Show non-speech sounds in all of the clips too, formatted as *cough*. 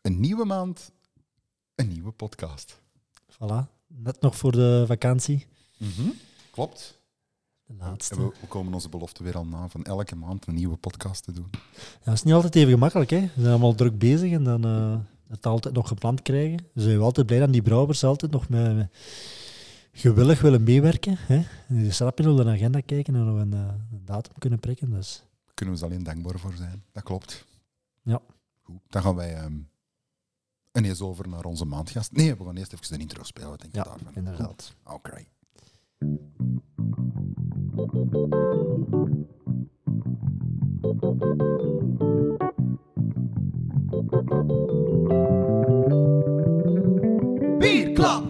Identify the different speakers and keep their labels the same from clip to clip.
Speaker 1: een nieuwe maand, een nieuwe podcast.
Speaker 2: Voilà, net nog voor de vakantie.
Speaker 1: Klopt.
Speaker 2: De Mhm. laatste.
Speaker 1: En we, we komen onze belofte weer al na van elke maand een nieuwe podcast te doen.
Speaker 2: Ja, dat is niet altijd even gemakkelijk. Hè. We zijn allemaal druk bezig en dan eh het altijd nog gepland krijgen. Dus zijn we altijd blij dat die brouwers altijd nog met, met- gewillig willen meewerken. Hè. En die snap je op de agenda kijken en nog een, eh, een datum kunnen prikken. Dus
Speaker 1: Daar kunnen we ze alleen dankbaar voor zijn. Dat klopt.
Speaker 2: Ja.
Speaker 1: Goed, dan gaan wij ehm ineens over naar onze maandgast. Nee, we gaan eerst even de intro spelen. Wat denk je
Speaker 2: ja,
Speaker 1: daarvan?
Speaker 2: inderdaad.
Speaker 1: Oké.
Speaker 3: Bierklap.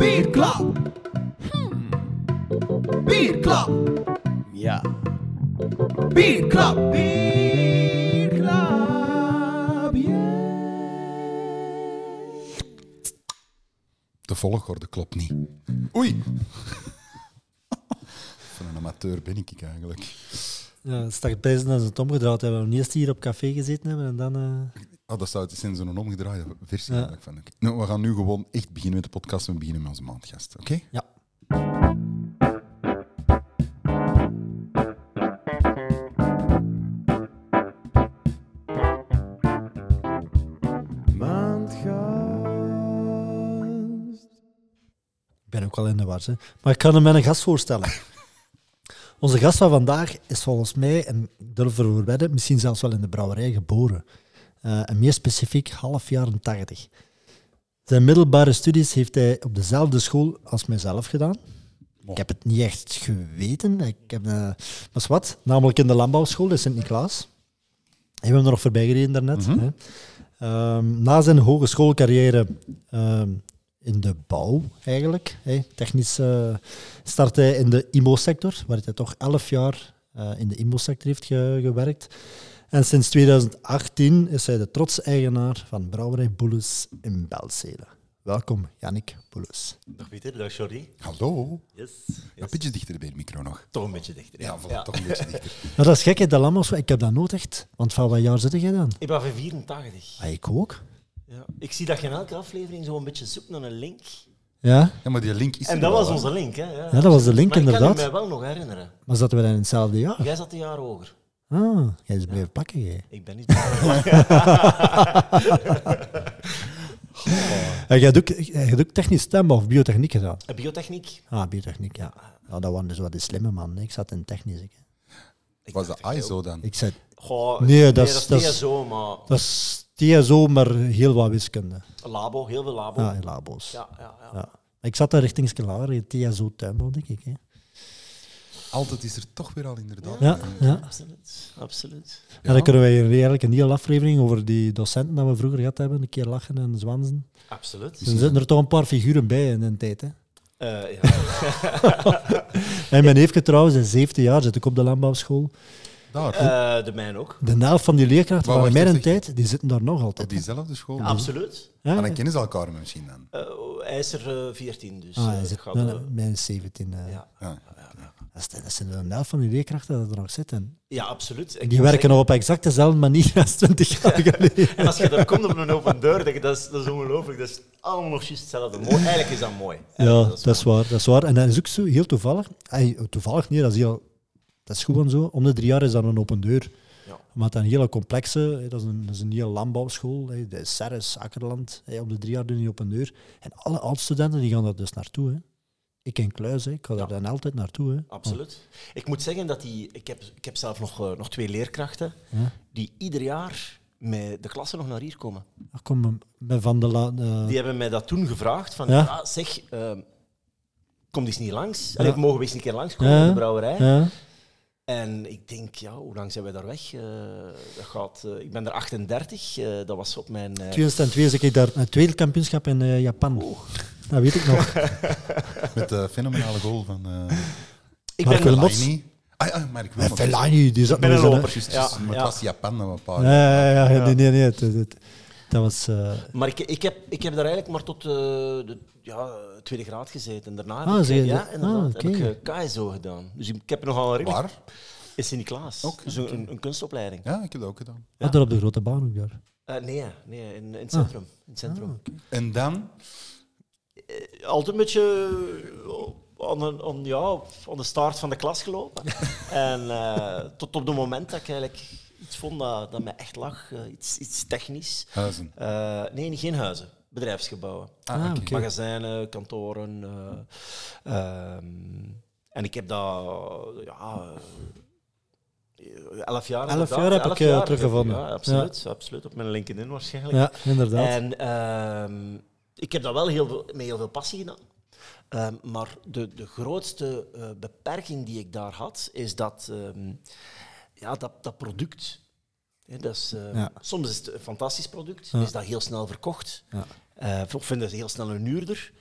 Speaker 3: Bierklap. Bierklap. Ja. Bierklap. Bierklap.
Speaker 1: De volgorde klopt niet. Oei! *laughs* Van een amateur ben ik eigenlijk.
Speaker 2: Ja, het start bij zijn als het omgedraaid hebben. We hebben eerst hier op café gezeten hebben en dan... eh,
Speaker 1: Ah, dat zou het zijn zo'n omgedraaide versie
Speaker 2: Ja.
Speaker 1: eigenlijk van. Oké. Nou, we gaan nu gewoon echt beginnen met de podcast en we beginnen met onze maandgast. Oké?
Speaker 2: ja.
Speaker 3: Maandgast.
Speaker 2: Ik ben ook al in de war. Hè. Maar ik kan hem met een gast voorstellen. Onze gast van vandaag is volgens mij, en ik durf ervoor wedden, misschien zelfs wel in de brouwerij geboren. Eh, en meer specifiek half jaren tachtig. Zijn middelbare studies heeft hij op dezelfde school als mijzelf gedaan. Ik heb het niet echt geweten. Ik heb, eh, maar is wat, namelijk in de landbouwschool in Sint-Niklaas. We hebben er nog voorbij gereden daarnet. hè. Ehm, na zijn hogeschoolcarrière ehm, in de bouw eigenlijk, hè, technisch, eh, start hij in de IMO-sector, waar hij toch elf jaar eh, in de IMO-sector heeft ge- gewerkt. En sinds 2018 is hij de trotse eigenaar van Brouwerij Boelus in Belzele. Welkom, Jannik Boelus.
Speaker 4: Dag Pieter, dag Jordi.
Speaker 1: Hallo?
Speaker 4: Yes.
Speaker 1: Een beetje dichter bij de micro nog.
Speaker 4: Toch een beetje dichter.
Speaker 1: Ja, voilà, toch een beetje dichter.
Speaker 2: Nou, dat is gek, hè, dat Lammers. Ik heb dat nooit echt. Want van wat jaar zit jij dan?
Speaker 4: Ik ben van 84.
Speaker 2: Ah, ik ook.
Speaker 4: Ja. Ik zie dat je in elke aflevering zo een beetje zoekt naar een link.
Speaker 2: Ja,
Speaker 1: *laughs* Ja, maar die link is
Speaker 4: En
Speaker 1: er
Speaker 4: dat
Speaker 1: wel,
Speaker 4: was
Speaker 1: hè.
Speaker 4: onze link, hè? Ja,
Speaker 2: ja dat was de link
Speaker 4: maar Ik kan
Speaker 2: inderdaad.
Speaker 4: me wel nog herinneren.
Speaker 2: Maar zaten we dan in hetzelfde jaar?
Speaker 4: Jij zat een jaar hoger.
Speaker 2: Ah, jij is blijven pakken, jij.
Speaker 4: Ik ben niet. *laughs* Ja,
Speaker 2: En Eh, jij hebt ook, jij hebt ook technisch stemmen of biotechniek gedaan?
Speaker 4: Biotechniek.
Speaker 2: Ah, biotechniek, ja. ja dat waren dus wat de slimme man. Ik zat in technisch. Ik,
Speaker 1: Was de ISO dan?
Speaker 2: ik zei,
Speaker 4: Goh,
Speaker 2: Nee, dat is- dat is-
Speaker 4: TSO, maar
Speaker 2: dat is TSO, maar heel wat wiskunde.
Speaker 4: labo, heel veel labo.
Speaker 2: Ja,
Speaker 4: Ja,
Speaker 2: in labo's. Oh. Ja.
Speaker 4: ja, ja.
Speaker 2: Ik zat daar richting Skelaar, in TSO tuinbouw, denk ik. Hè.
Speaker 1: Altijd is er toch weer al inderdaad. eh,
Speaker 2: Ja, ja.
Speaker 4: Absoluut, absoluut.
Speaker 2: En dan kunnen wij hier eigenlijk een hele aflevering over die docenten dat we vroeger gehad hebben, een keer lachen en zwanzen.
Speaker 4: Absoluut.
Speaker 2: Er zitten er toch een paar figuren bij in de tijd. Hè.
Speaker 4: Dus, Eh, ja.
Speaker 2: *laughs* En mijn neefje trouwens, in 17 jaar zit ik op de landbouwschool.
Speaker 1: Daar,
Speaker 4: Eh, de mijn ook.
Speaker 2: De helft van die leerkrachten
Speaker 1: Maar
Speaker 2: van
Speaker 1: wacht,
Speaker 2: mijn
Speaker 1: dat zeg je-
Speaker 2: tijd, Oh, die zitten daar nog
Speaker 1: op
Speaker 2: altijd. hè.
Speaker 1: diezelfde school.
Speaker 2: Mhm.
Speaker 4: Absoluut.
Speaker 2: Ja,
Speaker 1: Maar dan
Speaker 2: ja.
Speaker 1: kennen ze elkaar misschien dan.
Speaker 4: Eh, hij is er eh, 14, dus
Speaker 2: Ah,
Speaker 4: eh,
Speaker 2: hij
Speaker 4: dat
Speaker 2: zit-
Speaker 4: gaat,
Speaker 2: nee,
Speaker 4: eh,
Speaker 2: nee, Mijn is 17. eh.
Speaker 4: ja.
Speaker 1: Ja.
Speaker 2: Dat is- dat zijn de helft van die leerkrachten dat er nog zitten.
Speaker 4: Ja, absoluut.
Speaker 2: Die werken op exact dezelfde manier *laughs* als 20 jaar geleden.
Speaker 4: En als je daar komt op een open deur, denk je, dat is, dat is ongelooflijk. Dat is allemaal nog juist hetzelfde. Mooi. Eigenlijk is dat mooi.
Speaker 2: Ja, dat is waar. Dat is waar. En dat is ook zo heel toevallig. Ey, toevallig niet, dat is, heel, dat is gewoon zo. Om de drie jaar is dat een open deur.
Speaker 4: Ja.
Speaker 2: Maar dat is een hele complexe, hè, dat is een, dat is een hele landbouwschool, hè, de Serres, Akkerland. hè, Op de drie jaar doen die open deur. En alle oud-studenten die gaan daar dus naartoe. Hè. Ik en Kluis, hè, ik ga daar dan altijd naartoe. Hè.
Speaker 4: Absoluut. Ik moet zeggen dat die... Ik heb, ik heb zelf nog, eh, nog twee leerkrachten die ieder jaar met de klasse nog naar hier komen.
Speaker 2: Ah, kom, met Van de La... eh,
Speaker 4: Die hebben mij dat toen gevraagd. Van,
Speaker 2: Ja.
Speaker 4: ja. zeg, ehm, kom eens niet langs.
Speaker 2: Ja.
Speaker 4: Allee, mogen we eens een keer langskomen
Speaker 2: Ja.
Speaker 4: in de brouwerij?
Speaker 2: ja.
Speaker 4: En ik denk, ja, hoe lang zijn wij daar weg? Eh, dat gaat, eh, ik ben er 38. eh, dat was op mijn... eh,
Speaker 2: 2002 zit ik daar naar het tweede kampioenschap in eh, Japan. Dat weet ik
Speaker 4: Oh.
Speaker 2: nog.
Speaker 1: Met de fenomenale goal van eh
Speaker 4: ik
Speaker 2: Mark
Speaker 4: ben
Speaker 2: Wilmots.
Speaker 1: Laini. Ah ja, maar ik wil
Speaker 2: En
Speaker 1: nog-
Speaker 2: Eh, Fellaini, die zat
Speaker 4: ben
Speaker 2: nog
Speaker 4: een
Speaker 2: eens in-
Speaker 4: loper.
Speaker 1: Juist,
Speaker 4: Eh, Ja,
Speaker 1: juist, maar het
Speaker 4: ja.
Speaker 1: was Japan dan een paar
Speaker 2: Ja, ja, ja, ja, nee, nee, nee. het- het- het- dat was... eh,
Speaker 4: Maar ik, ik, heb, ik heb daar eigenlijk maar tot eh, de ja, tweede graad gezeten. En daarna
Speaker 2: Ah,
Speaker 4: heb
Speaker 2: zeg
Speaker 4: ik,
Speaker 2: je
Speaker 4: eh, ja,
Speaker 2: dat?
Speaker 4: inderdaad,
Speaker 2: Ah, oké.
Speaker 4: heb ik eh, KSO gedaan. Dus ik ik heb nogal een
Speaker 1: Waar?
Speaker 4: in Sint-Niklaas.
Speaker 1: Oké,
Speaker 4: Zo'n een, een kunstopleiding.
Speaker 1: Ja, ik heb dat ook gedaan.
Speaker 2: Ah, daar op de grote baan ook daar.
Speaker 4: Eh, nee, hè. nee in, in het
Speaker 2: Ah.
Speaker 4: centrum. In het centrum.
Speaker 1: En dan,
Speaker 4: altijd een beetje eh, aan de, aan, ja, aan de staart van de
Speaker 2: *laughs*
Speaker 4: klas gelopen. en eh, tot op het moment dat ik eigenlijk iets vond dat, dat mij echt lag, eh, iets, iets technisch.
Speaker 1: huizen.
Speaker 4: Eh, nee, geen huizen, bedrijfsgebouwen.
Speaker 1: Ah, oké.
Speaker 2: oké.
Speaker 4: Magazijnen, kantoren. eh, ehm, en ik heb dat ja, eh, elf jaar.
Speaker 2: Elf
Speaker 4: inderdaad.
Speaker 2: jaar heb ik, eh,
Speaker 4: jaar.
Speaker 2: teruggevonden.
Speaker 4: Ja, absoluut, absoluut. Op mijn LinkedIn waarschijnlijk.
Speaker 2: Ja, inderdaad.
Speaker 4: En ehm, ik heb dat wel heel veel, met heel veel passie gedaan. Ehm, maar de, de grootste eh, beperking die ik daar had, is dat, ehm, ja, dat, dat product. Hè, dat is, ehm,
Speaker 2: Ja.
Speaker 4: Soms is het een fantastisch product,
Speaker 2: Ja.
Speaker 4: is dat heel snel verkocht.
Speaker 2: Ja.
Speaker 4: Eh, of vinden ze heel snel een huurder.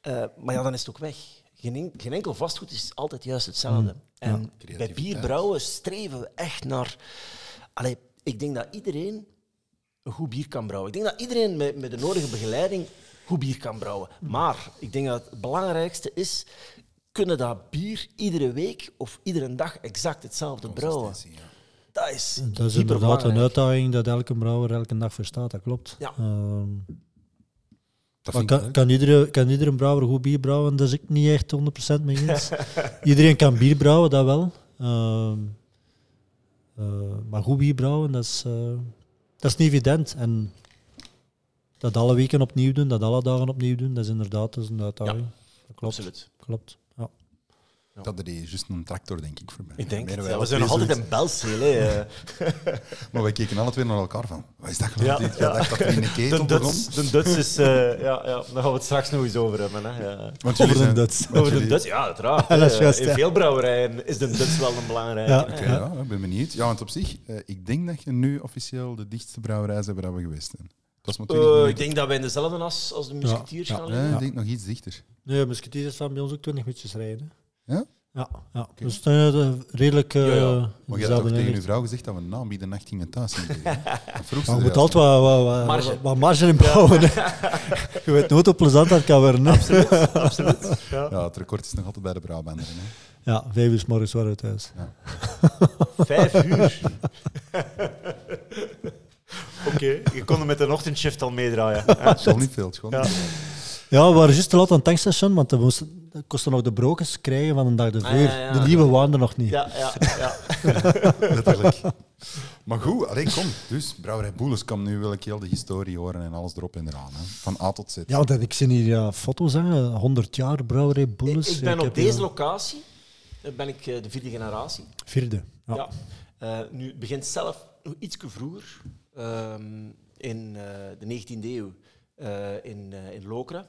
Speaker 4: Eh, maar ja, dan is het ook weg. Geen, en- geen enkel vastgoed is altijd juist hetzelfde.
Speaker 2: Mm.
Speaker 4: En bij
Speaker 1: Creativiteit.
Speaker 4: bierbrouwen streven we echt naar... Allee, ik denk dat iedereen een goed bier kan brouwen. Ik denk dat iedereen met, met de nodige begeleiding goed bier kan brouwen. Maar ik denk dat het belangrijkste is... Kunnen dat bier iedere week of iedere dag exact hetzelfde brouwen?
Speaker 1: Consistentie, ja.
Speaker 4: Dat
Speaker 2: Dat
Speaker 4: is,
Speaker 2: is inderdaad
Speaker 4: hyperbelangrijk.
Speaker 2: een uitdaging dat elke brouwer elke dag verstaat, dat klopt.
Speaker 4: Ja.
Speaker 2: Ehm,
Speaker 1: Dat
Speaker 2: maar
Speaker 1: vind ik
Speaker 2: kan,
Speaker 1: leuk.
Speaker 2: kan, iedere, kan iedere brouwer goed bier brouwen? Dat is ik niet echt 100% mee
Speaker 1: *laughs*
Speaker 2: eens. Iedereen kan bier brouwen, dat wel. Ehm, eh, maar goed bier brouwen, dat is, eh, dat is niet evident. En dat alle weken opnieuw doen, dat alle dagen opnieuw doen, dat is inderdaad dat is een uitdaging. dat klopt.
Speaker 4: Absoluut.
Speaker 2: klopt. Ja.
Speaker 1: Dat deed juist een tractor, denk ik, voor mij.
Speaker 4: Ik denk
Speaker 1: Meer
Speaker 4: het,
Speaker 1: wij
Speaker 4: ja.
Speaker 1: ook
Speaker 4: We zijn nog
Speaker 1: weer
Speaker 4: altijd een belcel, hè.
Speaker 1: zoiets. Maar wij keken alle twee naar elkaar van, wat is dat geluid?
Speaker 4: Ja,
Speaker 1: dit?
Speaker 4: ja.
Speaker 1: Jij dacht dat er in een ketel begon.
Speaker 4: de Duts is... eh, ja, ja, daar gaan we het straks nog eens over hebben. Hè. Ja.
Speaker 1: Want jullie
Speaker 2: Over de
Speaker 1: zijn-
Speaker 2: Duits. *laughs*
Speaker 1: want
Speaker 4: Over de
Speaker 1: jullie-
Speaker 4: Duts, ja, uiteraard.
Speaker 2: Ja, dat is
Speaker 4: hè.
Speaker 2: juist,
Speaker 4: In
Speaker 2: ja.
Speaker 4: veel brouwerijen is de Duts wel een belangrijke.
Speaker 2: Ja.
Speaker 4: hè.
Speaker 1: Oké, ja, ik ben benieuwd. Ja, want op zich, eh, ik denk dat je nu officieel de dichtste brouwerij bent waar we geweest zijn. Dat is maar 20
Speaker 4: Eh, ik
Speaker 1: minuten.
Speaker 4: denk dat wij in dezelfde as als de musketiers
Speaker 2: Ja, ja.
Speaker 4: gaan
Speaker 1: Ja,
Speaker 4: liggen.
Speaker 1: ik denk nog iets dichter.
Speaker 2: Nee, musketiers is van bij ons ook 20 minuutjes rijden. hè.
Speaker 1: Ja?
Speaker 2: Ja, ja. dus eh, redelijk eh
Speaker 4: Ja, ja.
Speaker 1: Maar je had ook
Speaker 2: dezelfde
Speaker 1: tegen
Speaker 2: inrichting.
Speaker 1: uw vrouw gezegd dat we na om die de nacht gingen thuis zijn.
Speaker 4: *laughs*
Speaker 1: vroeg ze dus
Speaker 2: Maar je
Speaker 1: er
Speaker 2: moet altijd wat, wat, wat,
Speaker 4: Marge.
Speaker 2: wat marge in bouwen. hè. je weet nooit hoe plezant dat kan worden. hè.
Speaker 1: al. Ja, het record is nog altijd bij de Brabander.
Speaker 4: *laughs*
Speaker 1: Hè.
Speaker 2: Ja, vijf uur 's morgens waren we thuis.
Speaker 4: Vijf *laughs* uur. Oké, je kon hem met een ochtendshift al meedraaien.
Speaker 1: Het is al niet *laughs* veel. het is gewoon-
Speaker 2: Ja, we waren juist te laat aan het tankstation, want we moesten, dat kostte nog de brokers krijgen van een dag ervoor.
Speaker 4: Ah, ja, ja.
Speaker 2: De nieuwe waren er nog niet.
Speaker 4: Ja, ja, ja.
Speaker 1: Letterlijk. Maar goed, alleen kom. Dus, Brouwerij Boelens, kom nu wil ik heel de historie horen en alles erop en eraan. Hè. Van A tot Z.
Speaker 2: Ja, want ik zie hier ja, foto's aan, 100 jaar brouwerij
Speaker 4: Ik,
Speaker 2: Boelens.
Speaker 4: ik ben op
Speaker 2: heb hier
Speaker 4: deze
Speaker 2: al-
Speaker 4: locatie eh, ben ik eh, de vierde generatie.
Speaker 2: Vierde. Ja.
Speaker 4: Ja. Eh, nu, het begint zelf nog iets vroeger, ehm, in eh, de 19e eeuw, eh, in, eh in Lokeren.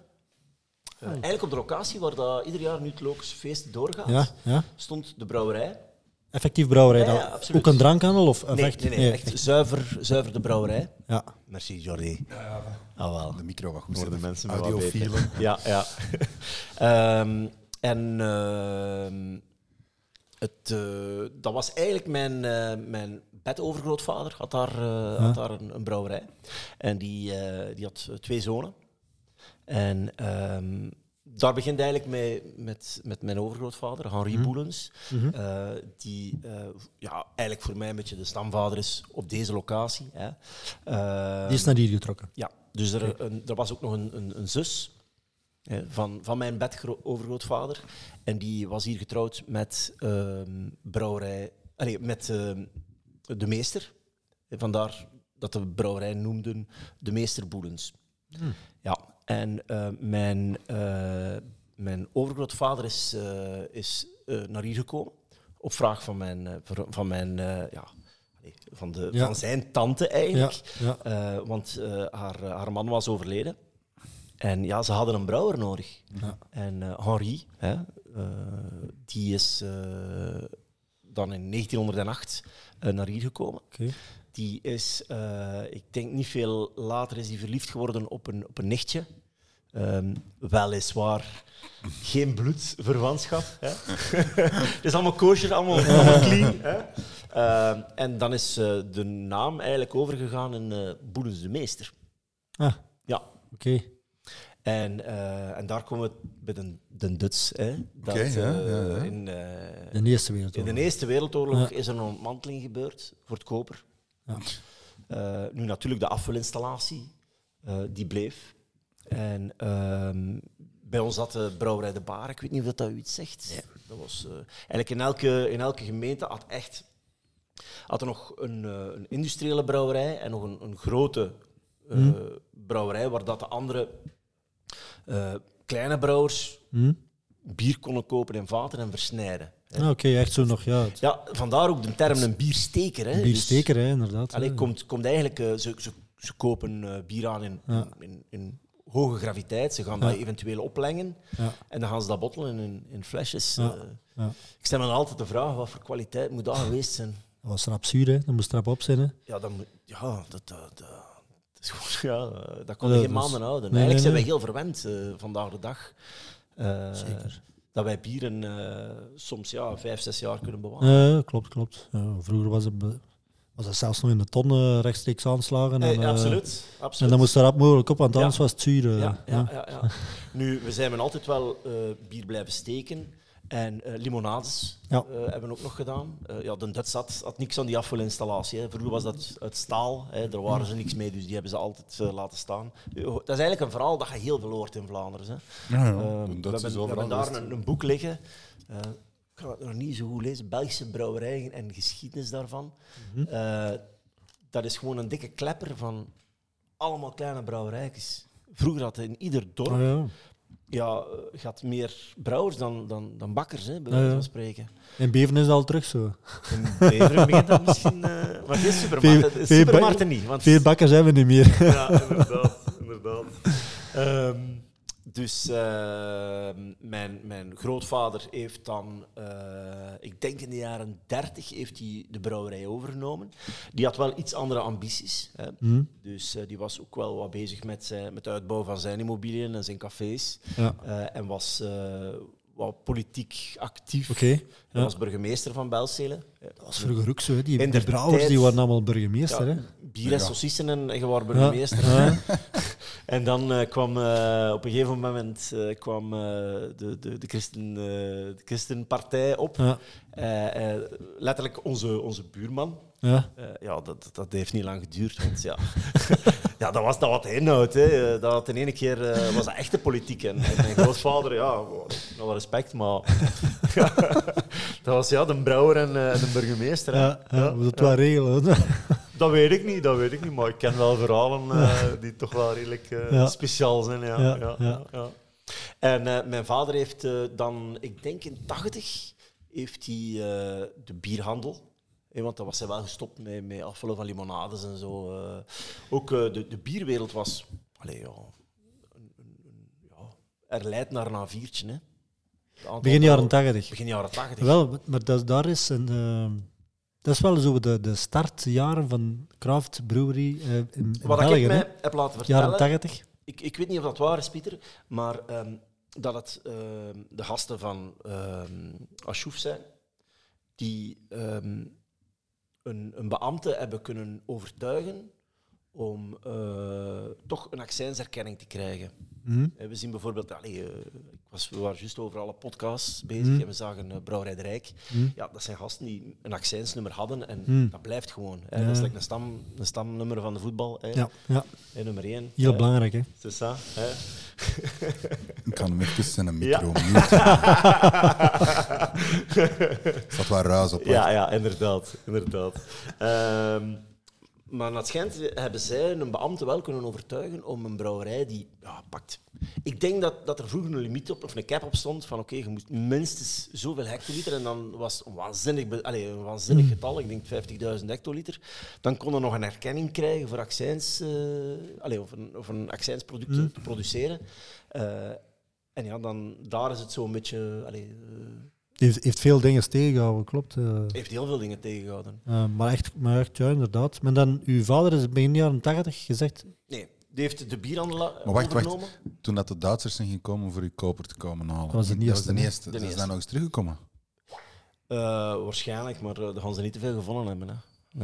Speaker 4: Eh, Eigenlijk op de locatie waar dat ieder jaar nu het Lokerse feest doorgaat,
Speaker 2: Ja, ja.
Speaker 4: stond de brouwerij.
Speaker 2: Effectief brouwerij
Speaker 4: Ja,
Speaker 2: dan.
Speaker 4: ja, absoluut.
Speaker 2: Ook een drankhandel? Of, of
Speaker 4: Nee,
Speaker 2: echt?
Speaker 4: nee, nee, echt zuiver, zuiver de brouwerij.
Speaker 2: Ja.
Speaker 4: Merci, Jordi. Ah, wel.
Speaker 1: De micro wat goed
Speaker 4: Worden
Speaker 1: zit.
Speaker 4: mensen wel wat *laughs*
Speaker 1: Audiofielen.
Speaker 4: Ja, ja. Ehm, en ehm, het, eh, dat was eigenlijk mijn, eh mijn bedovergrootvader, had daar, eh, had daar een, een brouwerij. En die, eh, die had eh, twee zonen. En ehm, daar begint eigenlijk mee met, met mijn overgrootvader, Henri Boelens, eh, die eh, ja, eigenlijk voor mij een beetje de stamvader is op deze locatie. Hè.
Speaker 2: Die is
Speaker 4: Ehm,
Speaker 2: naar hier getrokken.
Speaker 4: ja, dus er, een, er was ook nog een, een, een zus hè, van, van mijn bedovergrootvader. En die was hier getrouwd met ehm, brouwerij... allee, met ehm, de meester. Vandaar dat de brouwerij noemden de meester Boelens. Ja, en eh, mijn, eh, mijn overgrootvader is, eh, is eh, naar hier gekomen. Op vraag van mijn... eh, van- van, mijn eh, ja, allee, van, de,
Speaker 2: Ja.
Speaker 4: van zijn tante eigenlijk.
Speaker 2: Ja, ja.
Speaker 4: Eh, want eh, haar, eh, haar man was overleden. En ja, ze hadden een brouwer nodig. En eh, Henri, hè, eh, die is eh, dan in 1908 eh, naar hier gekomen.
Speaker 2: Oké.
Speaker 4: Die is, eh, ik denk niet veel later, is hij verliefd geworden op een, op een nichtje. Ehm, weliswaar geen bloedverwantschap. Hè? *laughs* Het is allemaal
Speaker 1: *laughs*
Speaker 4: kosher, allemaal, allemaal clean. Hè? Ehm, en dan is eh, de naam eigenlijk overgegaan in eh Boelens de Meester.
Speaker 2: Ah, oké.
Speaker 4: Ja, En, eh, en daar komen we bij de, de Duts. Hè, dat,
Speaker 1: Oké, ja,
Speaker 4: eh,
Speaker 1: ja, ja.
Speaker 4: In, eh,
Speaker 2: De Eerste
Speaker 4: in
Speaker 2: Wereldoorlog.
Speaker 4: de Eerste Wereldoorlog is er een ontmanteling gebeurd voor het koper.
Speaker 2: Ja.
Speaker 4: Eh, nu natuurlijk de afvulinstallatie, eh, die bleef. En ehm, bij ons had de brouwerij De Baar, ik weet niet of dat, dat u iets zegt. Dat was, eh, eigenlijk in elke, in elke gemeente had echt had er nog een, eh, een industriële brouwerij en nog een, een grote eh,
Speaker 2: Hm.
Speaker 4: brouwerij, waar dat de andere eh, kleine brouwers
Speaker 2: Hm?
Speaker 4: bier konden kopen in vaten en versnijden. hè.
Speaker 2: Ah, Oké, echt zo nog, ja. het-
Speaker 4: Ja, vandaar ook de term een biersteker. Hè.
Speaker 2: Een biersteker, hè, inderdaad.
Speaker 4: Eh, Dus, allee,
Speaker 2: hè.
Speaker 4: komt, komt eigenlijk, eh, ze, ze, ze kopen eh, bier aan in,
Speaker 2: Ja.
Speaker 4: in, in hoge graviteit. Ze gaan
Speaker 2: Ja.
Speaker 4: dat eventueel oplengen
Speaker 2: Ja.
Speaker 4: en dan gaan ze dat bottelen in, in flesjes.
Speaker 2: Ja.
Speaker 4: eh.
Speaker 2: Ja.
Speaker 4: Ik stel me dan altijd de vraag, wat voor kwaliteit moet dat geweest zijn?
Speaker 2: Dat was rap zuur, hè. Dat moest rap op zijn, hè.
Speaker 4: Ja, dat, moet- ja, dat, dat, dat, dat is gewoon, *laughs* ja, eh, dat kon
Speaker 2: Ja,
Speaker 4: je
Speaker 2: dat
Speaker 4: geen
Speaker 2: is-
Speaker 4: maanden houden.
Speaker 2: Nee,
Speaker 4: Eigenlijk
Speaker 2: nee,
Speaker 4: zijn wij
Speaker 2: nee.
Speaker 4: heel verwend eh, vandaag de dag. eh,
Speaker 2: Zeker.
Speaker 4: Dat wij bieren eh, soms ja, vijf, zes jaar kunnen bewaren.
Speaker 2: Ja, Eh, klopt, klopt. Ja, vroeger was het, be- was het zelfs nog in de tonnen rechtstreeks aanslagen.
Speaker 4: Eh,
Speaker 2: en, eh,
Speaker 4: absoluut, absoluut.
Speaker 2: En dan moest er rap mogelijk op, want
Speaker 4: Ja.
Speaker 2: anders was het zuur. eh,
Speaker 4: Ja,
Speaker 2: ja.
Speaker 4: ja, ja, ja. Nu, we zijn men altijd wel eh, bier blijven steken. En eh, limonades
Speaker 2: Ja.
Speaker 4: eh, hebben we ook nog gedaan. Eh, ja, de Duits had, had niks aan die afvalinstallatie. Hè. Vroeger was dat uit staal. Hè. Daar waren ze niks mee, dus die hebben ze altijd eh, laten staan. Eh, Dat is eigenlijk een verhaal dat je heel veel hoort in Vlaanderen. Hè.
Speaker 1: Ja, ja,
Speaker 4: Ehm,
Speaker 2: Oh,
Speaker 1: de
Speaker 4: we
Speaker 1: Duitsers
Speaker 4: hebben, we
Speaker 1: overal
Speaker 4: hebben daar
Speaker 1: geweest.
Speaker 4: een, een boek liggen. Eh, ik ga het nog niet zo goed lezen. Belgische brouwerijen en geschiedenis daarvan.
Speaker 2: Mhm.
Speaker 4: Eh, dat is gewoon een dikke klepper van allemaal kleine brouwerijtjes. Vroeger had in ieder dorp
Speaker 2: Ah, ja.
Speaker 4: ja, eh, gaat meer brouwers dan, dan, dan bakkers, hè,
Speaker 2: Ah, Ja,
Speaker 4: bij wijze
Speaker 2: ja.
Speaker 4: van spreken.
Speaker 2: In Beven is dat al terug zo.
Speaker 4: In Beveren begint dat misschien... eh, maar geen supermarkten,
Speaker 2: Veel- veel
Speaker 4: supermarkten niet. Want,
Speaker 2: Veel bakkers hebben we niet meer. *laughs*
Speaker 4: ja, inderdaad. inderdaad. Ehm, dus ehm, mijn, mijn grootvader heeft dan, eh, ik denk in de jaren 30, heeft hij de brouwerij overgenomen. Die had wel iets andere ambities. Hè.
Speaker 2: Mhm.
Speaker 4: Dus eh, die was ook wel wat bezig met, zijn- met de uitbouw van zijn immobiliën en zijn cafés.
Speaker 2: Ja.
Speaker 4: Eh, en was eh, wat politiek actief.
Speaker 2: Oké,
Speaker 4: Hij
Speaker 2: ja.
Speaker 4: was burgemeester van Belzele.
Speaker 2: Dat was vroeger ook zo, hè. Die, die
Speaker 4: In der
Speaker 2: brouwers
Speaker 4: tijd-
Speaker 2: die waren allemaal burgemeester.
Speaker 4: Ja,
Speaker 2: Hè.
Speaker 4: bier en
Speaker 1: Ja.
Speaker 4: saucissen en je was burgemeester. En dan eh, kwam eh, op een gegeven moment eh, kwam, eh, de, de, de, Christen, eh, de Christenpartij op.
Speaker 2: Ja.
Speaker 4: Eh, eh, letterlijk onze, onze buurman.
Speaker 2: Ja.
Speaker 4: Eh, ja, dat, dat heeft niet lang geduurd, want ja, *laughs* ja dat was dat wat hij inhoudt. Hè. Eh, Dat had in ene keer eh, was dat echte politiek. En, en mijn grootvader, ja, wel- wel respect, maar *laughs* dat was ja, de brouwer en eh, en de burgemeester. hè.
Speaker 2: Ja, ja,
Speaker 4: Ja,
Speaker 2: we moeten het wel regelen. hè.
Speaker 4: dat weet ik niet, dat weet ik niet, maar ik ken wel verhalen eh, die toch wel redelijk eh,
Speaker 2: Ja.
Speaker 4: speciaal zijn. Ja, ja,
Speaker 2: Ja,
Speaker 4: ja,
Speaker 2: ja.
Speaker 4: ja. En eh, mijn vader heeft eh, dan, ik denk in 80, heeft hij eh, de bierhandel. hè, want dan was hij wel gestopt met, met afvullen van limonades en zo. eh. Ook eh, de, de bierwereld was. Allee, ja, een- een- een- ja, er leidt naar een A4'tje. Hè. Het aantal
Speaker 2: *laughs* Begin jaren
Speaker 4: brouwers-
Speaker 2: 80.
Speaker 4: Begin jaren 80.
Speaker 2: Wel, maar dat, daar is een. eh, dat is wel zo de, de startjaren van Craft Brewery eh, in, in
Speaker 4: Wat
Speaker 2: België.
Speaker 4: ik
Speaker 2: hè.
Speaker 4: mij heb laten
Speaker 2: Jaren
Speaker 4: vertellen.
Speaker 2: 80.
Speaker 4: Ik, ik weet niet of dat waar is, Pieter, maar ehm, dat het ehm, de gasten van ehm Ashoef zijn die ehm, een, een beambte hebben kunnen overtuigen om eh, toch een accijnserkenning te krijgen.
Speaker 2: Hm?
Speaker 4: Eh, We zien bijvoorbeeld, allee, eh, ik was, we waren juist over alle podcasts bezig
Speaker 2: Hmm.
Speaker 4: en we zagen eh, Brouwerij de Rijk. Ja, dat zijn gasten die een accijnsnummer hadden en dat blijft gewoon. Hè. Dat is
Speaker 2: Hmm. Ja.
Speaker 4: like een, stam, een stamnummer van de voetbal, hè.
Speaker 2: Ja, ja,
Speaker 4: Hè, nummer één.
Speaker 2: heel
Speaker 4: hè.
Speaker 2: belangrijk. Hè.
Speaker 4: C'est ça, hè.
Speaker 1: Ik kan hem even zijn
Speaker 4: Ja.
Speaker 1: micro muten. Er zat wel ruis op. hè.
Speaker 4: *laughs* Ja, ja, inderdaad. inderdaad. Ehm, maar naar het schijnt hebben zij een beambte wel kunnen overtuigen om een brouwerij die ja, pakt. Ik denk dat, dat er vroeger een limiet op of een cap op stond van oké, je moest minstens zoveel hectoliter en dan was het een waanzinnig, be- allee, een waanzinnig getal, ik denk 50.000 hectoliter. Dan kon er nog een erkenning krijgen voor accijns, eh, allee, of een, of een accijnsproduct te- te produceren. Eh, en ja, dan, daar is het zo'n beetje... Allee, eh,
Speaker 2: Die heeft, heeft veel dingen tegengehouden, klopt. eh.
Speaker 4: heeft heel veel dingen tegengehouden.
Speaker 2: Eh, maar, echt, maar echt, ja, inderdaad. Maar dan, uw vader is begin jaren 80 gezegd.
Speaker 4: Nee, die heeft de bierhandel eh,
Speaker 1: Maar wacht,
Speaker 4: overgenomen.
Speaker 1: wacht. Toen dat de Duitsers zijn gekomen voor uw koper te komen halen.
Speaker 2: was de eerste, hè?
Speaker 1: eerste. Ze
Speaker 4: eerste.
Speaker 1: zijn nog eens teruggekomen.
Speaker 4: Eh, waarschijnlijk, maar eh, daar gaan ze niet te veel gevonden hebben. Hè.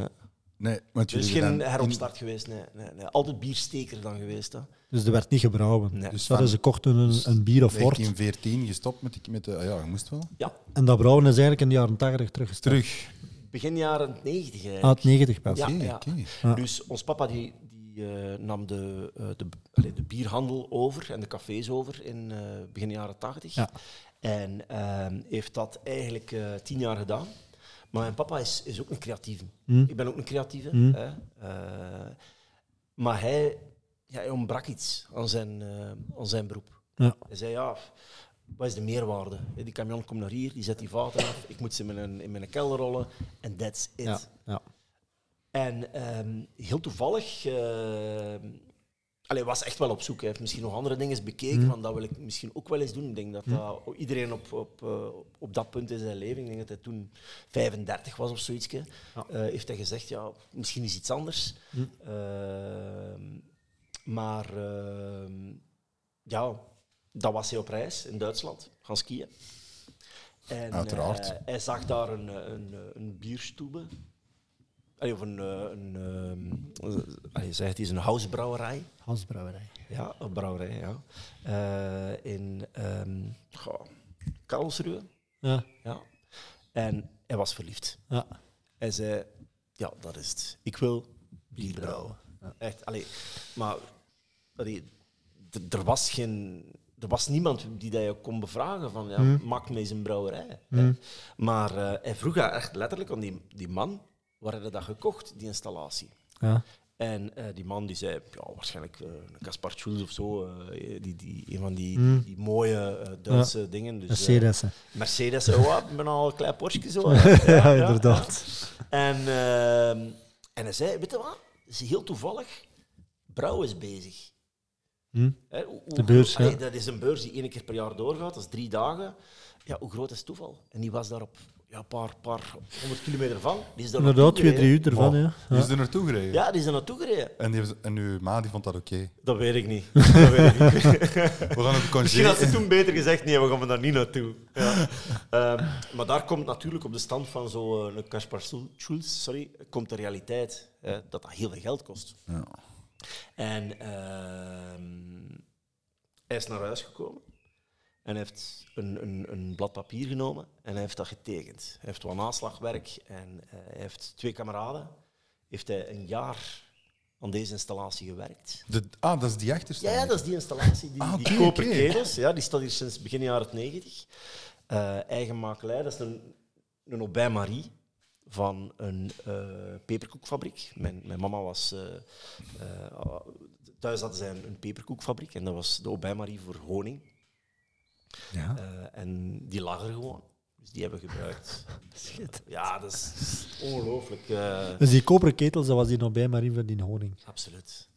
Speaker 4: Ja.
Speaker 1: Nee, want
Speaker 4: Er is
Speaker 1: jullie
Speaker 4: geen
Speaker 1: hebben dan
Speaker 4: heropstart geweest. Nee, nee, nee. Altijd biersteker dan geweest. Hè.
Speaker 2: Dus er werd niet gebrouwen.
Speaker 4: Nee.
Speaker 2: Dus
Speaker 1: Dus
Speaker 2: dat
Speaker 1: van-
Speaker 2: is, ze kochten een, een bier
Speaker 1: in
Speaker 2: of wort.
Speaker 1: 1914 gestopt met, die- met de... ah Ja, je moest wel.
Speaker 4: Ja,
Speaker 2: En dat brouwen is eigenlijk in de jaren 80 teruggestart.
Speaker 1: Terug.
Speaker 4: begin jaren 90 eigenlijk.
Speaker 2: Ah, het 90 pas.
Speaker 4: Ja,
Speaker 1: Oké,
Speaker 4: ja.
Speaker 1: oké.
Speaker 4: Dus ons papa die, die, eh, nam de, eh, de, allee, de bierhandel over en de cafés over in eh, begin jaren 80.
Speaker 2: Ja.
Speaker 4: En ehm, heeft dat eigenlijk eh, tien jaar gedaan. Maar mijn papa is, is ook een creatieve.
Speaker 2: Hmm.
Speaker 4: Ik ben ook een creatieve. Hè? Eh, maar hij, ja, hij ontbrak iets aan zijn, eh, aan zijn beroep.
Speaker 2: Ja.
Speaker 4: Hij zei, ja, wat is de meerwaarde? Die camion komt naar hier, die zet die vaten af, ik moet ze in mijn, in mijn kelder rollen en that's it.
Speaker 2: Ja, ja.
Speaker 4: En ehm, heel toevallig, ehm allee, was echt wel op zoek. Hij heeft misschien nog andere dingen bekeken, van dat wil ik misschien ook wel eens doen. Ik denk dat, dat iedereen op, op, eh, op dat punt in zijn leven, ik denk dat hij toen 35 was of zoiets, eh, heeft hij gezegd, ja, misschien is iets anders. Ehm, maar ehm, ja, dan was hij op reis in Duitsland, gaan skiën. En,
Speaker 1: Uiteraard.
Speaker 4: eh, hij zag daar een, eh, een, eh, een bierstoebe. Allee, of een, eh, een ehm, eh, allee, zeg het is een housebrouwerij.
Speaker 2: Hansbrouwerij.
Speaker 4: Ja, een brouwerij, ja. Eh, in ehm goh, Karlsruhe.
Speaker 2: Ja,
Speaker 4: Ja. En hij was verliefd.
Speaker 2: ja.
Speaker 4: Hij zei, ja, dat is het. Ik wil bier brouwen. Echt, allee, maar allee, d- er was geen... Er was niemand die dat je kon bevragen van, ja, maak mee zijn brouwerij. hè. Maar eh, hij vroeg echt letterlijk aan die, die man, waar had hij dat gekocht, die installatie?
Speaker 2: ja.
Speaker 4: En eh, die man die zei, ja, waarschijnlijk eh, een Caspar Schulz of zo, eh, die, die, een van die,
Speaker 2: Hmm.
Speaker 4: die mooie eh, Duitse dingen. Dus,
Speaker 2: Dat
Speaker 4: eh,
Speaker 2: is CDS.
Speaker 4: Mercedes, oh, ja, ik ben al een klein
Speaker 2: *laughs*
Speaker 4: Porsche zo. hè. *laughs*
Speaker 2: Ja, inderdaad.
Speaker 4: En, ehm, en hij zei, weet je wat, Het is heel toevallig, Brouw is bezig.
Speaker 2: Hm?
Speaker 4: Hè, hoe- hoe
Speaker 2: De beurs,
Speaker 4: groot-
Speaker 2: ja.
Speaker 4: Dat is een beurs die één keer per jaar doorgaat, dat is drie dagen. Ja, hoe groot is toeval? En die was daar op ja, een paar, paar honderd kilometer van. Die is daar
Speaker 2: Inderdaad,
Speaker 4: naartoe
Speaker 2: twee, drie
Speaker 4: gereden.
Speaker 2: uur ervan.
Speaker 1: Oh,
Speaker 2: Ja.
Speaker 1: Die is er naartoe gereden.
Speaker 4: Ja, die is er naartoe gereden.
Speaker 1: En, die heeft- en uw ma die vond dat oké.
Speaker 4: *laughs* Dat weet ik niet. Dat weet ik niet.
Speaker 1: We gaan het
Speaker 4: Misschien had ze
Speaker 1: congé...
Speaker 4: toen beter gezegd, nee, we gaan er daar niet naartoe. Ja. Ehm, maar daar komt natuurlijk op de stand van zo'n een Kaspar Schul- Schulz, sorry, komt de realiteit hè, dat dat heel veel geld kost.
Speaker 1: Ja.
Speaker 4: En ehm, hij is naar huis gekomen en heeft een, een, een blad papier genomen en hij heeft dat getekend. Hij heeft wat naslagwerk en eh, hij heeft twee kameraden. Heeft hij een jaar aan deze installatie gewerkt.
Speaker 1: De, ah, dat is die achterste.
Speaker 4: Ja, ja, dat is die installatie. Die,
Speaker 1: Ah,
Speaker 4: die
Speaker 1: oké,
Speaker 4: koper
Speaker 1: oké.
Speaker 4: ketels, ja, die staat hier sinds begin jaren 90. Eh, eigen makelij, dat is een, een Aubin Marie van een eh, peperkoekfabriek. Mijn, mijn mama was... eh, eh, thuis hadden zij een, een peperkoekfabriek en dat was de Aubin Marie voor honing.
Speaker 2: Ja.
Speaker 4: Eh, en die lag er gewoon. Dus die hebben we gebruikt. Shit. Ja, dat is ongelooflijk. eh,
Speaker 2: Dus die koperen ketels, dat was die nog bij Marie van die honing.
Speaker 4: Absoluut.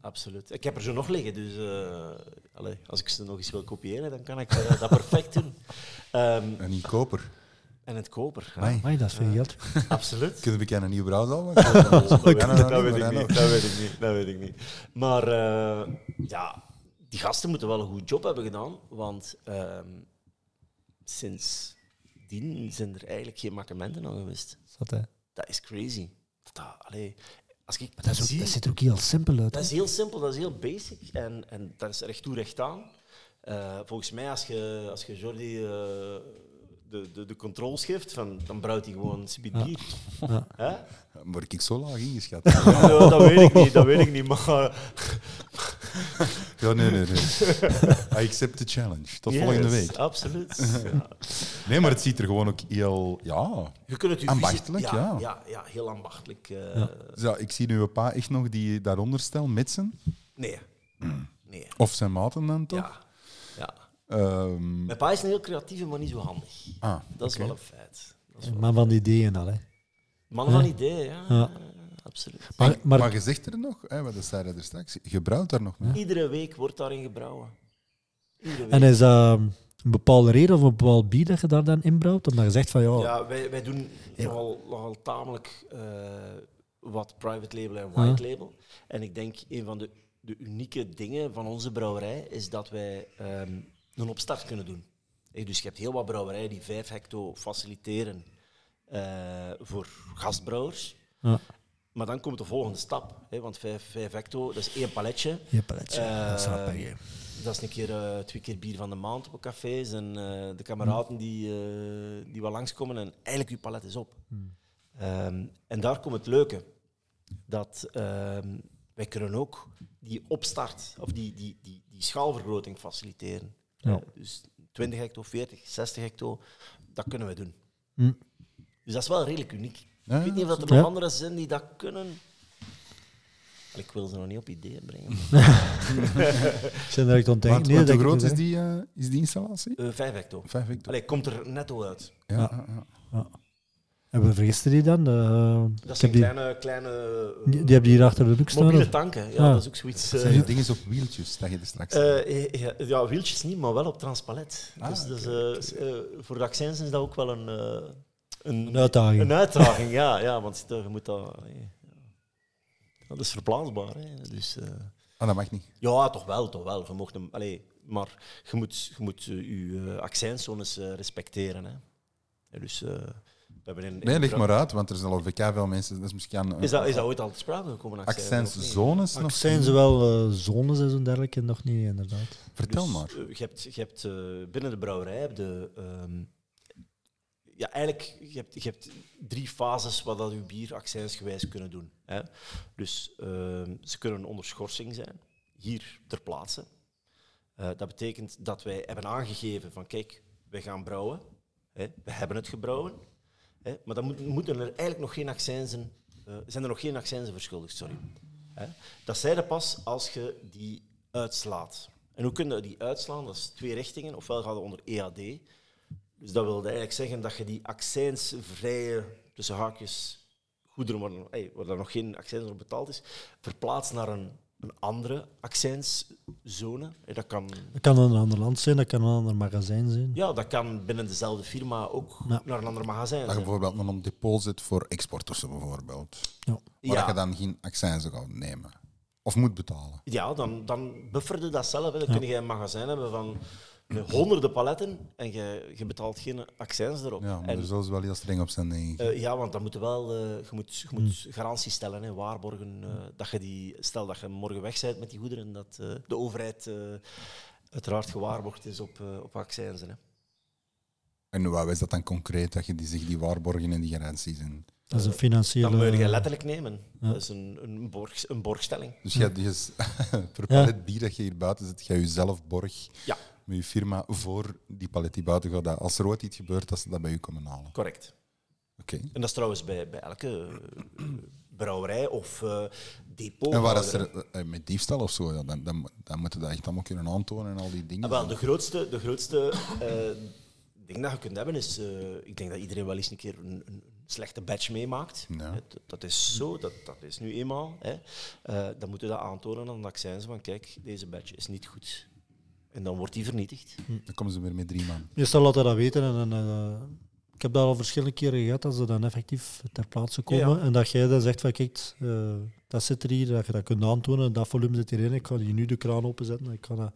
Speaker 4: Absoluut. Ik heb er zo nog liggen, dus eh, allee, als ik ze nog eens wil kopiëren, dan kan ik eh, dat perfect doen. Ehm,
Speaker 1: En niet koper.
Speaker 4: en het koper. ja.
Speaker 1: Amai.
Speaker 2: Amai, dat is veel geld.
Speaker 1: *laughs*
Speaker 4: Absoluut.
Speaker 1: Kunnen we kennen een nieuw brouwzaal?
Speaker 4: *laughs* Dat weet ik niet, dat weet ik niet, dat weet ik niet. Maar eh, ja, die gasten moeten wel een goed job hebben gedaan, want ehm sindsdien zijn er eigenlijk geen makkementen aan geweest.
Speaker 2: Zat, hè.
Speaker 4: Dat is crazy. Dat, dat, allee, als ik
Speaker 2: Dat, is
Speaker 4: zie-
Speaker 2: ook, dat ziet er ook heel simpel uit. hè.
Speaker 4: Dat is heel simpel, dat is heel basic. En, en dat is recht toe, recht aan. Eh, volgens mij, als je, als je Jordi eh, de, de, de controls geeft, van, dan brouwt hij gewoon een bier. Hè?
Speaker 1: Word ik zo laag ingeschat? *laughs*
Speaker 4: Nou, dat weet ik niet, dat weet ik niet. Maar
Speaker 1: Ja, nee, nee,
Speaker 4: *laughs*
Speaker 1: nee. I accept the challenge. Tot volgende
Speaker 4: Yes, Ah.
Speaker 1: week.
Speaker 4: Absoluut. Ja.
Speaker 1: Nee, maar het ziet er gewoon ook heel... Ja.
Speaker 4: Je kunt het je
Speaker 1: Ambachtelijk,
Speaker 4: fysiek-
Speaker 1: ja.
Speaker 4: ja. Ja, ja, heel ambachtelijk. eh,
Speaker 1: ja ik zie nu een pa echt nog die daaronder stel, met zijn.
Speaker 4: Nee. Nee.
Speaker 1: Of zijn maten dan toch?
Speaker 4: Ja. ja.
Speaker 1: Ehm,
Speaker 4: Mijn pa is een heel creatieve, maar niet zo handig.
Speaker 1: ah,
Speaker 4: Dat is
Speaker 1: oké.
Speaker 4: wel een feit. Dat is
Speaker 2: Een
Speaker 4: wel-
Speaker 2: Man van ideeën al. Hè.
Speaker 4: Man van ideeën, ja.
Speaker 2: Ja.
Speaker 4: Absoluut.
Speaker 2: Maar,
Speaker 1: Maar,
Speaker 2: maar
Speaker 1: je zegt er nog, hè, wat zei je er straks? Je brouwt daar nog mee.
Speaker 4: Iedere week wordt daarin gebrouwen. Iedere week.
Speaker 2: En is dat een bepaalde reden of een bepaald bier dat je daar dan inbrouwt? Omdat je zegt van ja,
Speaker 4: Ja, wij, wij doen nogal, nogal tamelijk eh, wat private label en white label. En ik denk een van de, de unieke dingen van onze brouwerij is dat wij ehm, een opstart kunnen doen. Eh, Dus je hebt heel wat brouwerijen die 5 hecto faciliteren eh, voor gastbrouwers.
Speaker 2: Ja.
Speaker 4: Maar dan komt de volgende stap. Hè, want vijf, vijf hecto, dat is één paletje.
Speaker 2: Je paletje. dat is
Speaker 4: Eh,
Speaker 2: rappig,
Speaker 4: Dat is een keer, eh, twee keer bier van de maand op een café. En eh, de kameraden die, eh, die wel langskomen en eigenlijk je palet is op. Ehm, en daar komt het leuke. Dat ehm, wij kunnen ook die opstart of die, die, die, die schaalvergroting faciliteren.
Speaker 2: Ja.
Speaker 4: Eh, dus 20 hecto, 40, 60 hecto, dat kunnen we doen.
Speaker 2: Hm.
Speaker 4: Dus dat is wel redelijk uniek.
Speaker 1: Ja,
Speaker 4: ik weet niet of dat er
Speaker 2: ja.
Speaker 4: nog anderen zijn die dat kunnen. Ik wil ze nog niet op ideeën brengen.
Speaker 2: Ik ben direct aan het
Speaker 1: Maar,
Speaker 2: denken. Nee,
Speaker 1: maar
Speaker 2: dat
Speaker 1: hoe
Speaker 2: ik
Speaker 1: groot
Speaker 2: het
Speaker 1: is
Speaker 2: niet
Speaker 1: die, eh, is die installatie?
Speaker 4: Eh, Vijf hecto.
Speaker 1: Vijf hectare.
Speaker 4: Allee, komt er netto uit.
Speaker 1: Ja, ja, ja.
Speaker 2: zeg. Hebben we vergisten die dan? Eh,
Speaker 4: Dat
Speaker 2: ik
Speaker 4: zijn
Speaker 2: heb die,
Speaker 4: kleine, kleine eh,
Speaker 2: die, die hebben die hier achter de hoek staan.
Speaker 4: mobiele
Speaker 2: of?
Speaker 4: tanken. Ja,
Speaker 2: Ah.
Speaker 4: dat is ook zoiets. eh,
Speaker 1: Zijn die dingen op wieltjes, dat je er straks...
Speaker 4: eh, eh, ja, ja, wieltjes niet, maar wel op transpalet.
Speaker 1: Ah,
Speaker 4: dus dus
Speaker 1: oké,
Speaker 4: eh, s- eh, voor de accijns is dat ook wel een, eh,
Speaker 2: Een uitdaging.
Speaker 4: een uitdaging. ja, ja, want eh, je moet dat... eh, ja. Dat is verplaatsbaar. Hè, dus... eh,
Speaker 1: Ah, dat mag niet.
Speaker 4: Ja, toch wel, toch wel. Je mocht hem, allee, maar je moet, je moet eh, je eh, accijnszones eh, respecteren. Hè. Ja, Dus, eh, we hebben in, in
Speaker 1: Nee, leg
Speaker 4: Bra-
Speaker 1: maar uit, want er zijn al VK veel mensen. Dat is misschien een
Speaker 4: Is dat, is dat ooit al te sprake gekomen? accijns, of niet?
Speaker 1: accijnszones nog.
Speaker 2: Zijn ze wel eh, zones en zo dergelijke? Nog niet, inderdaad.
Speaker 1: Vertel
Speaker 4: Dus,
Speaker 1: maar.
Speaker 4: eh, je hebt, je hebt eh, binnen de brouwerij heb je, ehm, ja, eigenlijk je hebt, je hebt drie fases wat dat je bier accijnsgewijs kunnen doen. Hè. Dus ehm, ze kunnen onder schorsing zijn, hier ter plaatse. Eh, dat betekent dat wij hebben aangegeven van kijk, wij gaan brouwen. Hè, we hebben het gebrouwen. Hè, maar dan moet- moeten er eigenlijk nog geen accijnzen, eh, zijn er nog geen accijnzen verschuldigd, sorry. Hè. Dat zij er pas als je die uitslaat. En hoe kun je die uitslaan? Dat is twee richtingen. Ofwel gaat het onder EAD. Dus dat wil eigenlijk zeggen dat je die accijnsvrije, tussen haakjes, goederen waar, hey, waar er nog geen accijns op betaald is, verplaatst naar een, een andere accijnszone. En Dat kan,
Speaker 2: Dat kan een ander land zijn, dat kan een ander magazijn zijn.
Speaker 4: ja, dat kan binnen dezelfde firma ook
Speaker 2: Ja.
Speaker 4: naar een ander magazijn.
Speaker 1: Dat je
Speaker 4: zijn.
Speaker 1: bijvoorbeeld nog een depot zit voor exporters bijvoorbeeld.
Speaker 2: Ja.
Speaker 1: Waar
Speaker 4: Ja.
Speaker 1: je dan geen accijns gaat nemen. Of moet betalen.
Speaker 4: Ja, dan, dan bufferde dat zelf. Hè. Dan kun je een magazijn hebben van honderden paletten en je, je betaalt geen accijns erop.
Speaker 1: Ja, maar dus-
Speaker 4: En,
Speaker 1: daar zullen ze wel heel streng op zijn, denk ik.
Speaker 4: eh, ja, want dan moet je wel, eh, je moet, je moet
Speaker 1: Hmm.
Speaker 4: garantie stellen, hè, waarborgen. eh, dat je die, stel dat je morgen weg bent met die goederen, dat eh, de overheid eh, uiteraard gewaarborgd is op, eh, op accijnzen. Hè.
Speaker 1: En wat is dat dan concreet, dat je die, zich die waarborgen en die garanties in...
Speaker 2: Dat is een financiële...
Speaker 4: Dat Eh, moet je letterlijk nemen.
Speaker 2: Ja.
Speaker 4: Dat is een, een, borg, een borgstelling.
Speaker 1: Dus jij, dus, *laughs* per palet bier dat je hier buiten zet, ga je zelf borg
Speaker 4: Ja,
Speaker 1: met je firma voor die palet die buiten gaat. dat Als er ooit iets gebeurt, dat ze dat bij je komen halen. Oké.
Speaker 4: correct. En dat is trouwens bij, bij elke eh, brouwerij of eh, depot.
Speaker 1: En waar is
Speaker 4: houder, hè.
Speaker 1: er eh, met diefstal of zo? Ja, dan, dan, dan moeten we dat echt allemaal kunnen aantonen en al die dingen.
Speaker 4: Ah, wel, de grootste, de grootste eh, ding dat je kunt hebben is... eh, ik denk dat iedereen wel eens een keer een, een slechte batch meemaakt.
Speaker 1: Ja.
Speaker 4: Het- dat is zo, dat, dat is nu eenmaal. Hè. Eh, dan moeten we dat aantonen aan de accijns. Van kijk, deze batch is niet goed. En dan wordt die vernietigd.
Speaker 1: Dan komen ze weer met drie man.
Speaker 2: Meestal laten dat weten. En, dan, eh, ik heb dat al verschillende keren gehad, dat ze dan effectief ter plaatse komen.
Speaker 4: Ja, ja.
Speaker 2: En dat jij dan zegt van, kijk, eh, dat zit er hier, dat je dat kunt aantonen, dat volume zit hierin, ik ga hier nu de kraan openzetten. Ik ga dat...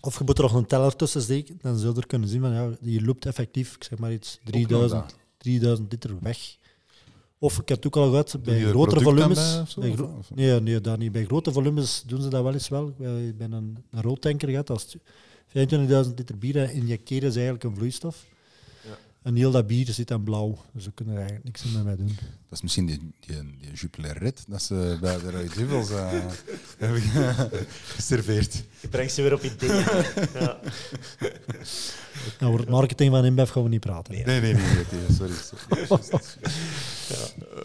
Speaker 2: Of je moet er nog een teller tussen steken, dan zul je er kunnen zien van, ja, je loopt effectief, ik zeg maar iets, 3000,
Speaker 1: dat.
Speaker 2: 3000 liter weg. Of ik heb het ook al gehad, bij
Speaker 1: je er
Speaker 2: grotere
Speaker 1: product aan
Speaker 2: volumes...
Speaker 1: bij of zo?
Speaker 2: bij gro-
Speaker 1: Of- of-
Speaker 2: nee, nee, dat niet. Bij grote volumes doen ze dat wel eens wel. Eh, Ik ben een, een roodtanker gehad, dat is 25.000 liter bier en injecteren ze eigenlijk een vloeistof. En heel dat bier zit dan blauw, dus we kunnen er eigenlijk niks meer mee doen.
Speaker 1: Dat is misschien die, die, die Jupiler Red dat ze bij de Rode Duivels eh, *laughs* hebben *laughs* geserveerd.
Speaker 4: Je brengt ze weer op ideeën. *laughs* ja.
Speaker 2: Dan wordt Nou, het marketing van InBev gaan we niet praten.
Speaker 4: Nee.
Speaker 1: Nee, nee, nee, nee, nee, sorry. sorry.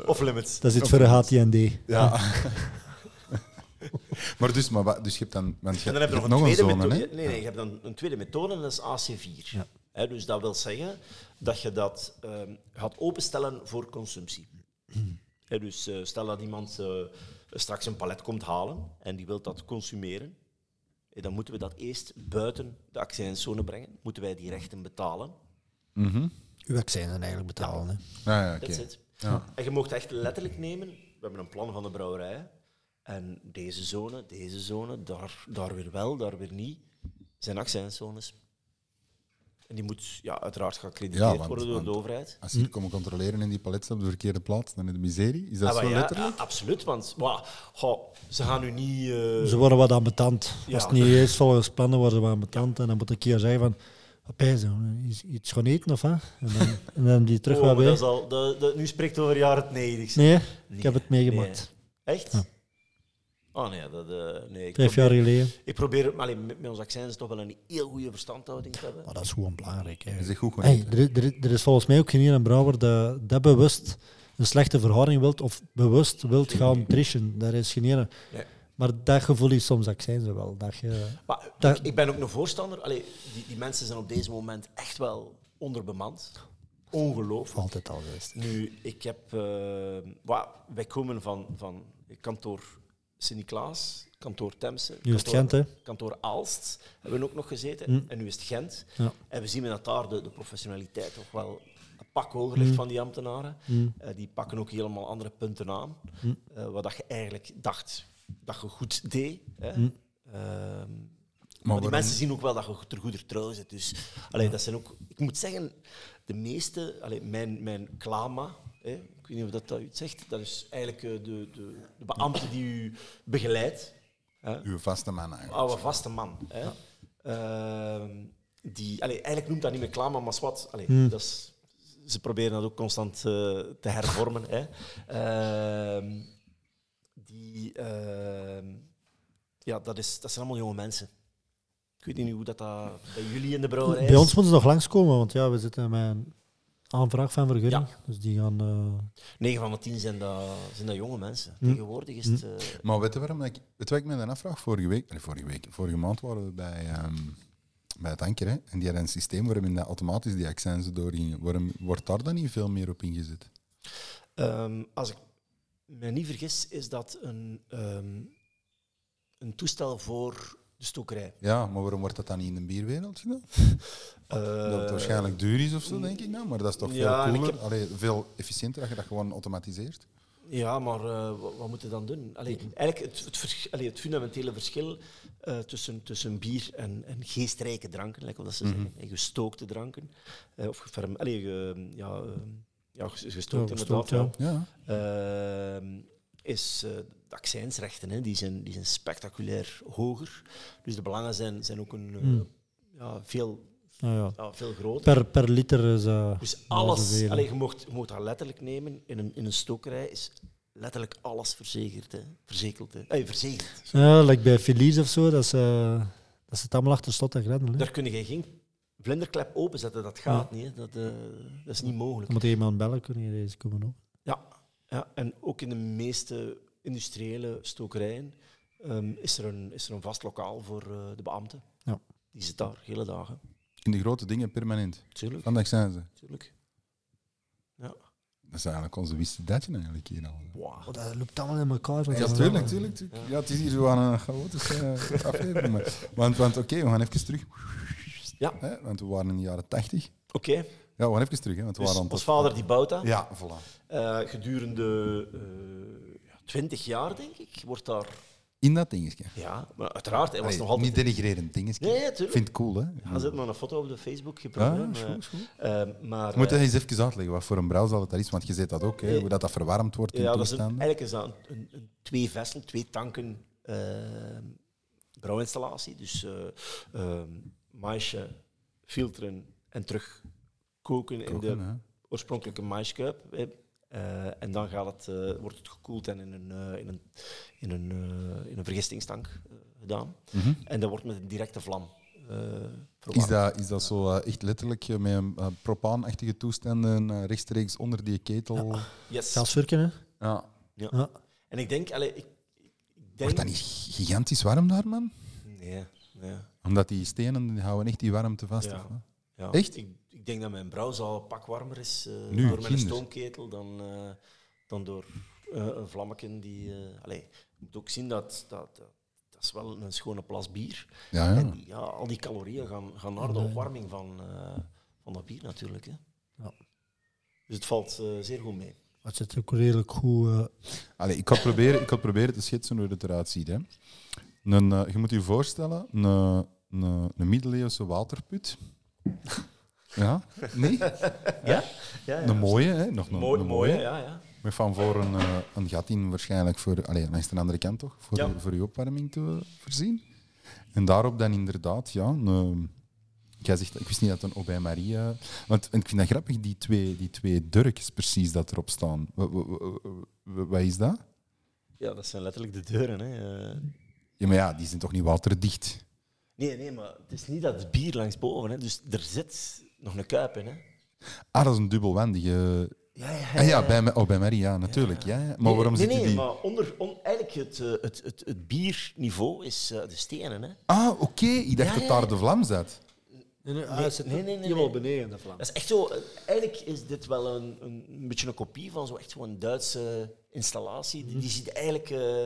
Speaker 4: Of limits.
Speaker 2: Dat is iets voor de HTND.
Speaker 1: Ja. *laughs* maar dus, maar, wat- dus je hebt dan... Want je,
Speaker 4: En dan heb je nog
Speaker 1: hebt
Speaker 4: een tweede
Speaker 1: zone,
Speaker 4: methode.
Speaker 1: hè?
Speaker 4: Nee, nee, je hebt dan een tweede methode en dat is AC4.
Speaker 2: Ja.
Speaker 4: Hè, dus dat wil zeggen dat je dat ehm, gaat openstellen voor consumptie.
Speaker 1: Hmm.
Speaker 4: Hè, dus eh, stel dat iemand eh, straks een palet komt halen en die wil dat consumeren. hè, Dan moeten we dat eerst buiten de accijnszone brengen. Moeten wij die rechten betalen.
Speaker 1: Mhm.
Speaker 2: Uw accijns zijn eigenlijk betalen. Hè.
Speaker 1: Ja, Ah, ja,
Speaker 4: That's
Speaker 1: oké.
Speaker 4: it.
Speaker 1: Ja.
Speaker 4: En je mocht echt letterlijk nemen. We hebben een plan van de brouwerij. En deze zone, deze zone, daar, daar weer wel, daar weer niet, zijn accijnszones. En die moet ja, uiteraard geaccrediteerd
Speaker 1: want-
Speaker 4: worden door de
Speaker 1: want-
Speaker 4: overheid.
Speaker 1: Als ze hier komen controleren in die palet op de verkeerde plaats, dan in de miserie. Is dat
Speaker 4: Ah,
Speaker 1: zo
Speaker 4: maar ja,
Speaker 1: letterlijk?
Speaker 4: ja, absoluut, want wa, goh, ze gaan nu niet... eh,
Speaker 2: Ze worden wat aan betand.
Speaker 4: Ja.
Speaker 2: Als het niet eens volgens plannen worden ze aan betand. En dan moet ik hier zeggen van... Wat ben je zo? Iets- Iets gaan eten of wat? En dan, en dan die terug
Speaker 4: oh,
Speaker 2: wat
Speaker 4: maar dat
Speaker 2: bij.
Speaker 4: is al, dat, dat, nu spreekt over jaren 90.
Speaker 2: Nee, ik heb het meegemaakt.
Speaker 4: Echt?
Speaker 2: Ja.
Speaker 4: Oh nee, dat, eh, nee ik,
Speaker 2: Vijf
Speaker 4: probeer,
Speaker 2: jaar geleden.
Speaker 4: ik probeer het, maar alleen met, met ons accijns toch wel een heel goede verstandhouding te hebben.
Speaker 2: Maar dat is gewoon belangrijk. hè.
Speaker 1: Is het goed gewoon?
Speaker 2: Hey, er, is- er is- er is volgens mij ook geen ene brouwer dat, dat bewust een slechte verhouding wilt of bewust wilt gaan trischen. Daar is geen ene.
Speaker 4: Nee.
Speaker 2: Maar dat gevoel is soms ook zijn ze wel. Dat je,
Speaker 4: Maar
Speaker 2: Dat-
Speaker 4: ik, ik ben ook een voorstander. Allee, die, die mensen zijn op deze moment echt wel onderbemand. Ongelooflijk.
Speaker 2: altijd al geweest.
Speaker 4: Nu, ik heb... eh, wa- wij komen van, van kantoor Sint-Niklaas, kantoor Temse,
Speaker 2: Nu is het
Speaker 4: kantoor,
Speaker 2: Gent, hè? Hm.
Speaker 4: kantoor Aalst hebben we ook nog gezeten. En nu is het Gent.
Speaker 2: Ja.
Speaker 4: En we zien dat daar de, de professionaliteit toch wel een pak hoger
Speaker 2: Hm.
Speaker 4: ligt van die ambtenaren. Eh, die pakken ook helemaal andere punten aan.
Speaker 2: Hm.
Speaker 4: eh, wat dat je eigenlijk dacht dat je goed deed. Hè.
Speaker 2: Hm.
Speaker 4: Ehm, maar
Speaker 1: waarom-
Speaker 4: die mensen zien ook wel dat je er goeder trouw zit. Dus allee, dat zijn ook, ik moet zeggen, de meeste, allee, mijn, mijn klama, hè, ik weet niet of dat, dat u het zegt, dat is eigenlijk eh, de, de, de beambte die u begeleidt,
Speaker 1: Uw vaste man eigenlijk.
Speaker 4: oude vaste man. Hè, Ehm, die, allee, eigenlijk noemt dat niet meer klama, maar wat. Allee,
Speaker 2: Hmm.
Speaker 4: dat is, ze proberen dat ook constant eh, te hervormen. Hè. Ehm, die, ehm, ja, dat, is, dat zijn allemaal jonge mensen. Ik weet niet hoe dat, dat bij jullie in de brouwerij is.
Speaker 2: Bij ons moeten ze nog langskomen, want ja, we zitten met een aanvraag van vergunning.
Speaker 4: Ja.
Speaker 2: Dus die gaan... eh,
Speaker 4: 9 van de 10 zijn dat, zijn dat jonge mensen.
Speaker 2: Hmm.
Speaker 4: Tegenwoordig is het... eh,
Speaker 1: Maar weet je waarom dat ik, weet je wat ik me dan afvraag? Vorige week, allee, vorige week, vorige maand waren we bij, ehm, bij het anker. Hè? En die hadden een systeem waarin dat automatisch die accijnzen doorgingen. Waarom wordt daar dan niet veel meer op ingezet?
Speaker 4: Ehm, als ik me niet vergis, is dat een, ehm, een toestel voor de stokerij.
Speaker 1: Ja, maar waarom wordt dat dan niet in de bierwereld gedaan? Dat het
Speaker 4: Eh,
Speaker 1: waarschijnlijk duur is of zo, denk ik dan. Maar dat is toch
Speaker 4: Ja,
Speaker 1: veel
Speaker 4: en ik
Speaker 1: cooler,
Speaker 4: heb-
Speaker 1: allee, veel efficiënter als je dat gewoon automatiseert.
Speaker 4: Ja, maar eh, wat, wat moet je dan doen? Allee, eigenlijk het, het, vers- allee, het fundamentele verschil eh, tussen, tussen bier en, en geestrijke dranken, lijkt wel dat ze zeggen, en gestookte dranken, eh, of geferm, allee, ge- ja, eh, ja, ges- gestookt
Speaker 2: Ja,
Speaker 4: inderdaad,
Speaker 2: gestookt, ja.
Speaker 4: ja.
Speaker 1: Ja.
Speaker 4: Ehm, is eh, de accijnsrechten, hè, die, zijn, die zijn spectaculair hoger. Dus de belangen zijn, zijn ook een, eh, ja, veel,
Speaker 2: nou ja.
Speaker 4: ja, veel groter.
Speaker 2: per, per liter is... eh,
Speaker 4: Dus
Speaker 2: dat is
Speaker 4: alles,
Speaker 2: veel.
Speaker 4: allee, je mocht, je mocht dat letterlijk nemen, in een, in een stokerij is letterlijk alles verzekerd. Hè. Verzekeld, hè. Eh, verzegeld.
Speaker 2: Ja, like bij Felice of zo, dat ze, dat ze het allemaal achter slot en grendel. hè.
Speaker 4: Daar kun je geen vlinderklep openzetten, dat gaat niet. Hè. Dat, eh, dat is niet mogelijk.
Speaker 2: Dan moet iemand bellen, kunnen hier eens komen op.
Speaker 4: Ja, ja, en ook in de meeste industriële stokerijen ehm, is, er een, is er een vast lokaal voor eh, de beambten.
Speaker 2: Ja.
Speaker 4: Die zit daar, hele dagen.
Speaker 1: In de grote dingen permanent.
Speaker 4: Tuurlijk,
Speaker 1: Van de accijnzen.
Speaker 4: tuurlijk.
Speaker 1: Dat is eigenlijk onze wist je dat je eigenlijk hier al.
Speaker 4: Wow.
Speaker 2: Oh, dat loopt allemaal in elkaar. zo.
Speaker 1: Ja, tuurlijk, tuurlijk. tuurlijk. Ja, het is hier zo aan een chaotische eh, *laughs* aflevering. maar- Want, want oké, we gaan even terug.
Speaker 4: Ja.
Speaker 1: Hè, want we waren in de jaren tachtig.
Speaker 4: Oké,
Speaker 1: Ja, we gaan even terug. Hè, want we
Speaker 4: dus
Speaker 1: waren aan
Speaker 4: ons
Speaker 1: het-
Speaker 4: vader die bouwt dat.
Speaker 1: Ja, voilà.
Speaker 4: Eh, gedurende eh, twintig jaar, denk ik, wordt daar...
Speaker 1: In dat dingetje.
Speaker 4: Ja, maar uiteraard, hij was
Speaker 1: Allee,
Speaker 4: nog altijd...
Speaker 1: Niet denigrerend dingetje.
Speaker 4: Nee, ja, tuurlijk.
Speaker 1: Ik vind Ah, het cool, hè?
Speaker 4: Ga zet maar een foto op de Facebook, geen
Speaker 1: Ja,
Speaker 4: probleem.
Speaker 1: is goed, is goed.
Speaker 4: Eh, eh, maar,
Speaker 1: Moet
Speaker 4: eh,
Speaker 1: je eens even uitleggen wat voor een brouwzaal dat is? Want je ziet dat ook, hè, hoe dat, dat verwarmd wordt in
Speaker 4: Ja, dat is een-
Speaker 1: toestanden.
Speaker 4: eigenlijk is dat een, een, een twee vessel, twee tanken eh, brouwinstallatie. Dus eh ehm, maïsje filteren en terug koken, in
Speaker 1: Koken,
Speaker 4: de
Speaker 1: hè.
Speaker 4: oorspronkelijke maïskuip. hè. Eh, en dan gaat het, eh, wordt het gekoeld en in een, eh, in een, in een, eh, in een vergistingstank eh, gedaan. En dat wordt met een directe vlam eh
Speaker 1: Is
Speaker 4: verwarmd.
Speaker 1: dat, Mhm. is dat zo eh, echt letterlijk eh, met een eh, propaanachtige toestanden eh, rechtstreeks onder die ketel? Ja.
Speaker 4: Yes.
Speaker 2: Gaswerken, hè?
Speaker 4: Ja.
Speaker 2: Ja.
Speaker 4: En ik denk, allee, ik, ik denk...
Speaker 1: Wordt dat niet gigantisch warm daar, man?
Speaker 4: Nee, nee.
Speaker 1: Omdat die stenen die houden echt die warmte vast.
Speaker 4: Ja.
Speaker 1: of wat?
Speaker 4: Ja,
Speaker 1: Echt?
Speaker 4: Ik, ik denk dat mijn brouwzaal een pak warmer is eh,
Speaker 1: Nu,
Speaker 4: door mijn
Speaker 1: kinder.
Speaker 4: stoomketel dan, eh, dan door eh, een vlammeken die... eh allee, je moet ook zien dat... dat dat- dat is wel een schone plas bier.
Speaker 1: Ja, ja.
Speaker 4: En die- ja, al die calorieën gaan, gaan naar de opwarming van, eh, van dat bier natuurlijk. Hè.
Speaker 2: Ja.
Speaker 4: Dus het valt eh, zeer goed mee.
Speaker 2: Maar het zit ook redelijk goed. eh,
Speaker 1: Allee, ik, ga proberen, ik ga proberen te schetsen hoe het eruit ziet. Hè. Een, eh, je moet je voorstellen, een, een, een middeleeuwse waterput. Ja? Nee?
Speaker 4: Ja? ja, ja.
Speaker 1: Een mooie, hè? Nog een,
Speaker 4: Mooi,
Speaker 1: een
Speaker 4: mooie, ja, ja.
Speaker 1: Met van voor een, eh, een gat in waarschijnlijk voor, allee, langs de andere kant toch, voor,
Speaker 4: Ja.
Speaker 1: voor je opwarming te voorzien. En daarop dan inderdaad, ja, een, eh, jij zegt, ik wist niet dat een Obey Maria, want en ik vind dat grappig, die twee, die twee durks precies dat erop staan. Wa- wa- wa- wa- wa- Wat is dat?
Speaker 4: Ja, dat zijn letterlijk de deuren. Hè. Eh,
Speaker 1: Ja, maar ja, die zijn toch niet waterdicht?
Speaker 4: Nee, nee, maar het is niet dat het bier langs boven, hè. dus er zit nog een kuip in. Hè.
Speaker 1: Ah, dat is een dubbelwendige...
Speaker 4: Ja, ja,
Speaker 1: Ah ja, bij, Ma- oh, bij Maria, natuurlijk. Ja. ja. Maar
Speaker 4: Nee,
Speaker 1: waarom
Speaker 4: nee,
Speaker 1: zitten
Speaker 4: nee,
Speaker 1: die...
Speaker 4: maar onder, on- eigenlijk het, eh, het, het, het bierniveau is eh, de stenen. Hè.
Speaker 1: Ah, oké, ik dacht
Speaker 4: Ja,
Speaker 1: dat
Speaker 4: ja,
Speaker 1: daar de vlam zat.
Speaker 2: Nee, nee, ah,
Speaker 4: Nee,
Speaker 2: het zit
Speaker 4: nee, nee, nee,
Speaker 2: helemaal
Speaker 4: nee.
Speaker 2: beneden de vlam.
Speaker 4: Dat is echt zo. eh, Eigenlijk is dit wel een, een, een beetje een kopie van zo echt zo'n Duitse installatie. Die, die ziet eigenlijk eh,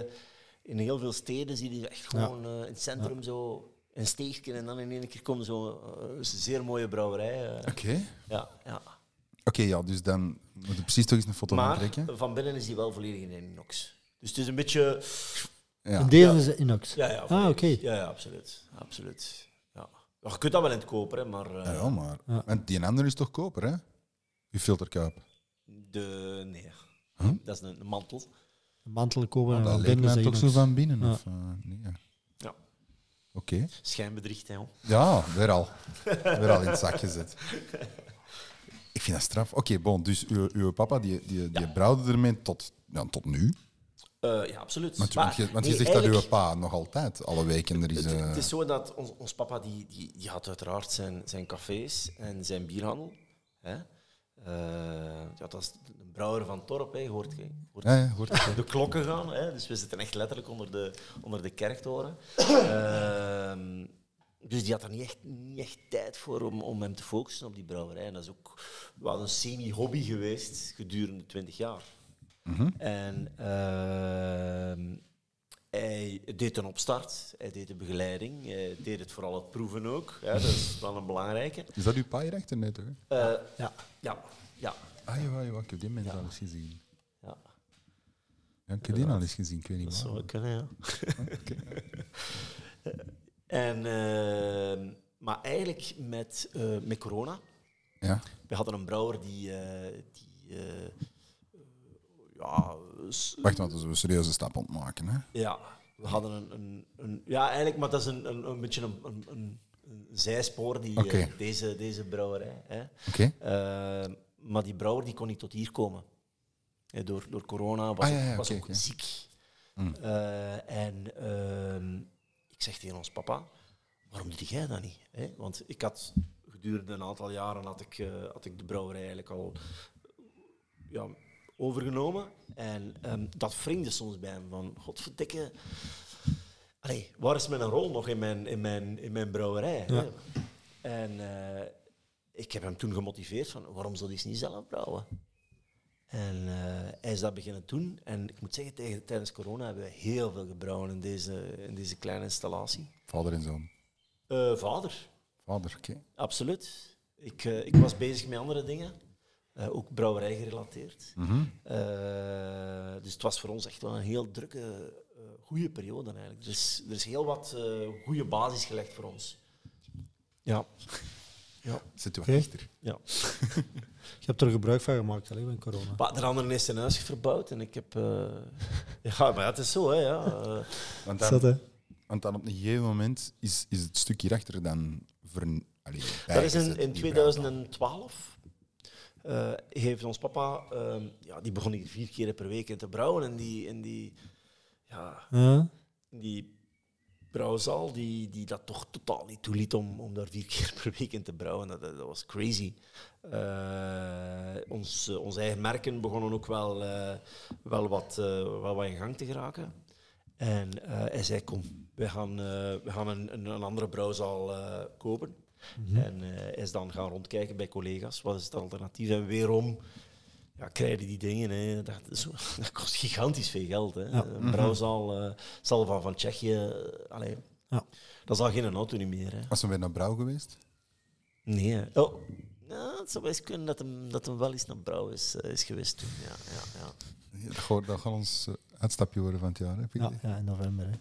Speaker 4: in heel veel steden zie je die echt gewoon eh, in het centrum zo een steegje en dan in één keer komt zo'n eh, een zeer mooie brouwerij.
Speaker 1: *laughs*
Speaker 4: eh.
Speaker 1: Oké.
Speaker 4: Ja, ja.
Speaker 1: Oké, ja, dus dan moet je precies toch eens een foto van
Speaker 4: Maar
Speaker 1: trekken.
Speaker 4: van binnen is die wel volledig in inox. Dus het is een beetje.
Speaker 1: Ja.
Speaker 2: In deze is het inox.
Speaker 4: Ja, ja,
Speaker 2: ah, oké.
Speaker 4: volledig. ja, ja, absoluut. absoluut. Ja. Ja, Je kunt dat wel in het kopen, hè, maar eh,
Speaker 1: Ja, ja, maar.
Speaker 2: Ja.
Speaker 1: Want die andere is toch koper, hè? Je filterkuip.
Speaker 4: de. Nee.
Speaker 1: Huh?
Speaker 4: Dat is een, een mantel.
Speaker 2: Een Mantel komen en
Speaker 1: Ah, dat
Speaker 2: dan
Speaker 1: leek
Speaker 2: binnen
Speaker 1: mij
Speaker 2: ze
Speaker 1: toch zo
Speaker 2: inox.
Speaker 1: van binnen.
Speaker 2: Ja.
Speaker 1: Of, eh, nee, ja.
Speaker 4: Ja.
Speaker 1: Oké.
Speaker 4: Schijnbedriegt, hè, joh.
Speaker 1: Ja, weer al. weer al in het zak gezet. Ik vind dat straf. Oké, bon, dus uw, uw papa die, die, die brouwde ermee tot, ja, tot nu.
Speaker 4: Eh, ja, absoluut.
Speaker 1: Want,
Speaker 4: Maar-
Speaker 1: want je, want je
Speaker 4: nee,
Speaker 1: zegt dat uw
Speaker 4: eigenlijk-
Speaker 1: pa nog altijd alle weken er is.
Speaker 4: Het,
Speaker 1: eh,
Speaker 4: het is zo dat ons, ons papa die, die, die had uiteraard zijn, zijn cafés en zijn bierhandel. Hè? Eh, ja, dat is de brouwer van Torp, hè, hoort, je- hoort
Speaker 1: ja, ja, hoort het.
Speaker 4: de klokken gaan. Hè? Dus we zitten echt letterlijk onder de, onder de kerktoren. Ehm, dus die had er niet echt, niet echt tijd voor om, om hem te focussen op die brouwerij. En dat is ook wel een semi-hobby geweest gedurende twintig jaar. En ehm, hij deed een opstart, hij deed de begeleiding, hij deed het vooral het proeven ook. Hè? Dat is dan een belangrijke.
Speaker 1: Is dat uw pa hier achter net, hoor?
Speaker 4: Eh,
Speaker 2: Ja.
Speaker 4: ja, ja,
Speaker 1: Ah, jawel, jawel, ik heb die mensen al eens gezien.
Speaker 4: ja.
Speaker 1: Ja, ik heb die al eens gezien, ik weet niet
Speaker 4: Dat
Speaker 1: waar.
Speaker 4: zou wel kunnen, ja. *laughs* en, ehm, maar eigenlijk met, eh, met corona,
Speaker 1: Ja.
Speaker 4: we hadden een brouwer die... eh, die eh, ja, s-
Speaker 1: Wacht, want dat is een serieuze stap ontmaken, hè?
Speaker 4: ja, we hadden een, een, een... Ja, eigenlijk, maar dat is een, een, een beetje een, een, een, een zijspoor, die, eh,
Speaker 1: Oké.
Speaker 4: deze, deze brouwerij. Hè.
Speaker 1: Oké.
Speaker 4: Eh, maar die brouwer die kon niet tot hier komen. Hè, door, door corona was
Speaker 1: Ah, ja,
Speaker 4: ook-
Speaker 1: ja,
Speaker 4: was
Speaker 1: oké,
Speaker 4: ook
Speaker 1: oké. Hmm.
Speaker 4: ziek. Eh, en ehm, ik zeg tegen ons papa, waarom doe jij dat niet? Hè? Want ik had gedurende een aantal jaren had ik, eh, had ik de brouwerij eigenlijk al ja, overgenomen. En ehm, dat wringde soms bij hem van, godverdikke... Allee, waar is mijn rol nog in mijn, in mijn, in mijn brouwerij? hè? En eh, ik heb hem toen gemotiveerd van, waarom zou hij eens niet zelf brouwen? En eh, hij is dat beginnen doen. En ik moet zeggen, tegen, tijdens corona hebben we heel veel gebrouwen in deze, in deze kleine installatie.
Speaker 1: Vader en zoon.
Speaker 4: Eh, vader,
Speaker 1: Vader, oké.
Speaker 4: absoluut. Ik, eh, ik was bezig met andere dingen, eh, ook brouwerij gerelateerd.
Speaker 1: Mhm.
Speaker 4: Eh, dus het was voor ons echt wel een heel drukke, eh, goede periode eigenlijk. Dus er is heel wat eh, goede basis gelegd voor ons. Ja. Ja.
Speaker 1: Zit u
Speaker 2: Oké.
Speaker 1: achter?
Speaker 4: ja.
Speaker 2: Je hebt er gebruik van gemaakt, alleen met corona.
Speaker 4: Maar de andere is zijn huis verbouwd en ik heb... eh, *laughs* Ja, maar het is zo, hè. Ja. Eh,
Speaker 1: Want
Speaker 2: Zat,
Speaker 1: dan,
Speaker 2: hè?
Speaker 1: want dan op een gegeven moment is, is het stuk hierachter dan vern, allee,
Speaker 4: Dat is in,
Speaker 1: bijgezet,
Speaker 4: in
Speaker 1: die
Speaker 4: 2012. eh, heeft ons papa, ehm, ja, die begon hier vier keer per week in te brouwen. En die, in die, ja,
Speaker 2: Ja.
Speaker 4: in die brouwzaal, die, die dat toch totaal niet toeliet om, om daar vier keer per week in te brouwen. Dat, dat, dat was crazy. Eh, ons, eh, onze eigen merken begonnen ook wel, eh, wel, wat, eh, wel wat in gang te geraken. En eh, hij zei, kom, we gaan, eh, we gaan een, een, een andere brouwzaal eh, kopen. En eh, hij is dan gaan rondkijken bij collega's. Wat is het alternatief? En weerom ja, krijgen die dingen. Hè. Dat, is zo- *laughs* dat kost gigantisch veel geld. Hè. Een brouwzaal eh, zal van, van Tsjechië... eh, allee,
Speaker 2: Ja.
Speaker 4: dat is al geen auto niet meer. Hè.
Speaker 1: Was ze weer naar Brouw geweest?
Speaker 4: Nee. hè. Oh. Ja, het zou wel eens kunnen dat hem, dat hem wel eens naar Brouw is, eh, is geweest toen. Ja, ja, ja.
Speaker 1: Dat gaat, dat gaat ons eh, uitstapje worden van het jaar, heb ik
Speaker 2: Ja,
Speaker 1: idee.
Speaker 2: ja, in november. Hè.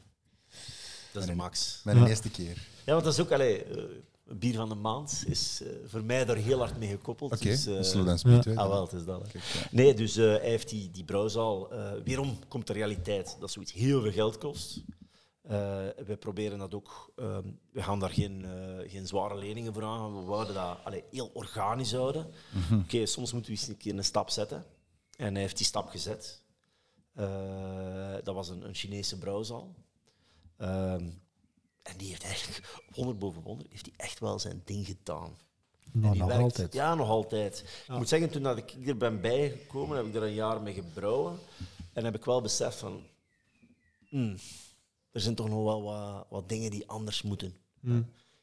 Speaker 4: Dat is de max.
Speaker 1: Mijn
Speaker 2: Ja.
Speaker 1: eerste keer.
Speaker 4: Ja, want dat is ook... Allee, eh, bier van de maand is eh, voor mij daar heel hard mee gekoppeld.
Speaker 1: Oké,
Speaker 4: dus, eh,
Speaker 1: Slow Down Speedway.
Speaker 4: ah, wel, het is dat. hè.
Speaker 1: Kijk, ja.
Speaker 4: Nee, dus eh, hij heeft die, die brouwzaal. eh weerom komt de realiteit dat zoiets heel veel geld kost. Eh we proberen dat ook. ehm, we gaan daar geen, eh, geen zware leningen voor aan. We wilden dat allee, heel organisch houden. Oké, soms moeten we eens een keer een stap zetten. En hij heeft die stap gezet. Eh, dat was een, een Chinese brouwzaal. Ehm, en die heeft eigenlijk, wonder boven wonder, heeft hij echt wel zijn ding gedaan. En
Speaker 2: Maar Nou,
Speaker 4: die
Speaker 2: nog
Speaker 4: werkt-
Speaker 2: altijd.
Speaker 4: Ja, nog altijd. Ik moet zeggen, toen dat ik er ben bijgekomen, heb ik er een jaar mee gebrouwen. En heb ik wel beseft van... hmm, er zijn toch nog wel wat, wat dingen die anders moeten.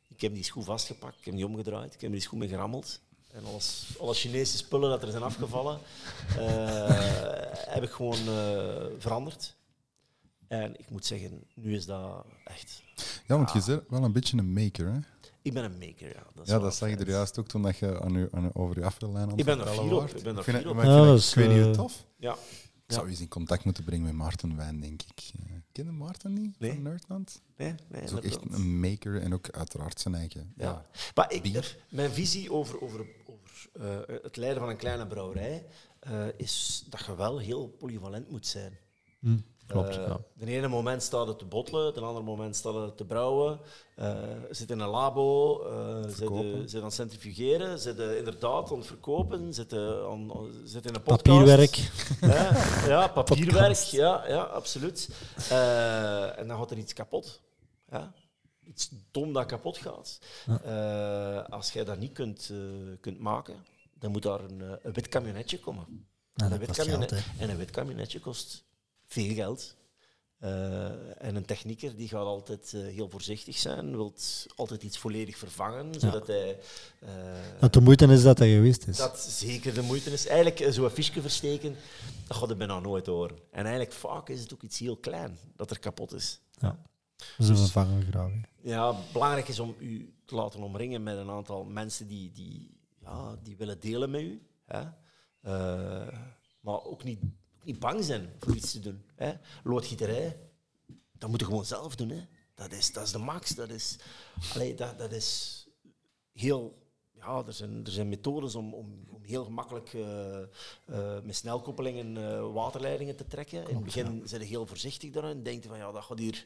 Speaker 4: Ik heb die schoen vastgepakt, ik heb die omgedraaid, ik heb die schoen mee gerammeld. En alles, alle Chinese spullen dat er zijn *laughs* afgevallen, eh, heb ik gewoon eh, veranderd. En ik moet zeggen, nu is dat echt...
Speaker 1: Ja, want je bent wel een beetje een maker, hè?
Speaker 4: Ik ben een maker, ja. Dat Ah. is
Speaker 1: Ja,
Speaker 4: wel
Speaker 1: dat zag je
Speaker 4: fijn.
Speaker 1: er juist ook toen dat je aan je, aan je- over je afvallijn aan
Speaker 4: Ik ben
Speaker 1: het
Speaker 4: er
Speaker 1: vertellen
Speaker 4: fier op,
Speaker 1: waart.
Speaker 4: ik ben er
Speaker 1: vind
Speaker 4: fier
Speaker 1: het-
Speaker 4: op.
Speaker 1: maar ik vind
Speaker 2: Ja,
Speaker 1: het-
Speaker 2: dat is,
Speaker 1: Ik weet niet hoe
Speaker 2: eh,
Speaker 1: tof.
Speaker 4: Ja.
Speaker 1: Ik zou eens in contact moeten brengen met Maarten Wijn, denk ik. Eh, Ken je Maarten niet?
Speaker 4: Nee.
Speaker 1: Van Nerdland?
Speaker 4: Nee, nee,
Speaker 1: Hij is ook echt
Speaker 4: inderdaad.
Speaker 1: een maker en ook uiteraard zijn eigen. Ja.
Speaker 4: Ja. Maar ik,
Speaker 1: Bier.
Speaker 4: mijn visie over, over, over eh, het leiden van een kleine brouwerij eh, is dat je wel heel polyvalent moet zijn.
Speaker 2: Hm, klopt,
Speaker 4: Eh,
Speaker 2: ja.
Speaker 4: De ene moment staat het te bottelen, de andere moment staat het te brouwen. eh, zit in een labo, eh, zit, eh,
Speaker 1: Verkopen.
Speaker 4: zit aan het centrifugeren, zit eh, inderdaad aan het verkopen, zit, eh, aan, zit in een podcast.
Speaker 2: Papierwerk.
Speaker 4: Hè?
Speaker 2: *laughs*
Speaker 4: Ja, papierwerk,
Speaker 2: Podcast.
Speaker 4: ja, ja absoluut. Eh, en dan gaat er iets kapot. Ja? Iets dom dat kapot gaat. Eh, als jij dat niet kunt, eh, kunt maken, dan moet daar een, eh, een wit kamionetje komen.
Speaker 2: Nou,
Speaker 4: een
Speaker 2: dat
Speaker 4: wit
Speaker 2: kost geld,
Speaker 4: kamionet-
Speaker 2: hè.
Speaker 4: en een wit kamionetje kost veel geld. Eh, en een technieker die gaat altijd eh, heel voorzichtig zijn, wil altijd iets volledig vervangen, zodat hij... eh,
Speaker 2: Dat Nou, de moeite is dat dat geweest is.
Speaker 4: dat zeker de moeite is. Eigenlijk eh, zo'n fischje versteken, dat gaat er bijna nooit horen. En eigenlijk vaak is het ook iets heel klein dat er kapot is.
Speaker 2: Ja. Ze vervangen we graag. hè.
Speaker 4: Ja, belangrijk is om u te laten omringen met een aantal mensen die, die, ja, die willen delen met u. Hè? Eh, maar ook niet, ook niet bang zijn voor iets te doen. Hè? Loodgieterij, dat moet je gewoon zelf doen. Hè? Dat, is, dat is de max. Dat is, allee, dat, dat is heel. Ja, er zijn, er zijn methodes om, om, om heel gemakkelijk eh, eh, met snelkoppelingen eh, waterleidingen te trekken. In het begin zijn ze heel voorzichtig daarin. Denken van ja, dat gaat hier.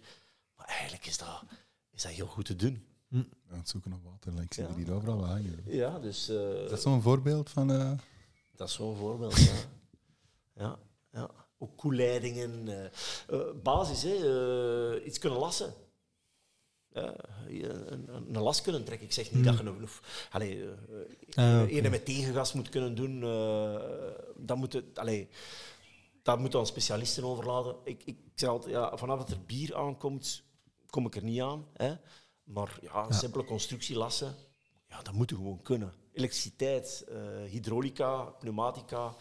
Speaker 4: Maar eigenlijk is dat, is dat heel goed te doen.
Speaker 1: Aan het zoeken naar water. like, Ik zie
Speaker 4: Ja.
Speaker 1: die hier overal wel hangen.
Speaker 4: Ja, dus
Speaker 1: Is dat zo'n voorbeeld van... eh,
Speaker 4: dat is zo'n *laughs* voorbeeld. ja. ja, ja. Ook koeleidingen. eh, eh, basis, hè, eh, iets kunnen lassen. Ja, je- een, een- een las kunnen trekken. Ik zeg niet dat je een, of, allee, eh,
Speaker 2: Ah, oké.
Speaker 4: ene met tegengas moet kunnen doen. eh, dat moet het, allee, dat moeten we aan specialisten overlaten. Ik, ik zeg altijd, ja, vanaf dat er bier aankomt, kom ik er niet aan. Hè. Maar ja, simpele constructielassen, ja, dat moet je gewoon kunnen. Elektriciteit, eh, hydraulica, pneumatica,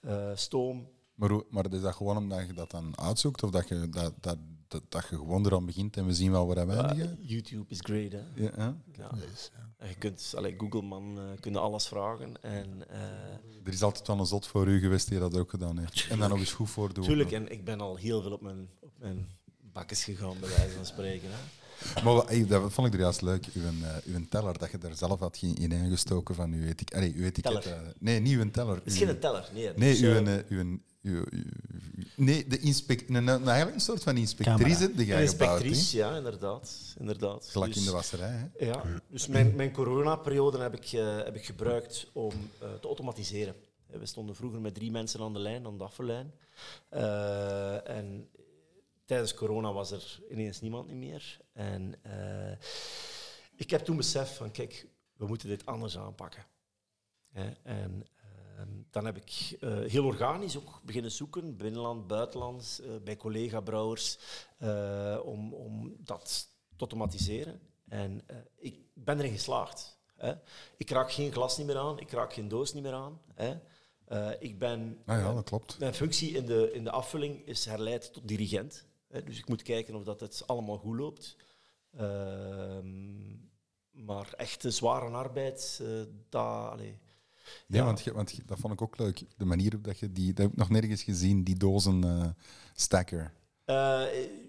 Speaker 4: eh, stoom.
Speaker 1: Maar, hoe- maar is dat gewoon omdat je dat dan uitzoekt? Of dat je, dat, dat, dat, dat je gewoon eraan begint en we zien wel waar we eindigen?
Speaker 4: Eh, YouTube is great, hè.
Speaker 1: Ja, hè?
Speaker 4: Ja. En Je kunt, allee, Google man, eh kunnen alles vragen. En, eh,
Speaker 1: Er is altijd wel een zot voor u geweest die dat ook gedaan heeft. En dan nog eens goed voor doen.
Speaker 4: Tuurlijk, en ik ben al heel veel op mijn, op mijn bakkes gegaan, bij wijze van spreken. Hè.
Speaker 1: Maar wat- hey, dat vond ik er juist leuk, uw, eh, uw teller, dat je daar zelf had ge- in ingestoken van uw etik. Allee, uw etiket.
Speaker 4: Teller.
Speaker 1: eh, nee, niet uw teller.
Speaker 4: Het is
Speaker 1: uw-
Speaker 4: geen teller, nee. het
Speaker 1: Nee,
Speaker 4: is,
Speaker 1: uw,
Speaker 4: eh,
Speaker 1: eh, uw, uw, uw- nee de inspect, een, een, eigenlijk een soort van inspectrice die
Speaker 4: een
Speaker 1: jij gebouwd hebt.
Speaker 4: inspectrice, dus. ja, inderdaad. inderdaad.
Speaker 1: Gelijk
Speaker 4: Dus-
Speaker 1: in de wasserij. Hè?
Speaker 4: Ja, dus mijn, mijn coronaperiode heb ik, eh, heb ik gebruikt om eh, te automatiseren. Eh, We stonden vroeger met drie mensen aan de lijn, aan de afvallijn. Eh, en tijdens corona was er ineens niemand niet meer. En eh, ik heb toen beseft van, kijk, we moeten dit anders aanpakken. Hè, en ehm, dan heb ik eh, heel organisch ook beginnen zoeken, binnenland, buitenland, eh, bij collega-brouwers, eh, om, om dat te automatiseren. En eh, ik ben erin geslaagd. Hè. Ik raak geen glas niet meer aan, ik raak geen doos niet meer aan. Hè. Eh, ik ben
Speaker 1: Nou ja, dat klopt.
Speaker 4: mijn functie in de, in de afvulling is herleid tot dirigent. Hè, dus ik moet kijken of dat het allemaal goed loopt. Ehm, maar echte zware arbeid, eh dat... allee.
Speaker 1: Nee,
Speaker 4: Ja.
Speaker 1: want, je- want je- dat vond ik ook leuk. De manier op dat je die... Dat heb ik nog nergens gezien, die dozen eh stacker.
Speaker 4: Eh,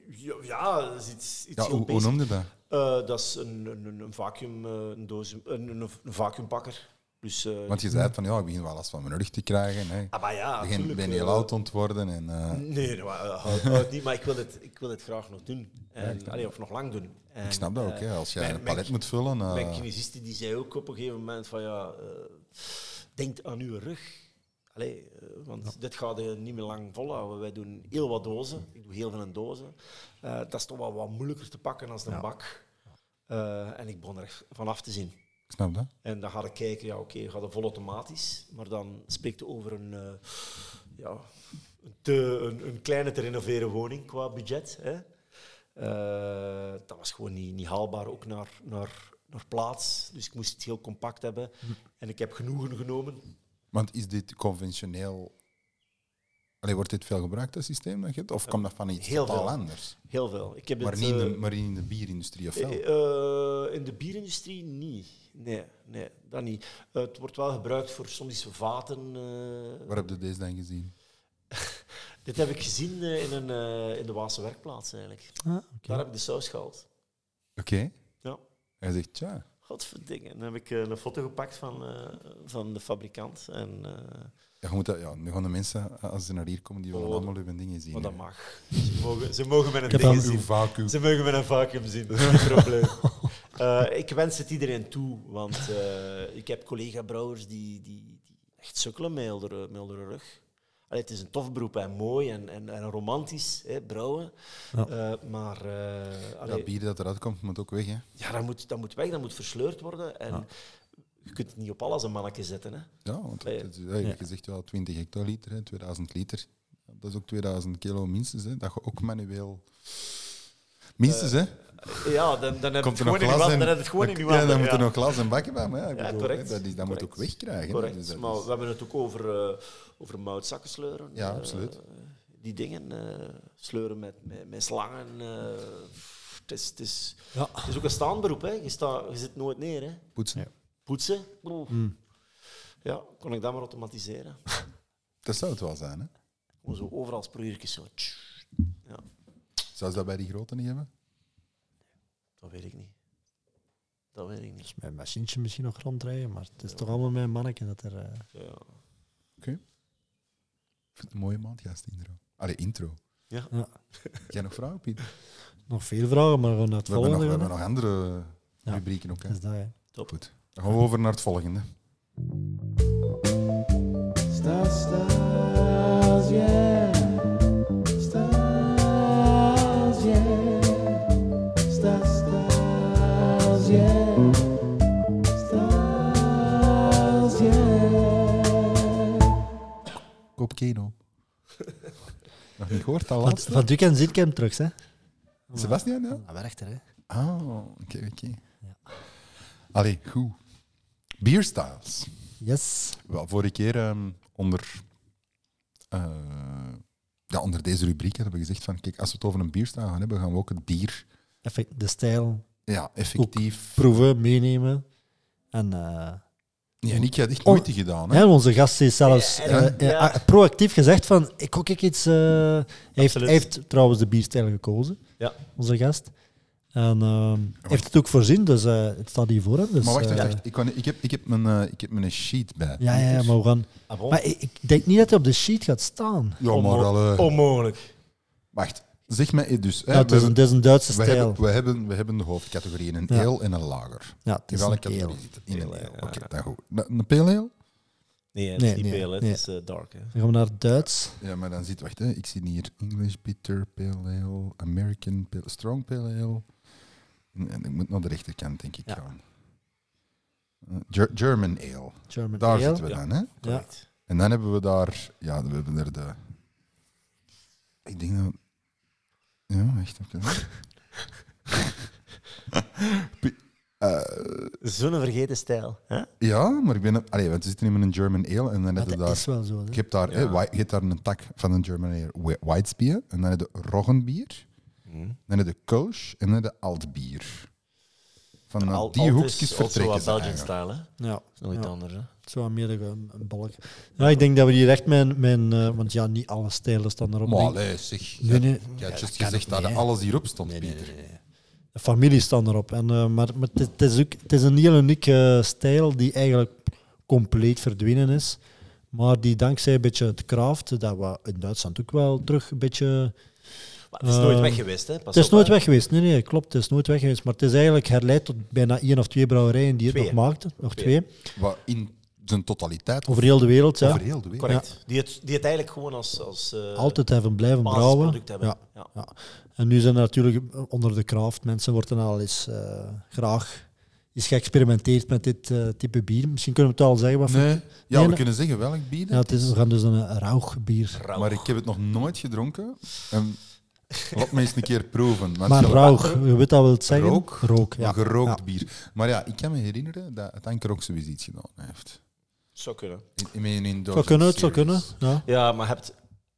Speaker 4: ja, ja, dat is iets, iets
Speaker 1: Ja,
Speaker 4: heel
Speaker 1: hoe, hoe
Speaker 4: basic.
Speaker 1: noemde dat?
Speaker 4: Eh, dat is een, een, een, een vacuüm, eh, een, doos, een, een, een vacuümbakker. Dus, eh
Speaker 1: Want je zei van ja, ik begin wel last van mijn rug te krijgen. Hè.
Speaker 4: ah, maar ja,
Speaker 1: Ik begin,
Speaker 4: tuurlijk,
Speaker 1: ben
Speaker 4: eh,
Speaker 1: heel oud ontworden. En, eh,
Speaker 4: Nee, maar, eh, houd- houd niet, maar ik wil het, ik wil het graag nog doen. En, allee, of nog lang doen. En,
Speaker 1: ik snap dat ook,
Speaker 4: eh,
Speaker 1: hè. als jij
Speaker 4: mijn-
Speaker 1: een
Speaker 4: mijn-
Speaker 1: palet moet vullen. eh,
Speaker 4: Mijn kinesiste die zei ook op een gegeven moment van ja, eh, denk aan uw rug. Allee, eh, want dit gaat je niet meer lang volhouden. Wij doen heel wat dozen. Ik doe heel veel in dozen. Eh, dat is toch wel wat moeilijker te pakken dan een bak. Eh, en ik begon er echt van af te zien.
Speaker 1: ik snap dat.
Speaker 4: En dan ga ik kijken, ja oké, gaat het volautomatisch. Maar dan spreekt het over een, eh, ja, een, te, een, een kleine te renoveren woning qua budget. Hè. Eh, dat was gewoon niet, niet haalbaar, ook naar, naar, naar plaats. Dus ik moest het heel compact hebben. En ik heb genoegen genomen.
Speaker 1: Want is dit conventioneel... Allee, wordt dit veel gebruikt, dat systeem dat je hebt? Of komt dat van iets
Speaker 4: Heel
Speaker 1: totaal
Speaker 4: veel.
Speaker 1: anders?
Speaker 4: Heel veel. Ik heb
Speaker 1: Maar
Speaker 4: het,
Speaker 1: niet, in de,
Speaker 4: eh,
Speaker 1: maar in de bierindustrie of wel?
Speaker 4: Eh, eh, in de bierindustrie niet. Nee, nee, dat niet. Eh, het wordt wel gebruikt voor soms vaten. eh,
Speaker 1: Waar heb je deze dan gezien?
Speaker 4: Dit heb ik gezien eh, in, een, eh, in de Waalse werkplaats eigenlijk.
Speaker 2: Ah, oké.
Speaker 4: Daar heb ik de saus gehaald.
Speaker 1: Oké.
Speaker 4: Ja.
Speaker 1: Hij zegt, tja,
Speaker 4: Godverdingen. Dan heb ik eh, een foto gepakt van, eh, van de fabrikant. En, eh,
Speaker 1: ja, je moet dat, ja, nu gaan de mensen, eh, als ze naar hier komen, die willen
Speaker 4: Oh,
Speaker 1: allemaal hun dingen zien.
Speaker 4: maar dat
Speaker 1: hè.
Speaker 4: mag. Ze mogen, ze mogen met een
Speaker 2: heb
Speaker 4: ding
Speaker 2: al-
Speaker 1: Uw
Speaker 4: zien.
Speaker 1: vacuüm.
Speaker 4: Ze mogen met een vacuüm zien. Dat
Speaker 2: *laughs*
Speaker 4: is geen probleem. Eh, ik wens het iedereen toe. Want eh, ik heb collega-brouwers die, die, die echt sukkelen met heel de- met heel de rug. Allee, het is een tof beroep en mooi en, en, en romantisch, hè, brouwen.
Speaker 2: Ja.
Speaker 4: Eh, maar eh, allee,
Speaker 1: Dat bier dat eruit komt, moet ook weg, hè.
Speaker 4: Ja, dat moet, dat moet weg, dat moet versleurd worden. En je kunt het niet op alles een mannetje zetten. Hè.
Speaker 1: Ja, want
Speaker 4: Nee.
Speaker 1: het is- ja, je hebt gezegd wel 20 hectoliter, hè, 2000 liter. Dat is ook 2000 kilo minstens, hè, dat je ook manueel... Minstens,
Speaker 4: Eh,
Speaker 1: hè.
Speaker 4: Ja, dan, dan heb je het
Speaker 1: Komt er
Speaker 4: gewoon
Speaker 1: nog
Speaker 4: in je
Speaker 1: glas
Speaker 4: hand.
Speaker 1: en-
Speaker 4: Dan heb je het gewoon in
Speaker 1: dan-
Speaker 4: je
Speaker 1: ja,
Speaker 4: hand,
Speaker 1: dan moet
Speaker 4: ja.
Speaker 1: er nog glas en bakken bij, maar ja, ik
Speaker 4: Ja,
Speaker 1: bedoel,
Speaker 4: correct.
Speaker 1: hè, dat, is, dat moet ook
Speaker 4: Correct.
Speaker 1: wegkrijgen. hè,
Speaker 4: Correct,
Speaker 1: dus dat
Speaker 4: maar
Speaker 1: is-
Speaker 4: we hebben het ook over, eh over moutzakken sleuren.
Speaker 1: Ja,
Speaker 4: eh,
Speaker 1: absoluut.
Speaker 4: die dingen eh, sleuren met, met, met slangen. eh, het, is, het, is,
Speaker 2: Ja.
Speaker 4: het is ook een staanberoep, hè. Je, sta, je zit nooit neer. Hè.
Speaker 1: Poetsen.
Speaker 4: Poetsen, oeh.
Speaker 2: Hm.
Speaker 4: ja, kon ik dat maar automatiseren.
Speaker 1: Dat zou het wel zijn, hè.
Speaker 4: Gewoon zo overal sproeiertjes zo. tsch. Ja,
Speaker 1: Zou ze dat bij die grote niet hebben?
Speaker 4: dat weet ik niet. Dat weet ik niet.
Speaker 2: Mijn machientje misschien nog rondrijden, maar het is toch allemaal mijn manneke dat er... eh,
Speaker 4: Ja.
Speaker 1: Ik vind het een mooie maandgast intro. Allee, intro.
Speaker 2: ja.
Speaker 1: Heb jij nog vragen, Piet? We
Speaker 2: Nog veel vragen, maar gewoon naar het
Speaker 1: hebben nog,
Speaker 2: volgende.
Speaker 1: we
Speaker 2: gaan,
Speaker 1: hebben
Speaker 2: hè.
Speaker 1: nog andere
Speaker 2: Ja.
Speaker 1: rubrieken ook, hè.
Speaker 2: Dat is dat, hè.
Speaker 1: Goed. Dan gaan we over naar het volgende.
Speaker 3: Stars, stars, yeah. Stars, yeah. Stars, stars, yeah. Stars, yeah.
Speaker 1: Koop Keno. *laughs* nog niet gehoord, dat
Speaker 2: Want
Speaker 1: laatste?
Speaker 2: van het weekend zie ik hem terug, hè.
Speaker 1: Sebastian, ja?
Speaker 2: Ah, werkt er, hè.
Speaker 1: Ah, oké, oké. Allee, goed. Bierstyles.
Speaker 2: Yes.
Speaker 1: Wel, vorige keer ehm, onder, eh, ja, onder deze rubriek hebben we gezegd van, kijk, als we het over een bierstijl gaan hebben, gaan we ook het bier
Speaker 2: Effe- de stijl
Speaker 1: ja, effectief...
Speaker 2: proeven, meenemen. En, eh,
Speaker 1: Ja, en ik had echt
Speaker 2: Oh.
Speaker 1: moeite gedaan, hè.
Speaker 2: hè, onze gast is zelfs
Speaker 4: Ja,
Speaker 2: eh,
Speaker 4: en-
Speaker 2: eh,
Speaker 4: ja.
Speaker 2: a- proactief gezegd van, ik kook ik iets... eh, hij, heeft,
Speaker 4: Absoluut.
Speaker 2: hij heeft trouwens de bierstijl gekozen,
Speaker 4: Ja.
Speaker 2: onze gast. En ehm, heeft het ook voorzien, dus eh, het staat hier voor hem. Dus,
Speaker 1: Maar wacht, wacht,
Speaker 2: eh,
Speaker 1: wacht. Ik, kan, ik, heb, ik, heb mijn, eh, ik heb mijn sheet bij.
Speaker 2: Ja, ja, ja, maar we gaan...
Speaker 4: Ah, bon?
Speaker 2: Maar ik, ik denk niet dat hij op de sheet gaat staan.
Speaker 1: dus. Oh. Ja, maar
Speaker 4: Onmo-
Speaker 1: allee.
Speaker 4: Onmogelijk.
Speaker 1: Wacht, zeg mij dus. Hè,
Speaker 2: Ja, het,
Speaker 1: we
Speaker 2: is een,
Speaker 1: hebben-
Speaker 2: het is een Duitse
Speaker 1: we,
Speaker 2: stijl.
Speaker 1: hebben, we, hebben, we hebben de hoofdcategorieën, een
Speaker 2: Ja.
Speaker 1: ale en een lager.
Speaker 2: ja, het
Speaker 1: In
Speaker 2: is
Speaker 1: welke
Speaker 2: een keel.
Speaker 1: categorie zit het? In een
Speaker 4: Ale,
Speaker 1: ale.
Speaker 4: ja.
Speaker 1: Oké, dan goed. Een een pale ale?
Speaker 4: Nee, het
Speaker 2: Nee,
Speaker 4: is niet
Speaker 2: nee,
Speaker 4: pale, hè.
Speaker 2: nee.
Speaker 4: het is eh, dark. Hè.
Speaker 2: Dan gaan we naar het Duits.
Speaker 1: Ja, maar dan zit, wacht, hè. ik zie hier English Bitter, Pale Ale, American Pale, Strong Pale Ale. En, en ik moet naar de rechterkant, denk ik
Speaker 2: Ja.
Speaker 1: gaan. Eh, Ger- German Ale,
Speaker 2: German
Speaker 1: daar
Speaker 2: Ale.
Speaker 1: zitten we
Speaker 4: Ja.
Speaker 1: dan. Hè?
Speaker 2: Ja.
Speaker 4: Correct.
Speaker 1: En dan hebben we daar, ja, we hebben er de. Ik denk dat. Ja, echt. oké.
Speaker 2: *laughs*
Speaker 1: Pi- eh,
Speaker 4: Zo'n vergeten stijl. Hè?
Speaker 1: ja, maar ik ben. Allee, want we zitten hier met een German Ale en dan
Speaker 2: Maar
Speaker 1: heb je
Speaker 2: dat
Speaker 1: daar.
Speaker 2: is wel zo. hè.
Speaker 1: Je hebt daar, hè, whi- je hebt daar een tak van een German Ale, whi- Weizbier. En dan heb je Roggenbier.
Speaker 2: Hmm.
Speaker 1: Dan heb je Kolsch en dan heb je Altbier. Van eh,
Speaker 4: Al-
Speaker 1: die
Speaker 4: alt is
Speaker 1: hoekjes
Speaker 4: ook zo
Speaker 1: vertrekken
Speaker 4: wat
Speaker 1: ze
Speaker 4: Belgian
Speaker 1: eigenlijk.
Speaker 4: style, hè?
Speaker 2: Ja,
Speaker 4: Dat is nog iets
Speaker 2: Ja.
Speaker 4: anders. Hè?
Speaker 2: het is wel meer een, een balk. Ja, ik denk dat we hier echt mijn... mijn eh, want ja, niet alle stijlen staan erop.
Speaker 1: Maar
Speaker 2: denk ik.
Speaker 1: allee, zeg.
Speaker 2: Nee, nee.
Speaker 1: Je had
Speaker 2: Ja,
Speaker 1: juist
Speaker 2: kan
Speaker 1: gezegd
Speaker 2: ook
Speaker 1: dat
Speaker 2: niet, hè.
Speaker 1: alles hierop stond, Pieter.
Speaker 2: Dat De families staan erop. En, eh, maar maar het, het is ook, het is een heel unieke stijl die eigenlijk compleet verdwenen is. Maar die dankzij een beetje het kraft, dat we in Duitsland ook wel terug een beetje...
Speaker 4: Maar het is nooit
Speaker 2: Eh,
Speaker 4: weg geweest, hè? Pas
Speaker 2: het is
Speaker 4: op,
Speaker 2: nooit
Speaker 4: hè.
Speaker 2: weg geweest. Nee, nee, klopt. Het is nooit weg geweest. Maar het is eigenlijk herleid tot bijna één of twee brouwerijen die het
Speaker 4: Twee,
Speaker 2: nog maakten. Nog
Speaker 4: Twee.
Speaker 2: twee.
Speaker 1: Wat in zijn totaliteit
Speaker 2: Over heel de wereld, ja.
Speaker 1: over heel de wereld.
Speaker 4: Correct. Die, het, die het eigenlijk gewoon als, als eh,
Speaker 2: Altijd hebben blijven brouwen.
Speaker 4: basisproduct hebben.
Speaker 2: Ja.
Speaker 4: Ja.
Speaker 2: Ja. En nu zijn er natuurlijk onder de kraft mensen worden al eens eh, graag is geëxperimenteerd met dit eh, type bier. Misschien kunnen we het al zeggen. Wat voor-
Speaker 1: Nee, ja, we
Speaker 2: nee.
Speaker 1: kunnen zeggen welk bier.
Speaker 2: ja, het is, we gaan dus een rauwbier.
Speaker 4: Rauw.
Speaker 1: Maar ik heb het nog nooit gedronken. En laat me eens een keer proeven. want
Speaker 2: Maar
Speaker 1: je-
Speaker 2: rauw, je weet dat wil het zeggen?
Speaker 1: Rook?
Speaker 2: ja.
Speaker 1: Een gerookt
Speaker 2: Ja.
Speaker 1: bier. Maar ja, ik kan me herinneren dat het Anker ook zoiets iets gedaan heeft.
Speaker 4: Zou kunnen.
Speaker 1: In, in, in, in
Speaker 2: Zou kunnen, het zou kunnen. Ja.
Speaker 4: Ja, maar je hebt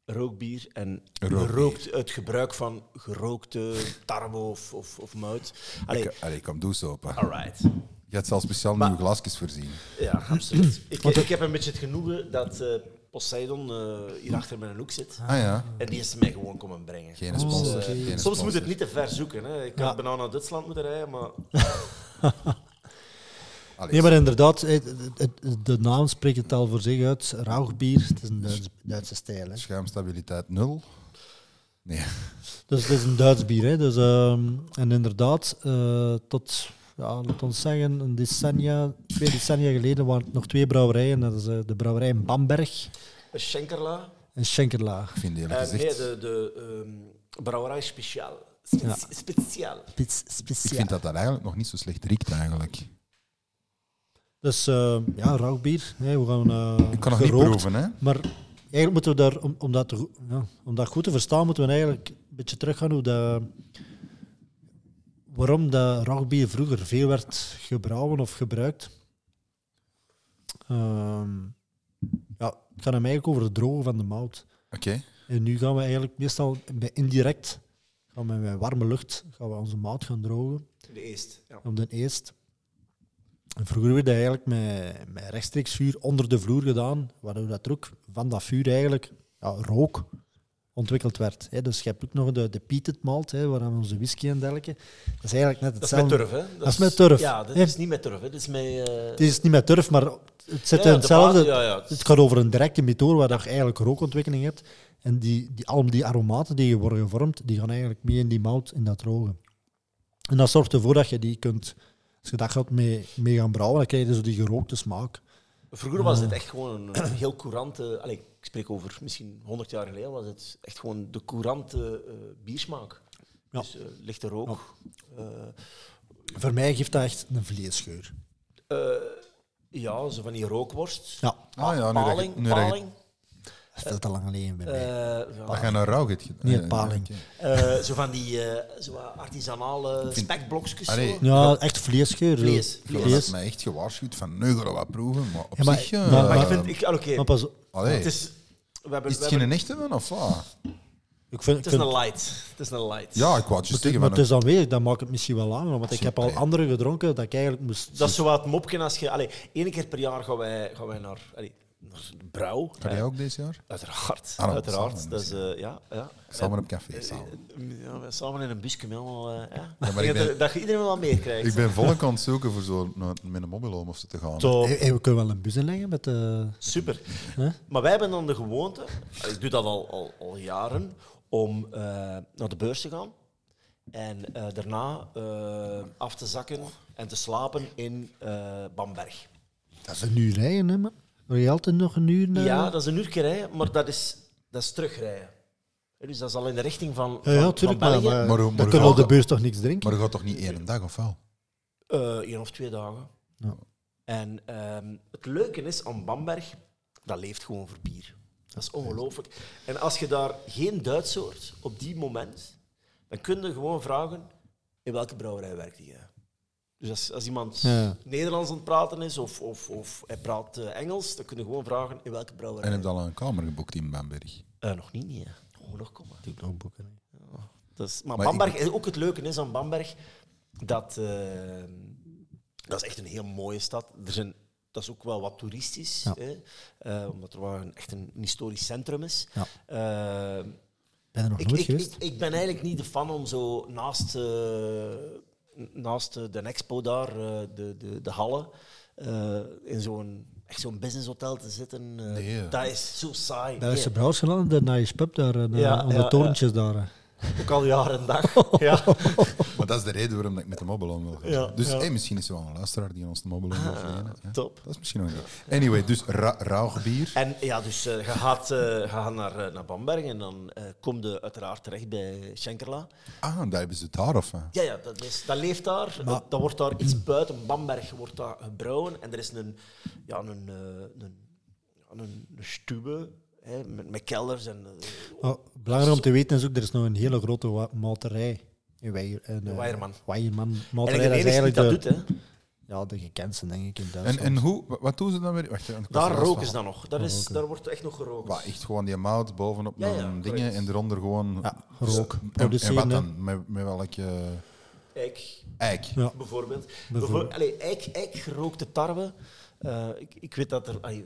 Speaker 4: rookbier en
Speaker 1: Rookbier.
Speaker 4: gerookt, het gebruik van gerookte tarwe of, of, of muit. Allee,
Speaker 1: Ik, allee, kom, doe zo open.
Speaker 4: alright.
Speaker 1: Je had zelfs speciaal
Speaker 4: Maar-
Speaker 1: nieuwe glaasjes voorzien.
Speaker 4: Ja, absoluut. ik, ik heb een beetje het genoegen dat eh, Poseidon eh, hier achter mijn hoek zit.
Speaker 1: Ah ja,
Speaker 4: En die is mij gewoon komen brengen.
Speaker 1: geen Oh, sponsor.
Speaker 4: Eh,
Speaker 1: geen
Speaker 4: soms moet
Speaker 1: sponsor.
Speaker 4: het niet te ver zoeken. Hè. Ik had
Speaker 2: Ja.
Speaker 4: bijna naar Duitsland moeten rijden,
Speaker 2: *laughs*
Speaker 4: maar
Speaker 1: Allee,
Speaker 2: Nee, maar inderdaad, het- het- het- de naam spreekt het al voor zich uit. Rauwbier, het is een Duits- Duitse stijl. Hè.
Speaker 1: Schuimstabiliteit nul. Nee. *laughs*
Speaker 2: Dus het is een Duits bier. Hè. Dus, ehm, en inderdaad, eh, tot, ja, laat ons zeggen, een decennia, twee decennia geleden waren het nog twee brouwerijen. Dat is eh, de brouwerij in Bamberg
Speaker 4: Schenkerla.
Speaker 2: en Schenkerlaag.
Speaker 1: Ik vind het eerlijk
Speaker 4: En Eh, nee,
Speaker 1: gezegd...
Speaker 4: de, de ehm, brouwerij speciaal. Speci-
Speaker 2: Ja.
Speaker 4: Speciaal.
Speaker 2: Spits,
Speaker 1: Ik
Speaker 2: speciaal.
Speaker 1: vind dat dat eigenlijk nog niet zo slecht riekt, eigenlijk.
Speaker 2: Dus eh, ja, rauwbier. Hè. We gaan, eh,
Speaker 1: Ik kan nog
Speaker 2: gerookt.
Speaker 1: niet proeven, hè.
Speaker 2: Maar eigenlijk moeten we daar, om, om, dat te go- ja, om dat goed te verstaan, moeten we eigenlijk een beetje teruggaan hoe dat, waarom dat rauwbier vroeger veel werd gebrouwen of gebruikt. Ehm, ja, het gaat hem eigenlijk over het drogen van de mout.
Speaker 1: Oké. Ah,
Speaker 2: En nu gaan we eigenlijk meestal bij indirect, gaan we met warme lucht gaan we onze mout gaan drogen
Speaker 4: De eerste. Ja.
Speaker 2: op de eerst. En Vroeger werd dat eigenlijk met, met rechtstreeks vuur onder de vloer gedaan, waardoor dat er ook van dat vuur eigenlijk ja, rook ontwikkeld werd. hè. dus je hebt ook nog de, de peated malt, hè, waar we onze whisky en dergelijke. Dat is eigenlijk net
Speaker 4: Dat is met
Speaker 2: hetzelfde.
Speaker 4: turf, hè?
Speaker 2: Dat is met turf.
Speaker 4: Ja, dat
Speaker 2: Ja.
Speaker 4: is niet met turf, hè? Dat is met. eh,
Speaker 2: Het is niet met turf, maar het zit
Speaker 4: ja,
Speaker 2: in
Speaker 4: de
Speaker 2: hetzelfde.
Speaker 4: baas- Ja, ja.
Speaker 2: Dus
Speaker 4: Dus
Speaker 2: Het gaat over een directe methode waar dat je eigenlijk rookontwikkeling hebt. En die, die, al die aromaten die worden gevormd, die gaan eigenlijk mee in die mout, in dat drogen. En dat zorgt ervoor dat je die kunt... Als je dat gaat mee, mee gaan brouwen, dan krijg je zo die gerookte smaak.
Speaker 4: Vroeger was
Speaker 2: Ah.
Speaker 4: het echt gewoon een eh, heel courante. Allee, ik spreek over misschien 100 jaar geleden, was het echt gewoon de courante eh, biersmaak.
Speaker 2: Ja.
Speaker 4: Dus eh, lichte rook. eh, Ja,
Speaker 2: Voor mij geeft dat echt een vleesgeur.
Speaker 4: Eh, ja zo van die rookworst.
Speaker 2: Ja,
Speaker 1: Ah ja, nu dat je-
Speaker 4: paling.
Speaker 1: nu dat je-
Speaker 4: paling.
Speaker 2: dat is veel te lang alleen bij mij.
Speaker 4: Eh, ja.
Speaker 1: Dat je een rauw hebt gedaan.
Speaker 2: Nee,
Speaker 1: Ja, ja,
Speaker 2: paling.
Speaker 1: oké.
Speaker 4: Eh, zo van die eh, zo wat artisanale
Speaker 1: vind-
Speaker 4: spekblokjes.
Speaker 1: Allee.
Speaker 4: zo.
Speaker 2: Ja, echt vleesgeur. zo.
Speaker 4: eh, Vlees,
Speaker 1: Je
Speaker 4: vlees.
Speaker 1: had mij echt gewaarschuwd van, nu gaan we wat proeven. Maar op
Speaker 2: Ja, maar-
Speaker 1: zich... eh,
Speaker 2: maar-
Speaker 4: Maar ik
Speaker 2: Ja.
Speaker 4: vind, ik, ah, oké,
Speaker 2: Maar pas op,
Speaker 1: allee,
Speaker 4: het is, we hebben,
Speaker 1: is
Speaker 4: we
Speaker 1: het geen
Speaker 4: hebben-
Speaker 1: echte man, of wat?
Speaker 2: ik vind,
Speaker 4: het is een light. Het is een light.
Speaker 1: Ja, ik wou het
Speaker 2: maar
Speaker 1: juist
Speaker 2: het,
Speaker 1: zeggen.
Speaker 2: maar
Speaker 1: van
Speaker 2: het is aanwezig, dat maakt het misschien wel langer. Want ik heb al
Speaker 1: Zeker.
Speaker 2: andere gedronken dat ik eigenlijk moest...
Speaker 4: Dat is zo wat mopken als je. Allee, één keer per jaar gaan wij, gaan wij naar, allee, naar de brouw. Eh,
Speaker 1: Ga jij ook dit jaar?
Speaker 4: Uiteraard.
Speaker 1: Ah, dan
Speaker 4: uiteraard.
Speaker 1: samen.
Speaker 4: Dat is, eh, ja, ja.
Speaker 1: Samen op café, samen.
Speaker 4: Eh, ja, wij samen in een busje met allemaal. eh, ja.
Speaker 1: maar
Speaker 4: Ik denk
Speaker 1: ik
Speaker 4: dat,
Speaker 1: ben-
Speaker 4: dat je iedereen wel meekrijgt.
Speaker 1: Ik ben volk aan het zoeken voor zo naar- met een mobiel om of ze te gaan.
Speaker 4: Top.
Speaker 2: Hey, hey, we kunnen wel een bus inleggen met eh, de...
Speaker 4: Super.
Speaker 2: Hè?
Speaker 4: Maar wij hebben dan de gewoonte, ik doe dat al, al, al jaren, om eh, naar de beurs te gaan en eh, daarna eh, af te zakken en te slapen in eh, Bamberg.
Speaker 2: Dat is een uur rijden, hè, man. Wil je altijd nog een uur eh, naar...
Speaker 4: Ja, dat is een uurtje rijden, maar dat is, dat is terugrijden. Hè, Dus dat is al in de richting van,
Speaker 2: Ja,
Speaker 4: van,
Speaker 2: ja,
Speaker 4: van
Speaker 2: tuurlijk, maar,
Speaker 4: België.
Speaker 2: maar,
Speaker 1: Maar hoe-
Speaker 2: dan
Speaker 1: maar
Speaker 2: kunnen we
Speaker 1: hoe-
Speaker 2: op de beurs toch niks drinken?
Speaker 1: Maar je gaat toch niet één dag, of wel?
Speaker 4: Eén Eh, of twee dagen.
Speaker 2: Ja.
Speaker 4: En ehm, het leuke is aan Bamberg, dat leeft gewoon voor bier. Dat is ongelooflijk. En als je daar geen Duits hoort op die moment, dan kun je gewoon vragen: in welke brouwerij werkt jij? Dus als, als iemand
Speaker 2: Ja.
Speaker 4: Nederlands aan het praten is of, of, of hij praat eh, Engels, dan kun je gewoon vragen: in welke
Speaker 1: En
Speaker 4: brouwerij?
Speaker 1: heb je al een kamer geboekt in Bamberg?
Speaker 4: Eh, nog niet, nee. Moet nog komen.
Speaker 2: Nog boeken.
Speaker 4: Dat is- maar,
Speaker 1: Maar
Speaker 4: Bamberg, ook het leuke is aan Bamberg, dat, eh, dat is echt een heel mooie stad. Er zijn, dat is ook wel wat toeristisch,
Speaker 2: Ja.
Speaker 4: hè, eh, omdat er wel een, echt een historisch centrum is.
Speaker 2: Ja.
Speaker 4: Eh,
Speaker 2: Ben je er nog
Speaker 4: ik,
Speaker 2: nooit
Speaker 4: ik,
Speaker 2: geweest?
Speaker 4: ik, ik ben eigenlijk niet de fan om zo naast eh, naast eh, de expo daar, eh, de, de, de Halle, eh, in zo'n echt zo'n businesshotel te zitten. eh,
Speaker 1: Nee, eh.
Speaker 4: Dat is zo saai.
Speaker 2: Daar is de
Speaker 4: Nee,
Speaker 2: Brouwers geland, de Nice Pub daar, eh,
Speaker 4: Ja,
Speaker 2: aan de
Speaker 4: ja,
Speaker 2: torentjes daar. eh.
Speaker 4: ook al jaren en
Speaker 2: *laughs*
Speaker 4: dag. ja.
Speaker 1: Maar dat is de reden waarom ik met de mobbelon wil gaan.
Speaker 4: Ja,
Speaker 1: dus
Speaker 4: ja. Ah,
Speaker 1: hey, misschien is er wel een luisteraar die ons de mobbelon wil verlenen. ja.
Speaker 4: top.
Speaker 1: Dat is misschien nog niet. Anyway, dus ra rauw bier.
Speaker 4: En ja, dus eh, je gaat, eh, je gaat naar, eh, naar Bamberg en dan eh, kom je uiteraard terecht bij Schenkerla.
Speaker 1: Ah, daar hebben ze het daar of? eh?
Speaker 4: Ja, ja dat, is, dat leeft daar.
Speaker 2: Maar-
Speaker 4: dat wordt daar iets buiten Bamberg wordt daar gebrouwen. En er is een, ja, een, eh, een, ja, een, een stube hè, met, met kelders. En, eh,
Speaker 2: Maar Oh, belangrijk om te weten is ook, er is nog een hele grote wa- mouterij. In Weijer, en,
Speaker 4: De Weijerman.
Speaker 2: Weijerman
Speaker 4: en ik
Speaker 2: mouterij,
Speaker 4: ben
Speaker 2: dat
Speaker 4: de
Speaker 2: is
Speaker 4: enige die
Speaker 2: eigenlijk
Speaker 4: dat
Speaker 2: de,
Speaker 4: doet. Hè.
Speaker 2: ja, de gekendste, denk ik, in
Speaker 1: En,
Speaker 2: Duitsland.
Speaker 1: en hoe, wa- wat doen ze dan weer? Wacht, want ik was
Speaker 4: Daar
Speaker 1: er vast
Speaker 4: roken ze
Speaker 1: van.
Speaker 4: dan nog. Daar, is,
Speaker 2: Roken.
Speaker 4: daar wordt echt nog gerookt.
Speaker 1: Wat, echt gewoon die mout bovenop
Speaker 4: Ja,
Speaker 1: een
Speaker 4: ja,
Speaker 1: dingen
Speaker 4: correct.
Speaker 1: en eronder gewoon...
Speaker 2: Ja, rook.
Speaker 1: En, en
Speaker 2: Produceren,
Speaker 1: wat
Speaker 2: hè.
Speaker 1: dan? Met, met welke
Speaker 4: Eik,
Speaker 1: eik?
Speaker 2: Ja.
Speaker 4: bijvoorbeeld.
Speaker 2: Bijvoorbeeld.
Speaker 4: bijvoorbeeld. Allee, eik, eik gerookte tarwe. Eh, ik, ik weet dat er allee,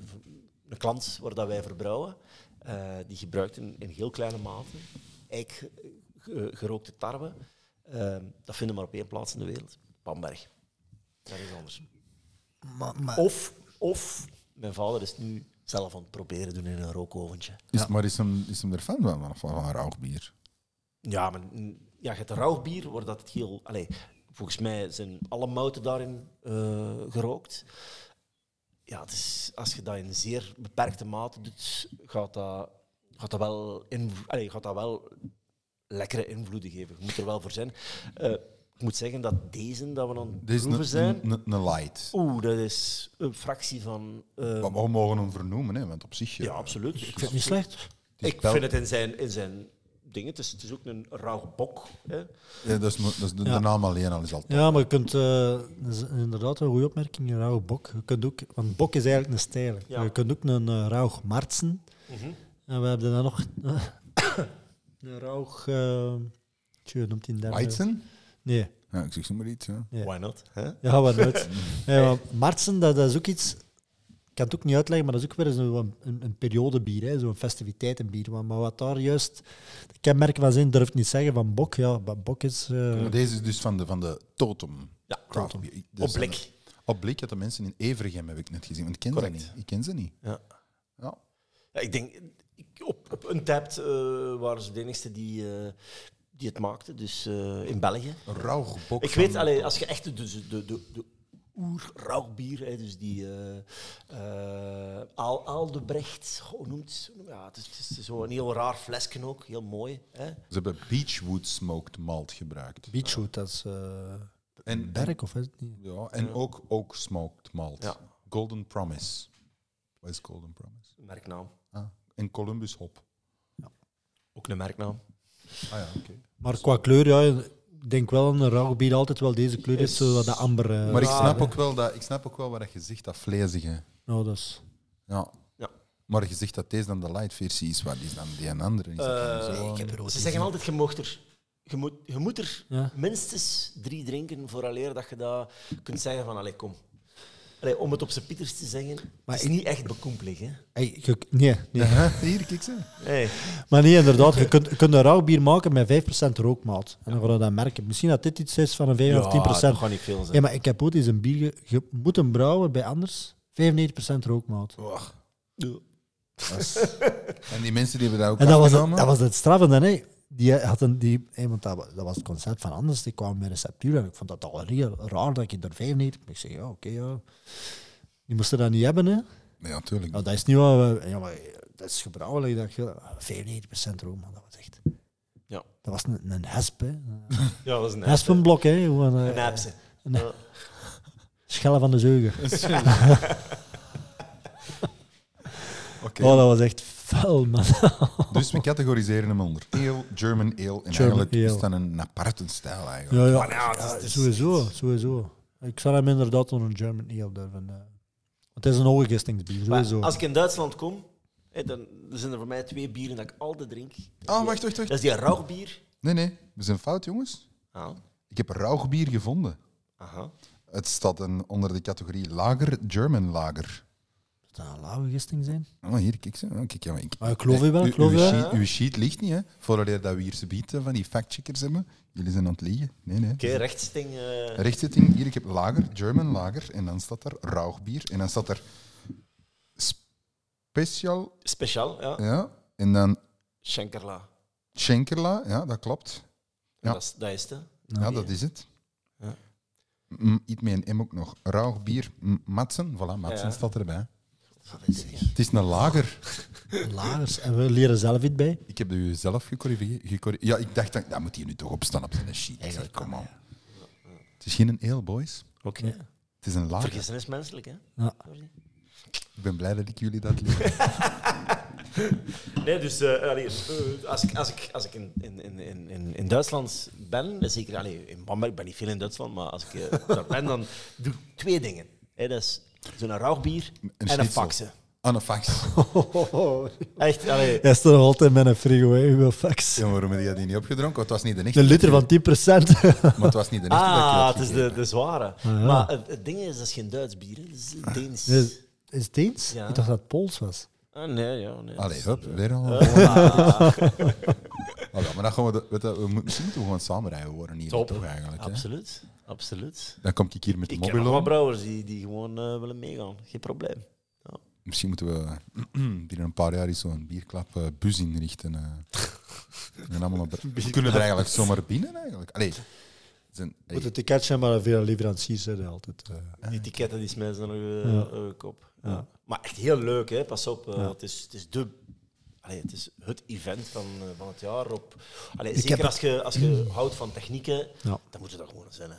Speaker 4: een klant waar dat wij verbrouwen, eh, die gebruikt in, in heel kleine mate eik eh, gerookte tarwe. Eh, dat vinden we maar op één plaats in de wereld. Bamberg. Dat is anders.
Speaker 2: Maar- maar-
Speaker 4: Of, of mijn vader is nu zelf aan het proberen doen in een rookoventje.
Speaker 1: Is, Maar is hem, is hem er fan van, van, van rauwbier?
Speaker 4: Ja, maar mm, ja, je hebt rauw bier, wordt dat het heel... Allee, volgens mij zijn alle mouten daarin eh, gerookt. Ja, het is, als je dat in zeer beperkte mate doet, gaat dat, gaat dat, wel, inv- allee, gaat dat wel lekkere invloeden geven. Je moet er wel voor zijn. Eh, ik moet zeggen dat deze dat we aan het
Speaker 1: Dit is
Speaker 4: proeven zijn...
Speaker 1: een- een een light.
Speaker 4: Oeh, dat is een fractie van... eh,
Speaker 1: Maar we mogen hem vernoemen, hè, want op zich... eh,
Speaker 4: ja, absoluut.
Speaker 2: Ik vind het niet slecht.
Speaker 1: is
Speaker 4: Ik
Speaker 1: wel-
Speaker 4: vind het in zijn, in zijn dingen. Het is, het is ook een rauw bok. Hè.
Speaker 1: Ja, eh, dat is, mo- dat is de,
Speaker 2: Ja.
Speaker 1: de naam alleen al is al top.
Speaker 2: Ja, maar je kunt, eh, dat is inderdaad een goede opmerking, een rauw bok. Je kunt ook, want bok is eigenlijk een stijl.
Speaker 4: Ja.
Speaker 2: Je kunt ook een eh, rauw martsen. En we hebben dan nog *coughs* een rauw... eh tjoe, noemt hij daar?
Speaker 1: Weizen?
Speaker 2: Nee.
Speaker 1: Ja, ik zeg zomaar iets. Ja.
Speaker 2: Ja.
Speaker 4: Why not? Hè?
Speaker 2: Ja, wat nooit. Nee, maar Martsen, dat, dat is ook iets... Ik kan het ook niet uitleggen, maar dat is ook weer zo een, een, een periodebier, hè, zo'n festiviteitenbier. Maar, maar wat daar juist de kenmerken van zijn, durf ik niet zeggen. Van Bok, ja, maar Bok is... eh,
Speaker 1: Maar deze is dus van de, van de Totem.
Speaker 4: Ja,
Speaker 1: Craft
Speaker 2: Totem.
Speaker 1: beer. Dus
Speaker 4: Op blik.
Speaker 1: Op blik had de mensen in Evergem, heb ik net gezien. Want ik ken
Speaker 4: Correct.
Speaker 1: ze niet. Ik ken ze niet.
Speaker 4: Ja.
Speaker 1: Ja.
Speaker 4: Ja, ik denk, ik, op, op Untapped eh, waren ze de enigste die, eh, die het maakten, dus eh, in België.
Speaker 1: Een rauw gebok.
Speaker 4: Ik
Speaker 1: van-
Speaker 4: weet, allee, als je echt de, de, de, de, de oer-rauwbier, hè, dus die eh eh Aal, Aaldebrecht, goh, hoe noemt hoe noemt- ja, het? Is, het is zo'n heel raar flesje ook, heel mooi. Hè?
Speaker 1: Ze hebben Beechwood Smoked Malt gebruikt.
Speaker 2: Beechwood, dat is... eh
Speaker 1: En, en,
Speaker 2: Berk, of is het niet?
Speaker 1: ja, en ook, ook Smoked Malt.
Speaker 4: Ja.
Speaker 1: Golden Promise. Wat is Golden Promise?
Speaker 4: Merknaam.
Speaker 1: Ah, en Columbus Hop.
Speaker 4: Ook een merknaam.
Speaker 1: Ah ja, oké.
Speaker 2: Maar qua kleur, ja, ik denk wel een rauw bier altijd wel deze kleur heeft, zo wat de amber... eh,
Speaker 1: Maar ik
Speaker 4: Ja,
Speaker 1: snap,
Speaker 4: hè.
Speaker 1: ook wel dat, ik snap ook wel wat je zegt, dat vlezige.
Speaker 2: nou, dat is...
Speaker 1: Ja.
Speaker 4: Ja.
Speaker 1: Maar je zegt dat deze dan de light versie is. Wat is dan die en andere? Is dat dan zo?
Speaker 4: Eh, Ze zeggen altijd, je, mocht er, je, moet, je moet er
Speaker 2: Ja.
Speaker 4: minstens drie drinken vooraleer dat je dat kunt zeggen van, allee, kom. Allee, om het op zijn pieters te zeggen,
Speaker 2: Maar
Speaker 4: het is niet echt bekoempelig, hè.
Speaker 2: Hey, je- nee, nee.
Speaker 1: Ja, hier, kijk ze.
Speaker 4: Nee.
Speaker 2: Maar nee, inderdaad, je kunt, je kunt een rauw bier maken met 5% rookmaat. En dan ga je dat merken. Misschien dat dit iets is van een 5 of 10%.
Speaker 4: dat gaat niet veel zijn.
Speaker 2: Ja, maar ik heb ooit eens een bier... ge- Je moet hem brouwen bij anders. 95% rookmout.
Speaker 1: Dat is- En die mensen die hebben dat ook
Speaker 2: En dat was, het,
Speaker 1: afgenomen?
Speaker 2: dat was het straffende, hè. Die had een... Die, hey, want dat, wa- dat was het concept van anders. Die kwam met receptuur en ik vond dat al heel raar dat je er 95... Ik zeg, ja, oké, ja. Die moesten dat niet hebben, hè.
Speaker 1: Nee, natuurlijk.
Speaker 2: Nou, dat is niet wat... we- Ja, maar dat is gebrouwelijk. Dat je, 95% rookmout, dat was echt...
Speaker 4: Ja.
Speaker 2: Dat was een, een hesp, hè.
Speaker 4: Ja, dat is een
Speaker 2: Een hespenblok, hè. Gewoon, eh,
Speaker 4: Een hapse.
Speaker 2: een- Schellen van de zeugen.
Speaker 1: Oké.
Speaker 2: Oh, dat was echt vuil, man.
Speaker 1: Dus we categoriseren hem onder ale, German ale. En eigenlijk is
Speaker 2: ale.
Speaker 1: dat een aparte stijl eigenlijk.
Speaker 2: Ja, ja.
Speaker 4: Maar ja, het is-
Speaker 2: Ja,
Speaker 4: het is-
Speaker 2: sowieso, sowieso. Ik zou hem inderdaad onder een German Ale durven. eh. Want het is een hooggistingsbier,
Speaker 4: Maar
Speaker 2: sowieso.
Speaker 4: als ik in Duitsland kom, hè, dan zijn er voor mij twee bieren dat ik altijd drink.
Speaker 1: Ah, wacht, wacht,
Speaker 4: Dat
Speaker 1: wacht.
Speaker 4: is die rauwbier.
Speaker 1: Nee, nee. We zijn fout, jongens.
Speaker 4: Ah,
Speaker 1: Ik heb rauw bier gevonden.
Speaker 4: aha.
Speaker 1: Het staat een, onder de categorie lager, German lager.
Speaker 2: dat een lauwe gisting zijn?
Speaker 1: Oh, hier, kijk ze. Oh, kijk, ja, maar ik...
Speaker 2: Maar Ah, ik geloof je wel, ik geloof
Speaker 1: uw,
Speaker 2: je wel.
Speaker 1: sheet, uw sheet ligt niet, hè. Voordat dat we hier ze bieden van die factcheckers hebben. Jullie zijn aan het liegen. Nee, nee.
Speaker 4: Oké, rechtsting. eh,
Speaker 1: Rechtzetting, hier, ik heb lager, German lager. En dan staat er rauwbier. En dan staat er special,
Speaker 4: speciaal, ja.
Speaker 1: ja. En dan
Speaker 4: Schenkerla. En
Speaker 1: Schenkerla, ja, dat klopt. Ja.
Speaker 4: Dat, is, dat is het. hè.
Speaker 2: Nou,
Speaker 1: Ja, dat is het.
Speaker 4: Ja.
Speaker 1: Mm, iets met een M ook nog. Rauwbier, mm, Madsen. Voilà, Madsen
Speaker 4: Ja.
Speaker 1: staat erbij.
Speaker 4: Dat weet ik niet.
Speaker 1: Het is een lager.
Speaker 2: Lagers. En we leren zelf iets bij.
Speaker 1: Ik heb u zelf gecorrigeerd. gecorri- Ja, ik dacht, dat, dat moet hier nu toch op staan op zijn sheet. Ik zeg, Kom on. Het is geen ale, boys.
Speaker 4: Oké.
Speaker 1: Het is een lager.
Speaker 4: Vergissen is menselijk, hè?
Speaker 2: Ja.
Speaker 4: Sorry.
Speaker 1: Ik ben blij dat ik jullie dat
Speaker 4: *laughs*
Speaker 1: leer.
Speaker 4: Nee, dus eh, allee, eh, als ik, als ik, als ik in, in, in- in, in, in Duitsland ben, en zeker allee, in Bamberg, ik ben niet veel in Duitsland, maar als ik eh, *laughs* daar ben, dan doe ik twee dingen. Hè, dat is zo'n rauwbier en een
Speaker 1: schnitzel.
Speaker 4: faxe.
Speaker 1: Aan Ah, een
Speaker 4: *laughs*
Speaker 1: fax.
Speaker 4: Echt, allee,
Speaker 2: Hij staat nog altijd met een frigo, hè, uw fax.
Speaker 1: Ja, waarom heb je dat niet opgedronken? Want Het was niet de echte.
Speaker 2: Een liter van 10
Speaker 1: Maar het was niet de echte dat ik je
Speaker 4: Ah,
Speaker 1: had
Speaker 4: het is de,
Speaker 1: gegeven.
Speaker 4: de zware.
Speaker 2: ja.
Speaker 4: Maar het, het ding is, dat is geen Duits bier, hè. dat is Deens.
Speaker 2: Is is het eens?
Speaker 4: Ja.
Speaker 2: Ik dacht dat het Pools was.
Speaker 4: Ah, nee, ja, nee.
Speaker 1: Allee, hup, weer
Speaker 4: *laughs*
Speaker 1: al.
Speaker 4: Ah.
Speaker 1: Allee, maar dan gaan we... De, weet je, we moeten misschien toch gewoon samen rijden worden hier,
Speaker 4: Top.
Speaker 1: toch eigenlijk? hè?
Speaker 4: Absoluut, absoluut.
Speaker 1: Dan kom ik hier met de
Speaker 4: Ik ken nog wat
Speaker 1: mobilo.
Speaker 4: brouwers die, die gewoon eh, willen meegaan, geen probleem.
Speaker 1: Misschien moeten we *clears throat* binnen een paar jaar eens zo'n bierklapbus inrichten. eh. en allemaal op- we kunnen er eigenlijk zomaar binnen, eigenlijk. Allee, het is een- hey,
Speaker 2: Moet het ticketje zijn, maar veel leveranciers zijn er altijd. eh.
Speaker 4: Die etiketten die smijten nog
Speaker 2: Ja.
Speaker 4: kop. Ja. Maar echt heel leuk, hè? pas op. eh,
Speaker 2: Ja.
Speaker 4: het, is, het is de. Allee, het is het event van, eh, van het jaar. Op, allee,
Speaker 2: Ik
Speaker 4: zeker
Speaker 2: heb-
Speaker 4: als je
Speaker 2: *clears throat*
Speaker 4: als je houdt van technieken,
Speaker 2: Ja.
Speaker 4: dan moet je dat gewoon zijn. hè.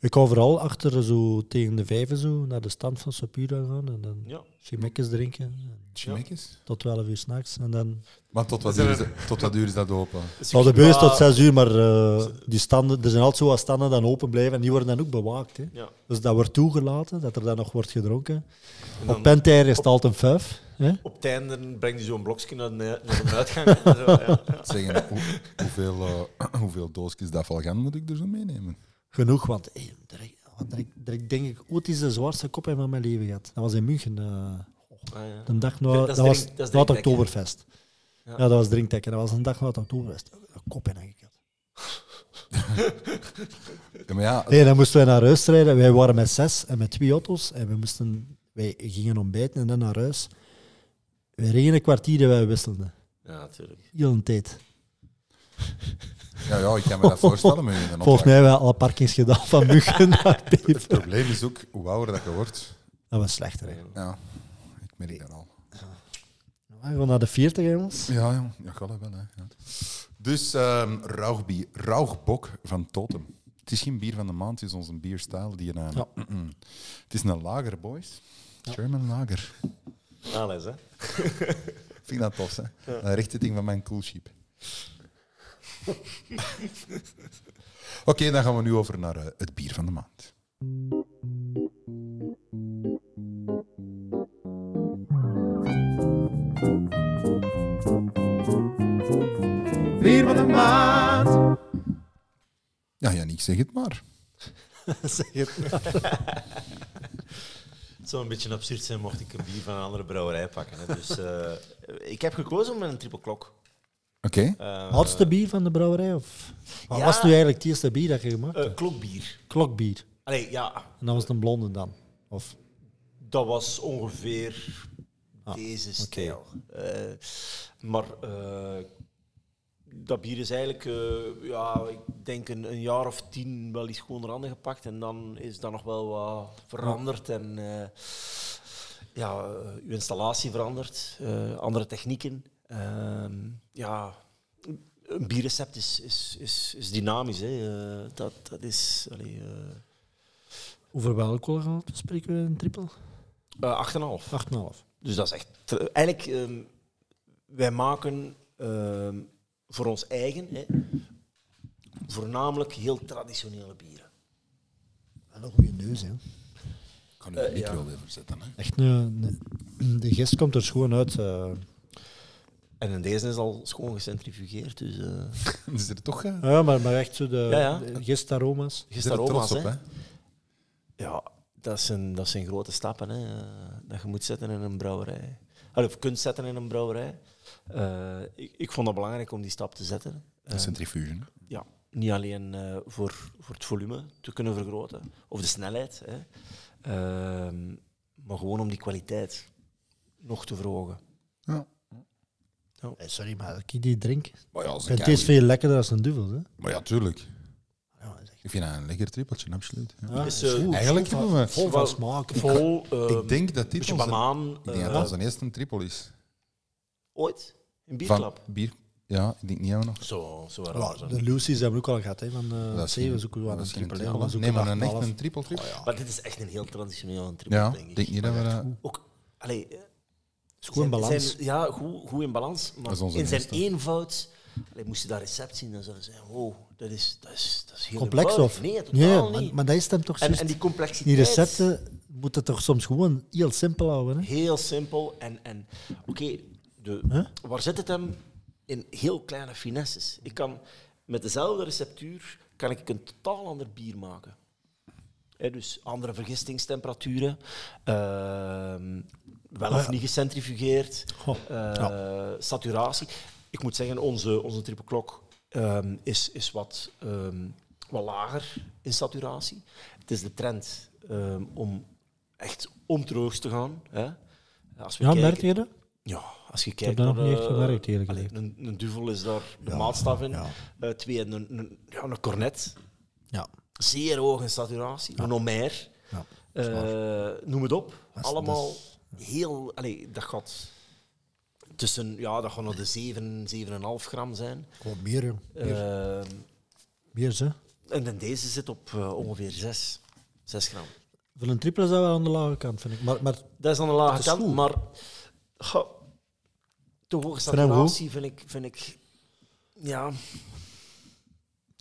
Speaker 2: Ik hou vooral achter zo tegen de vijven zo, naar de stand van Sapura gaan en dan
Speaker 4: Ja.
Speaker 2: chimekjes drinken.
Speaker 1: Chimekjes?
Speaker 2: Tot 12 uur s'nachts. En dan...
Speaker 1: Maar tot wat, uur is, dat- tot wat uur is dat open?
Speaker 4: Dus
Speaker 2: Nou, de beurs tot
Speaker 4: Ja,
Speaker 2: 6 uur, maar eh, die standen, er zijn altijd zo wat standen dan open blijven en die worden dan ook bewaakt. Hè.
Speaker 4: Ja.
Speaker 2: Dus dat wordt toegelaten, dat er dan nog wordt gedronken.
Speaker 4: En dan
Speaker 2: Op Pentair is het altijd een vijf. Hè?
Speaker 4: op het einde breng je zo'n blokje naar de, naar de uitgang. en zo, ja.
Speaker 1: Zeggen, hoe- hoeveel, eh, *clears throat* hoeveel doosjes dat van gaan moet ik er zo meenemen?
Speaker 2: Genoeg, want hey, direct, want direct- direct denk ik, ooit is de zwaarste kop in van mijn leven gehad. Dat was in München. eh
Speaker 4: Ah, ja.
Speaker 2: een dag
Speaker 4: Dat
Speaker 2: na,
Speaker 4: is
Speaker 2: dat was
Speaker 4: drink- dat is
Speaker 2: na het
Speaker 4: drinktek, hè?
Speaker 2: Oktoberfest.
Speaker 4: Ja.
Speaker 2: Ja. dat was drinktek. En dat was een dag na het Oktoberfest. Een kop in ik had.
Speaker 1: Ja, maar ja,
Speaker 2: Nee, dan moesten wij naar huis rijden. Wij waren met zes en met twee auto's. En we moesten, wij gingen ontbijten en dan naar huis. We reden een kwartier en wij wisselden.
Speaker 4: Ja, natuurlijk.
Speaker 2: Heel een tijd.
Speaker 1: ja, ja, ik kan me dat voorstellen.
Speaker 2: *laughs*
Speaker 1: Maar in een
Speaker 2: Volgens mij hebben we alle parkings gedaan van München naar Teven.
Speaker 1: Het probleem is ook hoe ouder dat je wordt.
Speaker 2: Dat was slechter. Hè.
Speaker 1: Ja, ik merk dat al.
Speaker 2: We gaan naar de 40, jongens.
Speaker 1: Ja, ja, ja gaat dat wel. Hè. Ja. Dus ehm rauwbier, rauwbok van Totem. Het is geen bier van de maand, het is onze bierstijl. Die naam.
Speaker 2: Ja.
Speaker 1: Mm-mm. *clears throat* Het is een lager, boys. German lager.
Speaker 4: Alles, hè?
Speaker 1: Vind ik dat tof, hè? Een rechte ding van mijn cool *laughs* sheep. Oké, dan gaan we nu over naar eh, het bier van de maand.
Speaker 3: Bier van de maand.
Speaker 1: Ja, Janik, zeg het maar.
Speaker 4: Het zou een beetje absurd zijn mocht ik een bier van een andere brouwerij pakken. Hè. Dus eh, ik heb gekozen om een triple klok.
Speaker 1: Oké.
Speaker 4: Eh,
Speaker 2: Oudste bier van de brouwerij? Of? Wat
Speaker 4: Ja.
Speaker 2: was nu eigenlijk het eerste bier dat je gemaakt hebt?
Speaker 4: eh, klokbier.
Speaker 2: Klokbier.
Speaker 4: Allee, ja,
Speaker 2: En dat was het een blonde dan? Of?
Speaker 4: Dat was ongeveer
Speaker 2: Ah,
Speaker 4: deze stijl. Eh, maar eh, dat bier is eigenlijk, eh, ja, ik denk een, een jaar of tien wel eens gewoon randen gepakt. En dan is dat nog wel wat veranderd. En eh, ja, eh, uw installatie veranderd, eh, andere technieken. Ehm, ja, een bierrecept is, is, is, is dynamisch. Hè. Eh, dat, dat is allee, eh,
Speaker 2: Over welk alcohol gaan we spreken? Een triple?
Speaker 4: eh, 8,5.
Speaker 2: 8,5.
Speaker 4: Dus dat is echt. ter- Eigenlijk, ehm, wij maken ehm, voor ons eigen hè, voornamelijk heel traditionele bieren.
Speaker 2: Wel een goede neus, hè.
Speaker 1: Ik kan nu de
Speaker 4: Eh,
Speaker 1: micro
Speaker 4: ja.
Speaker 1: even zetten. Hè. *laughs*
Speaker 2: Echt een, een- de gist komt er schoon uit. eh.
Speaker 4: En in deze is al schoon gecentrifugeerd. Dus, eh
Speaker 1: Is er toch... eh,
Speaker 2: Ja, maar, maar echt zo de,
Speaker 4: Ja, ja.
Speaker 2: de gistaroma's.
Speaker 1: is er
Speaker 4: gisteren aroma's,
Speaker 1: trots
Speaker 4: hè.
Speaker 1: op, hè?
Speaker 4: Ja, dat zijn, dat zijn grote stappen hè, eh, dat je moet zetten in een brouwerij. Allee, of kunt zetten in een brouwerij. Eh, ik, ik vond het belangrijk om die stap te zetten.
Speaker 1: Dat is
Speaker 4: Eh,
Speaker 1: centrifuge. hè.
Speaker 4: ja, niet alleen eh, voor, voor het volume te kunnen vergroten, of de snelheid, hè. Ehm, maar gewoon om die kwaliteit nog te verhogen.
Speaker 2: Eh, Sorry, maar als ik die drink,
Speaker 1: Maar ja, als
Speaker 2: het
Speaker 1: een
Speaker 2: is veel lekkerder als een duvel. Hè?
Speaker 1: kei- Maar ja, tuurlijk.
Speaker 2: Ja, dat is echt-
Speaker 1: Ik vind dat een lekker trippeltje, absoluut. Ja.
Speaker 2: Ja,
Speaker 4: is,
Speaker 2: dat is
Speaker 4: eh,
Speaker 2: goed.
Speaker 1: Eigenlijk
Speaker 2: Vol
Speaker 1: hebben
Speaker 2: van-
Speaker 1: we-
Speaker 2: vol
Speaker 4: Wel,
Speaker 2: van smaak.
Speaker 4: Vol, ehm,
Speaker 1: ik denk dat dit
Speaker 4: beetje
Speaker 1: onze-
Speaker 4: banaan.
Speaker 1: ik denk dat
Speaker 4: eh,
Speaker 1: dat onze eerste trippel is.
Speaker 4: ooit? Een
Speaker 1: Van
Speaker 4: bierklap?
Speaker 1: bier. Ja, ik denk niet dat we nog.
Speaker 4: Zo, zo raar.
Speaker 2: Ja,
Speaker 4: zijn.
Speaker 2: de Lucy's hebben we ook al gehad. Hè, van, eh
Speaker 1: Dat is
Speaker 2: zeven
Speaker 1: geen-
Speaker 2: zoeken we aan
Speaker 1: dat
Speaker 2: een
Speaker 1: is geen
Speaker 2: triple.
Speaker 1: trippel,
Speaker 2: hè, we
Speaker 1: hè.
Speaker 2: zoeken
Speaker 1: Nee, maar
Speaker 2: aan
Speaker 1: een echt
Speaker 2: twaalf.
Speaker 1: een triple
Speaker 2: Oh
Speaker 1: trip. ja,
Speaker 4: Maar dit is echt een heel traditioneel trip, denk ik.
Speaker 1: denk niet dat we dat.
Speaker 4: Ook, allee, eh,
Speaker 2: Het is goed in
Speaker 4: zijn-
Speaker 2: balans.
Speaker 4: zijn- ja, goed, goed in balans. Maar
Speaker 1: Dat is onze
Speaker 4: in zijn
Speaker 1: eerste.
Speaker 4: eenvoud. Allee, moest je dat recept zien, dan zou je zeggen: wow, dat is, dat is, dat is heel
Speaker 2: Complex
Speaker 4: eenvoudig.
Speaker 2: of?
Speaker 4: Nee, totaal
Speaker 2: maar-
Speaker 4: niet.
Speaker 2: maar dat is hem toch
Speaker 4: en,
Speaker 2: juist.
Speaker 4: en die
Speaker 2: Die
Speaker 4: complexiteit.
Speaker 2: recepten moeten toch soms gewoon heel simpel houden. Hè?
Speaker 4: Heel simpel. En, en oké, de waar zit het hem? In heel kleine finesses. Ik kan met dezelfde receptuur kan ik een totaal ander bier maken. Hè, dus andere vergistingstemperaturen, ehm, wel of
Speaker 2: Oh Ja.
Speaker 4: niet gecentrifugeerd,
Speaker 2: Goh,
Speaker 4: eh, saturatie. Ik moet zeggen, onze, onze triple klok is, is wat, ehm, wat lager in saturatie. Het is de trend ehm, om echt ontroogs te gaan. Hè. Als we
Speaker 2: Ja,
Speaker 4: kijken-
Speaker 2: merk je dat?
Speaker 4: ja, als je kijkt
Speaker 2: dat
Speaker 4: naar...
Speaker 2: nog niet echt
Speaker 4: eh,
Speaker 2: gemerkt, eerlijk
Speaker 4: allee,
Speaker 2: gezegd.
Speaker 4: Een, een duvel is daar de maatstaf in.
Speaker 2: ja.
Speaker 4: Eh, twee, een, een, ja, een cornet.
Speaker 2: Ja.
Speaker 4: Zeer hoog in saturatie. Een omer.
Speaker 2: Ja,
Speaker 4: Eh, noem het op.
Speaker 2: is-
Speaker 4: Allemaal heel... Allee, dat gaat tussen... Ja, dat gaan nog de 7, 7,5 gram zijn.
Speaker 2: Gewoon meer, joh.
Speaker 4: Eh,
Speaker 2: meer ze.
Speaker 4: en dan deze zit op eh, ongeveer 6. 6 gram.
Speaker 2: Voor een triple zou wel aan de lage kant, vind ik. Maar, maar
Speaker 4: Dat is aan de lage
Speaker 2: is
Speaker 4: kant,
Speaker 2: goed.
Speaker 4: maar goh, te hoge
Speaker 2: Vind hem
Speaker 4: saturatie vind ik, vind ik... Ja...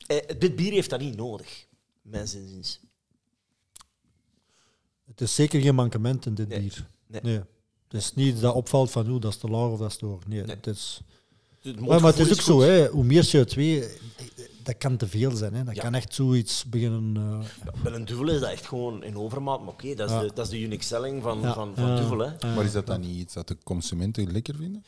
Speaker 4: Eh, dit bier heeft dat niet nodig, mijn zinziens.
Speaker 2: het is zeker geen mankement in dit
Speaker 4: Nee.
Speaker 2: bier.
Speaker 4: Nee.
Speaker 2: Het is niet dat opvalt van hoe dat is te laag of dat is te hoog. Nee,
Speaker 4: Nee.
Speaker 2: Het is,
Speaker 4: Het
Speaker 2: maar, maar het
Speaker 4: mondgevoel
Speaker 2: is ook
Speaker 4: goed.
Speaker 2: zo, hè, hoe meer CO2, dat kan te veel zijn. Hè. Dat
Speaker 4: Ja.
Speaker 2: kan echt zoiets beginnen. eh,
Speaker 4: Ja, Bij een duvel is dat echt gewoon in overmaat, maar oké, dat, is
Speaker 2: Ja.
Speaker 4: de- dat is de unique selling van,
Speaker 2: ja,
Speaker 4: van, van
Speaker 2: ja,
Speaker 4: duvel. Hè.
Speaker 2: ja.
Speaker 1: Maar is dat dan niet iets dat de consumenten lekker vinden?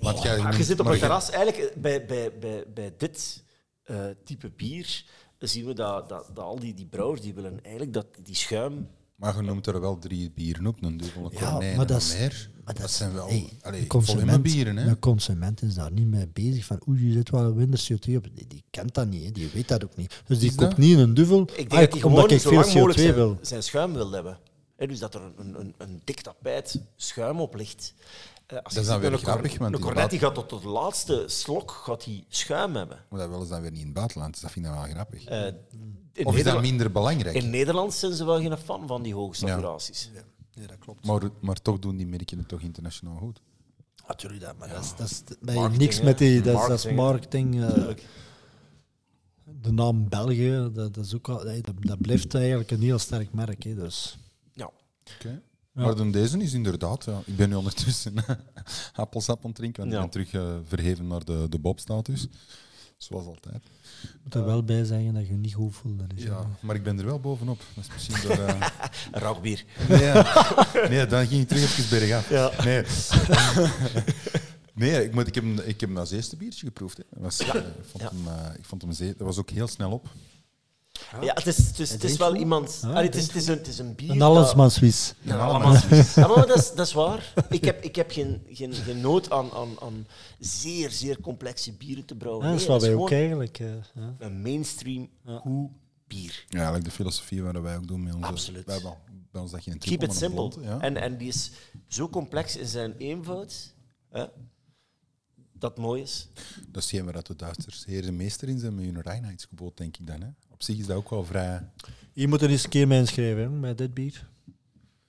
Speaker 1: Want jij
Speaker 4: Ja, je
Speaker 1: noemt-
Speaker 4: zit op
Speaker 1: maar
Speaker 4: een
Speaker 1: jij-
Speaker 4: terras. Eigenlijk, eh, bij, bij, bij, bij dit eh, type bier eh, zien we dat, dat, dat al die, die brouwers die willen eigenlijk dat die schuim...
Speaker 1: Maar je noemt er wel drie bieren op, een dubbele
Speaker 2: Ja,
Speaker 1: konijn en
Speaker 2: maar dat
Speaker 1: een
Speaker 2: is-
Speaker 1: meer.
Speaker 2: maar dat
Speaker 1: dat
Speaker 2: is-
Speaker 1: zijn wel
Speaker 2: hey,
Speaker 1: allee,
Speaker 2: de consument,
Speaker 1: bieren, hè?
Speaker 2: de consument is daar niet mee bezig van oei, je zit wel een minder CO2 op. Die, die kent dat niet, hè. die weet dat ook niet. Dus die
Speaker 1: Is
Speaker 2: koopt
Speaker 1: dat?
Speaker 2: niet een duvel,
Speaker 4: Ik denk
Speaker 2: ah,
Speaker 4: dat die gewoon
Speaker 2: omdat ik
Speaker 4: zo
Speaker 2: veel
Speaker 4: lang mogelijk
Speaker 2: CO2 wil.
Speaker 4: zijn, zijn schuim wil hebben. Hè, dus dat er een, een, een, een dik tapijt schuim op ligt. Eh, als
Speaker 1: Dat is
Speaker 4: je
Speaker 1: dan
Speaker 4: ziet
Speaker 1: weer
Speaker 4: een cor-
Speaker 1: grappig, want
Speaker 4: Een
Speaker 1: die
Speaker 4: cornet die
Speaker 1: laat-
Speaker 4: gaat tot tot de laatste slok gaat die schuim hebben.
Speaker 1: Maar dat willen ze dan weer niet in het buitenland, dus dat vind ik wel grappig.
Speaker 4: Eh, in,
Speaker 1: Hmm. of is dat
Speaker 4: Nederland,
Speaker 1: minder belangrijk?
Speaker 4: in Nederland zijn ze wel geen fan van die hoge saturaties.
Speaker 2: Nee, dat klopt.
Speaker 1: Maar, maar toch doen die merken het toch internationaal goed.
Speaker 2: Natuurlijk dat, maar dat is, dat is bij
Speaker 4: Marketing,
Speaker 2: niks met
Speaker 4: hè.
Speaker 2: die, dat is, dat is
Speaker 4: Marketing, hè.
Speaker 2: marketing. eh, de naam België, dat, dat is ook al, hey, dat, dat blijft eigenlijk een heel sterk merk. Hè, dus.
Speaker 4: Ja.
Speaker 1: Maar dan deze is inderdaad, ja. ik ben nu ondertussen *laughs* appelsap aan het drinken, want
Speaker 4: Ja.
Speaker 1: ik ben terug eh, verheven naar de, de Bob-status. Zoals altijd.
Speaker 2: Je moet er wel bij zeggen dat je je niet goed voelt. Dat is
Speaker 1: Ja, maar ik ben er wel bovenop. Dat is misschien door... eh,
Speaker 4: Een Rauwbier.
Speaker 1: *laughs* Nee, *laughs* nee, dan ging ik terug even bergaf. Nee. *laughs* Nee, ik, moet, ik, heb, hem- ik heb hem als eerste biertje geproefd. Hè. Dat Was, eh, ik, vond
Speaker 4: Ja.
Speaker 1: hem, eh, ik vond hem zeer... Dat was ook heel snel op.
Speaker 4: Ja, het is, het is, het is
Speaker 2: denkt
Speaker 4: wel
Speaker 2: goed.
Speaker 4: iemand.
Speaker 2: Ja,
Speaker 4: Allee, het, is, het, is een, het is een bier.
Speaker 2: een allesmanswies.
Speaker 4: dat- Een allemansbier. Ja, maar dat is, dat is
Speaker 2: *laughs*
Speaker 4: waar. Ik heb, ik heb geen, geen, geen nood aan, aan, aan zeer, zeer complexe bieren te brouwen.
Speaker 2: Ja, dat is
Speaker 4: Nee,
Speaker 2: wat wij
Speaker 4: gewoon
Speaker 2: ook eigenlijk. eh, ja.
Speaker 4: Een mainstream goed bier.
Speaker 1: Ja, eigenlijk de filosofie waar wij ook doen met onze...
Speaker 4: Absoluut.
Speaker 1: Wij hebben al- bij ons dat geen
Speaker 4: Keep
Speaker 1: trippel,
Speaker 4: it
Speaker 1: maar een
Speaker 4: simple.
Speaker 1: blonde, ja.
Speaker 4: en, en die is zo complex in zijn eenvoud. Hè? Dat het mooi is.
Speaker 1: Dat is geen waar dat de Duitsers heer de meester in zijn met hun reinheidsgebod, denk ik dan. Hè. Op zich is dat ook wel vrij...
Speaker 2: Je moet er eens een keer mee inschrijven hè, met dit bier.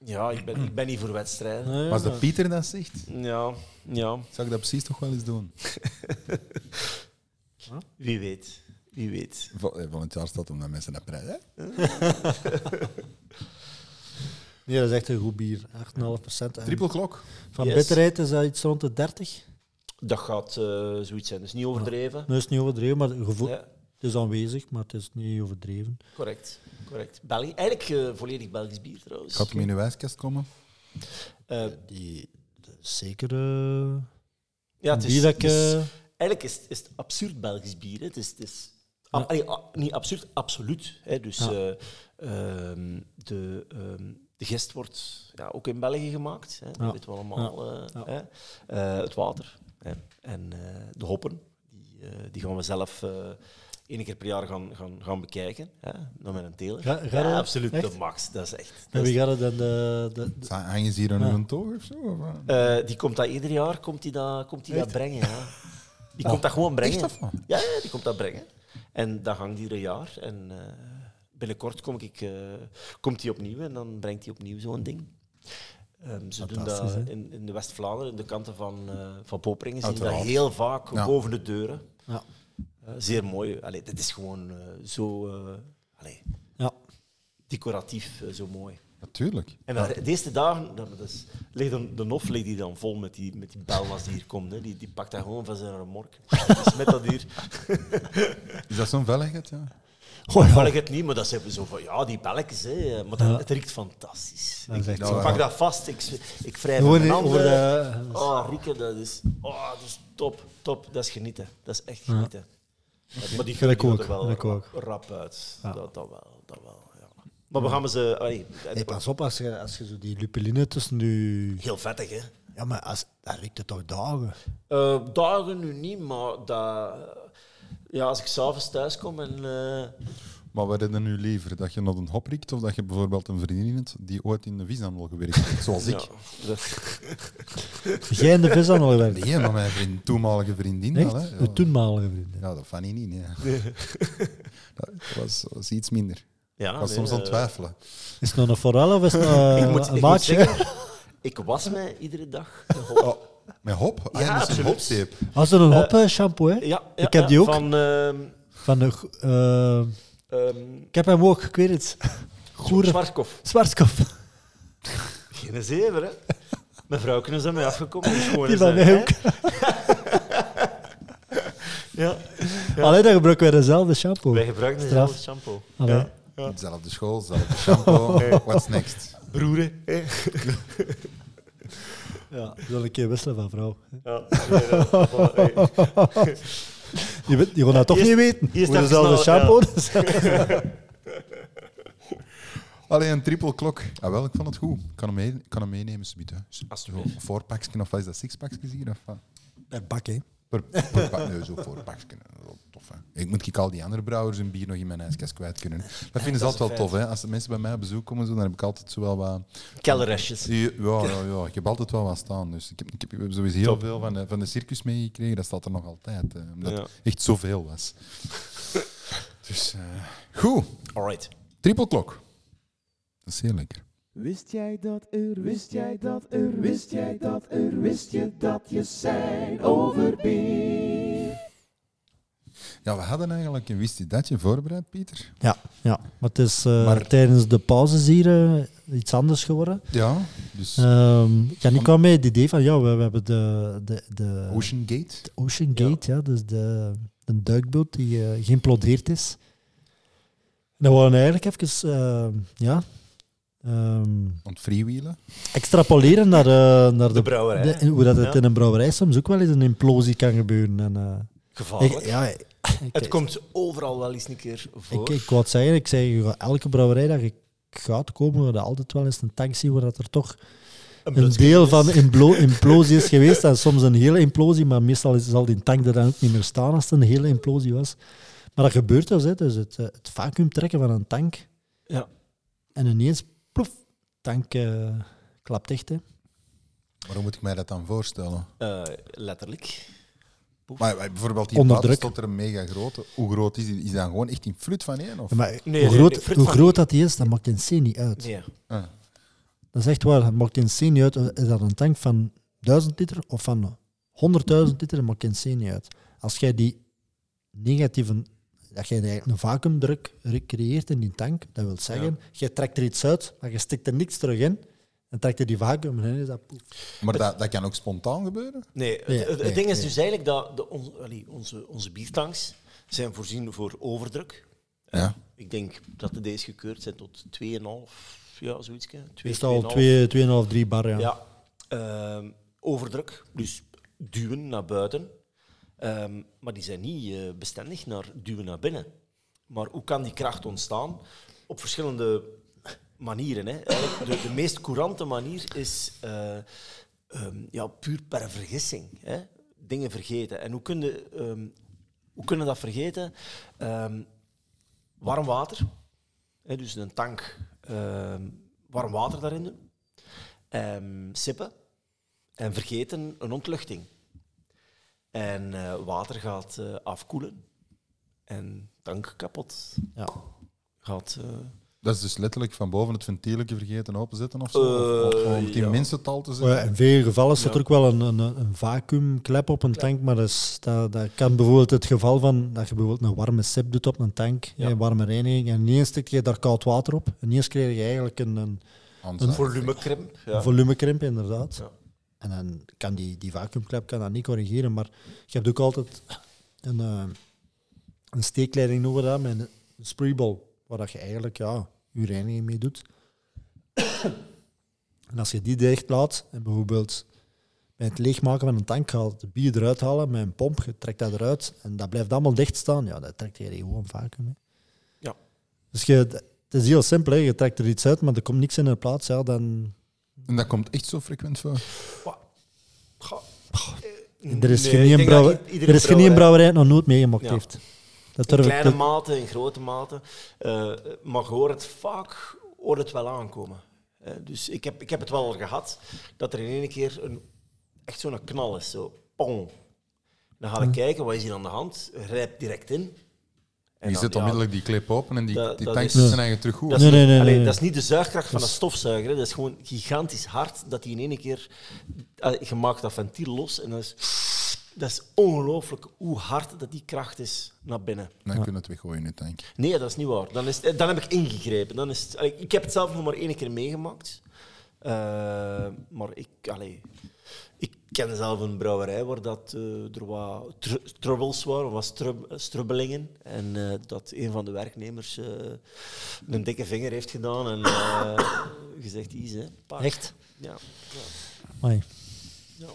Speaker 4: Ja, ik ben, ik ben niet voor wedstrijden.
Speaker 2: Ja, ja,
Speaker 1: Maar als dat
Speaker 2: maar-
Speaker 1: Pieter dat zegt,
Speaker 4: Ja, ja.
Speaker 1: zou ik dat precies toch wel eens doen.
Speaker 4: Wie weet. Wie weet.
Speaker 1: Van eh, van het jaar staat om dat mensen naar prijs. Hè?
Speaker 2: Nee, dat is echt een goed bier. 8,5 en
Speaker 1: Trippelklok.
Speaker 2: Van
Speaker 4: Yes.
Speaker 2: bitterheid is dat iets rond de 30.
Speaker 4: Dat gaat eh, zoiets zijn. Dat is niet overdreven.
Speaker 2: Dat is niet overdreven, maar het gevoel,
Speaker 4: Ja.
Speaker 2: het Het is aanwezig, maar het is niet overdreven.
Speaker 4: Correct, correct. België, eigenlijk eh, volledig Belgisch bier trouwens.
Speaker 1: Gaat hem in uw ijskast komen?
Speaker 4: Eh,
Speaker 2: Die, dat is zeker eh
Speaker 4: ja, het
Speaker 2: een bier
Speaker 4: is- dus-
Speaker 2: dat ik...
Speaker 4: het is-
Speaker 2: eh,
Speaker 4: Eigenlijk is, het- is het absurd Belgisch bier. Hè. Het is, het is ah,
Speaker 2: Ja.
Speaker 4: allee, ah, niet absurd, absoluut. Hè. Dus
Speaker 2: Ja.
Speaker 4: eh, ehm, de, ehm, de gist wordt ja, ook in België gemaakt. Hè. Dat
Speaker 2: Ja.
Speaker 4: weten we allemaal. eh,
Speaker 2: Ja.
Speaker 4: hè. Eh, het water hè. en eh, de hoppen. Die, eh, die gaan we zelf eh één keer per jaar gaan, gaan, gaan bekijken. Hè. Dan met een teler.
Speaker 2: Ga- ga
Speaker 4: ja,
Speaker 2: dat?
Speaker 4: absoluut,
Speaker 2: Echt?
Speaker 4: de max. Dat is echt.
Speaker 2: en
Speaker 4: dat is-
Speaker 2: wie gaat het dan? De, de, de-
Speaker 1: Zijn- Hangen ze hier aan
Speaker 2: Ja.
Speaker 1: hun toog of zo? Of, eh?
Speaker 4: Eh, die komt dat ieder jaar komt die dat, komt die dat brengen. Ja. Die komt dat gewoon brengen.
Speaker 1: Echt of wat?
Speaker 4: Ja, ja, die komt dat brengen. En dat hangt ieder jaar. En eh, binnenkort kom ik, eh, komt hij opnieuw en dan brengt hij opnieuw zo'n ding. Ehm, ze doen
Speaker 2: Fantastisch,
Speaker 4: dat
Speaker 2: hè?
Speaker 4: in, in de West-Vlaanderen, in de kanten van, eh van Poperingen, zien we dat
Speaker 1: Uiteraard.
Speaker 4: heel vaak
Speaker 1: Ja.
Speaker 4: boven de deuren.
Speaker 2: Ja.
Speaker 4: Eh, zeer mooi. Allee, dit is gewoon eh, zo eh, allee,
Speaker 2: ja.
Speaker 4: decoratief, eh, zo mooi.
Speaker 1: Natuurlijk.
Speaker 4: En maar de eerste dagen, dat, dat is, ligt dan, de nof ligt hier dan vol met die, met die bel als die hier komt. Hè. Die, die pakt dat gewoon van zijn remork. *laughs* Dus met dat hier.
Speaker 1: Is dat zo'n velligheid? Ja.
Speaker 2: Goh, ja.
Speaker 4: Wel, ik het niet, maar dat zijn we zo van, ja, die belletjes. Hè. Maar dat,
Speaker 2: Ja.
Speaker 4: het riekt fantastisch.
Speaker 2: Dat is
Speaker 4: Ik,
Speaker 2: echt
Speaker 4: ik
Speaker 1: zo.
Speaker 4: pak dat vast, ik, ik wrijf
Speaker 2: Gewoon
Speaker 4: met mijn
Speaker 2: over
Speaker 4: handen.
Speaker 2: de...
Speaker 4: Oh, Rieke, dat is, oh, dat is top, top. Dat is genieten. Dat is echt genieten. Maar die
Speaker 2: Ja, dat
Speaker 4: die
Speaker 2: ook,
Speaker 4: er wel
Speaker 2: dat ook.
Speaker 4: rap uit.
Speaker 2: Ja.
Speaker 4: Dat, dat wel, dat wel, ja. Maar we gaan maar ze... allee,
Speaker 2: Hey, pas op, als je, als je zo die lupuline tussen nu...
Speaker 4: heel vettig, hè.
Speaker 2: Ja, maar als, dat riekt het toch dagen?
Speaker 4: Eh, dagen nu niet, maar dat, ja, als ik s'avonds thuis kom en. eh,
Speaker 1: Maar wat heb je nu liever? Dat je nog een hop riekt of dat je bijvoorbeeld een vriendin hebt die ooit in de vishandel gewerkt heeft, zoals ik?
Speaker 4: ja, dat-
Speaker 2: Jij in de vishandel gewerkt?
Speaker 1: Nee, maar mijn vriend, toenmalige vriendin wel. Hè?
Speaker 2: Echt? De toenmalige vrienden.
Speaker 1: Ja, dat van niet, nee. *laughs* Dat was, was iets minder.
Speaker 4: ja,
Speaker 1: Ik was
Speaker 4: nee,
Speaker 1: soms aan het
Speaker 4: eh,
Speaker 1: twijfelen.
Speaker 2: Is het nog een forel of
Speaker 4: *laughs*
Speaker 2: is het nog een
Speaker 4: ik moet, ik moet
Speaker 2: Eh, maatje? *laughs*
Speaker 4: zeggen, ik was mij iedere *laughs* dag. een *laughs* hop.
Speaker 1: Oh, Met hop? Ah,
Speaker 4: Ja,
Speaker 1: ja, dat is een
Speaker 4: absoluut.
Speaker 1: hopzeep.
Speaker 2: Als er een hop eh, shampoo, hè?
Speaker 4: Ja, ja,
Speaker 2: Ik heb
Speaker 4: ja,
Speaker 2: die ook.
Speaker 4: Van, ehm
Speaker 2: Van de, go- eh,
Speaker 4: ehm
Speaker 2: ik heb hem ook, ik weet
Speaker 4: *laughs*
Speaker 2: het. Goeren.
Speaker 4: Zwartkop.
Speaker 2: Zwartskop.
Speaker 4: Geen zever, hè? Mijn vrouw is aan mij afgekomen. Die, is eh, gewoon
Speaker 2: Die
Speaker 4: eens
Speaker 2: van
Speaker 4: aan-
Speaker 2: mij ook. *laughs*
Speaker 4: Ja,
Speaker 2: Alleen dan gebruiken wij dezelfde shampoo.
Speaker 4: wij gebruiken
Speaker 2: Straf.
Speaker 4: dezelfde shampoo.
Speaker 2: Allee.
Speaker 4: Ja. Ja.
Speaker 1: Zelfde school, zelfde
Speaker 4: *laughs*
Speaker 1: shampoo. What's next?
Speaker 4: Broeren. hè.
Speaker 2: Ja, we zullen een keer wisselen van vrouw.
Speaker 4: Ja, nee, dat- voilà, hey.
Speaker 2: *laughs* Je, weet, je kon dat toch
Speaker 4: Eerst-
Speaker 2: niet weten.
Speaker 4: eerst
Speaker 2: Voor
Speaker 4: even
Speaker 2: dezelfde
Speaker 4: snel,
Speaker 2: shampoo. *laughs*
Speaker 4: ja.
Speaker 2: dus-
Speaker 1: Allee, een triple klok. Ah, wel, ik vond het goed. Ik kan hem, mee, ik kan hem meenemen, subiet. hè. Zo, een voorpakje of wat is dat, sixpakjes hier? Of wat?
Speaker 2: Per bak, hè.
Speaker 1: Per, per pak, *laughs* nee, zo voorpakje. Wel Tof, hè. Ik moet ik al die andere brouwers hun bier nog in mijn ijskast kwijt kunnen. Dat vinden ze
Speaker 4: Dat is
Speaker 1: altijd wel
Speaker 4: een
Speaker 1: tof. Hè. Als de mensen bij mij op bezoek komen, zo, dan heb ik altijd zo wel wat...
Speaker 4: Kellerrestjes.
Speaker 1: Ja, ja, ja, ik heb altijd wel wat staan. Dus ik heb, ik heb sowieso heel veel van de, van de circus meegekregen. Dat staat er nog altijd. hè, omdat
Speaker 4: Ja.
Speaker 1: het echt zoveel was. dus eh, goed,
Speaker 4: Alright.
Speaker 1: trippelklok. Dat is heel lekker.
Speaker 3: Wist jij dat er, wist jij dat er, wist jij dat er, wist je dat je zijn over bier?
Speaker 1: Ja, we hadden eigenlijk een wist je dat je voorbereid, Pieter.
Speaker 2: Ja, ja, maar het is eh,
Speaker 1: Maar-
Speaker 2: tijdens de pauzes hier eh, iets anders geworden.
Speaker 1: Ja, dus
Speaker 2: Ehm ja, nu kwam mij het idee van, ja, we, we hebben de, de, de
Speaker 1: Ocean Gate.
Speaker 2: Ocean Gate, ja. dus de, de duikboot die eh, geïmplodeerd is. En dan waren we eigenlijk even, eh, ja, ehm,
Speaker 1: Aan het freewheelen.
Speaker 2: extrapoleren naar, eh, naar de,
Speaker 4: De brouwerij.
Speaker 2: de- en hoe dat het
Speaker 4: Ja.
Speaker 2: in een brouwerij soms ook wel eens een implosie kan gebeuren. En, eh,
Speaker 4: Gevaarlijk.
Speaker 2: ik, ja, ik,
Speaker 4: *laughs* Het komt overal wel eens een keer
Speaker 2: ik,
Speaker 4: voor.
Speaker 2: ik wou het zeggen, ik zeg, elke brouwerij dat je gaat komen, we dat altijd wel eens een tank zien waar dat er toch een
Speaker 4: blutsje
Speaker 2: deel
Speaker 4: is.
Speaker 2: van
Speaker 4: *laughs*
Speaker 2: implo- implosie is geweest. En soms een hele implosie, maar meestal is- zal die tank er dan ook niet meer staan als het een hele implosie was. Maar dat gebeurt dus, hè. dus het, eh, het vacuüm trekken van een tank.
Speaker 4: Ja.
Speaker 2: En ineens, ploef, tank eh, klapt dicht. Hè.
Speaker 1: Maar hoe moet ik mij dat dan voorstellen?
Speaker 4: Eh, letterlijk.
Speaker 1: Maar, maar bijvoorbeeld hier
Speaker 2: Onder
Speaker 1: buiten
Speaker 2: druk.
Speaker 1: stond er een mega grote. Hoe groot is die? Is dat gewoon echt in flut van één? Of?
Speaker 2: Ja, maar
Speaker 4: nee,
Speaker 2: hoe groot,
Speaker 4: nee, Frit
Speaker 2: hoe
Speaker 4: van-
Speaker 2: groot dat die is, dat maakt in C niet uit.
Speaker 4: Nee.
Speaker 1: Ah,
Speaker 2: Dat is echt waar, dat maakt in C niet uit. Is dat een tank van 1000 liter of van 100.000 liter, dat maakt in C niet uit. Als jij die negatieve, dat jij eigenlijk een vacuümdruk creëert in die tank, dat wil zeggen, jij trekt er iets uit, maar je stikt er niks terug in. En trekt er die vacuüm in, is dat poef.
Speaker 1: Maar dat, dat kan ook spontaan gebeuren?
Speaker 4: Nee, het,
Speaker 2: Nee,
Speaker 4: het- het
Speaker 2: nee,
Speaker 4: ding is
Speaker 2: nee.
Speaker 4: dus eigenlijk dat de, on- allee, onze, onze biertanks zijn voorzien voor overdruk.
Speaker 1: Ja.
Speaker 4: Ik denk dat de D's gekeurd zijn tot 2,5, ja, zoiets. hè. Twee,
Speaker 2: Meestal
Speaker 4: 2,5.
Speaker 2: 2,5, 3 bar, ja.
Speaker 4: Ja. Ehm, overdruk, dus duwen naar buiten. Ehm, maar die zijn niet eh, bestendig naar duwen naar binnen. Maar hoe kan die kracht ontstaan? Op verschillende manieren. Hè. Eigenlijk De, de meest courante manier is eh, ehm, ja, puur per vergissing. Hè. Dingen vergeten. En hoe kunnen ehm hoe kunnen we dat vergeten? Ehm, warm water. Hè, dus een tank ehm, warm water daarin doen ehm, sippen en vergeten een ontluchting. En eh, water gaat eh, afkoelen en tank kapot
Speaker 2: Ja.
Speaker 4: gaat. eh,
Speaker 1: Dat is dus letterlijk van boven het ventieletje vergeten openzetten of zo? Of- of,
Speaker 4: Eh,
Speaker 1: om het in
Speaker 4: ja.
Speaker 1: minstental te
Speaker 2: Oh ja,
Speaker 1: zetten?
Speaker 2: in veel gevallen staat
Speaker 4: Ja.
Speaker 2: er ook wel een, een, een vacuümklep op een tank, maar dat, is, dat, dat kan bijvoorbeeld het geval van dat je bijvoorbeeld een warme sip doet op een tank,
Speaker 4: Ja.
Speaker 2: een warme reiniging, en ineens stik je daar koud water op. En ineens krijg je eigenlijk een, een
Speaker 1: Handzak.
Speaker 4: volumekrimp. Ja.
Speaker 2: volumekrimp, inderdaad.
Speaker 4: Ja.
Speaker 2: En dan kan die, die vacuümklep kan dat niet corrigeren, maar je hebt ook altijd een, eh, een steekleiding noemen we dat, met een spreeball, waar dat je eigenlijk ja, je reiniging mee doet. *coughs* en als je die dicht laat, en bijvoorbeeld bij het leegmaken van een tank gaat het bier eruit halen met een pomp, je trekt dat eruit en dat blijft allemaal dicht staan, ja, dat trekt je gewoon vacuüm. hè.
Speaker 4: Ja.
Speaker 2: Dus je, het is heel simpel, hè. je trekt er iets uit, maar er komt niks in de plaats, ja, dan...
Speaker 1: En dat komt echt zo frequent voor.
Speaker 4: Wa- Ga- Eh,
Speaker 2: Er is
Speaker 4: nee,
Speaker 2: geen
Speaker 4: ik
Speaker 2: één
Speaker 4: denk
Speaker 2: brouwer-
Speaker 4: dat i- iedere
Speaker 2: er is geen één
Speaker 4: brouwerij-
Speaker 2: brouwerij die het nog nooit meegemaakt
Speaker 4: Ja.
Speaker 2: heeft. Dat
Speaker 4: In
Speaker 2: durf ik
Speaker 4: kleine
Speaker 2: te-
Speaker 4: mate, in grote mate. eh, maar je hoort het vaak, hoort het wel aankomen. Eh, dus ik heb, ik heb het wel al gehad, dat er in één keer een, echt zo'n knal is. Zo, pong. Dan
Speaker 2: Hm.
Speaker 4: ga ik kijken, wat is hier aan de hand? Rijp direct in. En
Speaker 1: Je
Speaker 4: dan,
Speaker 1: zet
Speaker 4: ja,
Speaker 1: onmiddellijk die clip open en die,
Speaker 4: Dat-
Speaker 1: die
Speaker 4: dat
Speaker 1: tank
Speaker 4: is-
Speaker 1: zit zijn eigen terug goed.
Speaker 4: dat is,
Speaker 2: Nee, nee, nee,
Speaker 4: allee,
Speaker 2: nee, nee.
Speaker 4: dat is niet de zuigkracht van
Speaker 2: Dat
Speaker 4: een
Speaker 2: is-
Speaker 4: stofzuiger. Hè. Dat is gewoon gigantisch hard dat die in één keer. allee, je maakt dat ventiel los en dat is. Dat is ongelooflijk hoe hard dat die kracht is naar binnen.
Speaker 1: Dan kunnen we het weggooien in de tank.
Speaker 4: Nee, dat is niet waar. Dan, is het- dan heb ik ingegrepen. Dan is het- allee, ik heb het zelf nog maar één keer meegemaakt. Eh, maar ik, allee, ik ken zelf een brouwerij waar dat, eh, er wat tr- troubles waren, wat strub- strubbelingen. En eh, dat een van de werknemers eh, een dikke vinger heeft gedaan en eh, gezegd: Is hè? pak."
Speaker 2: Echt?
Speaker 4: Ja. ja.
Speaker 2: Amai.
Speaker 4: Ja.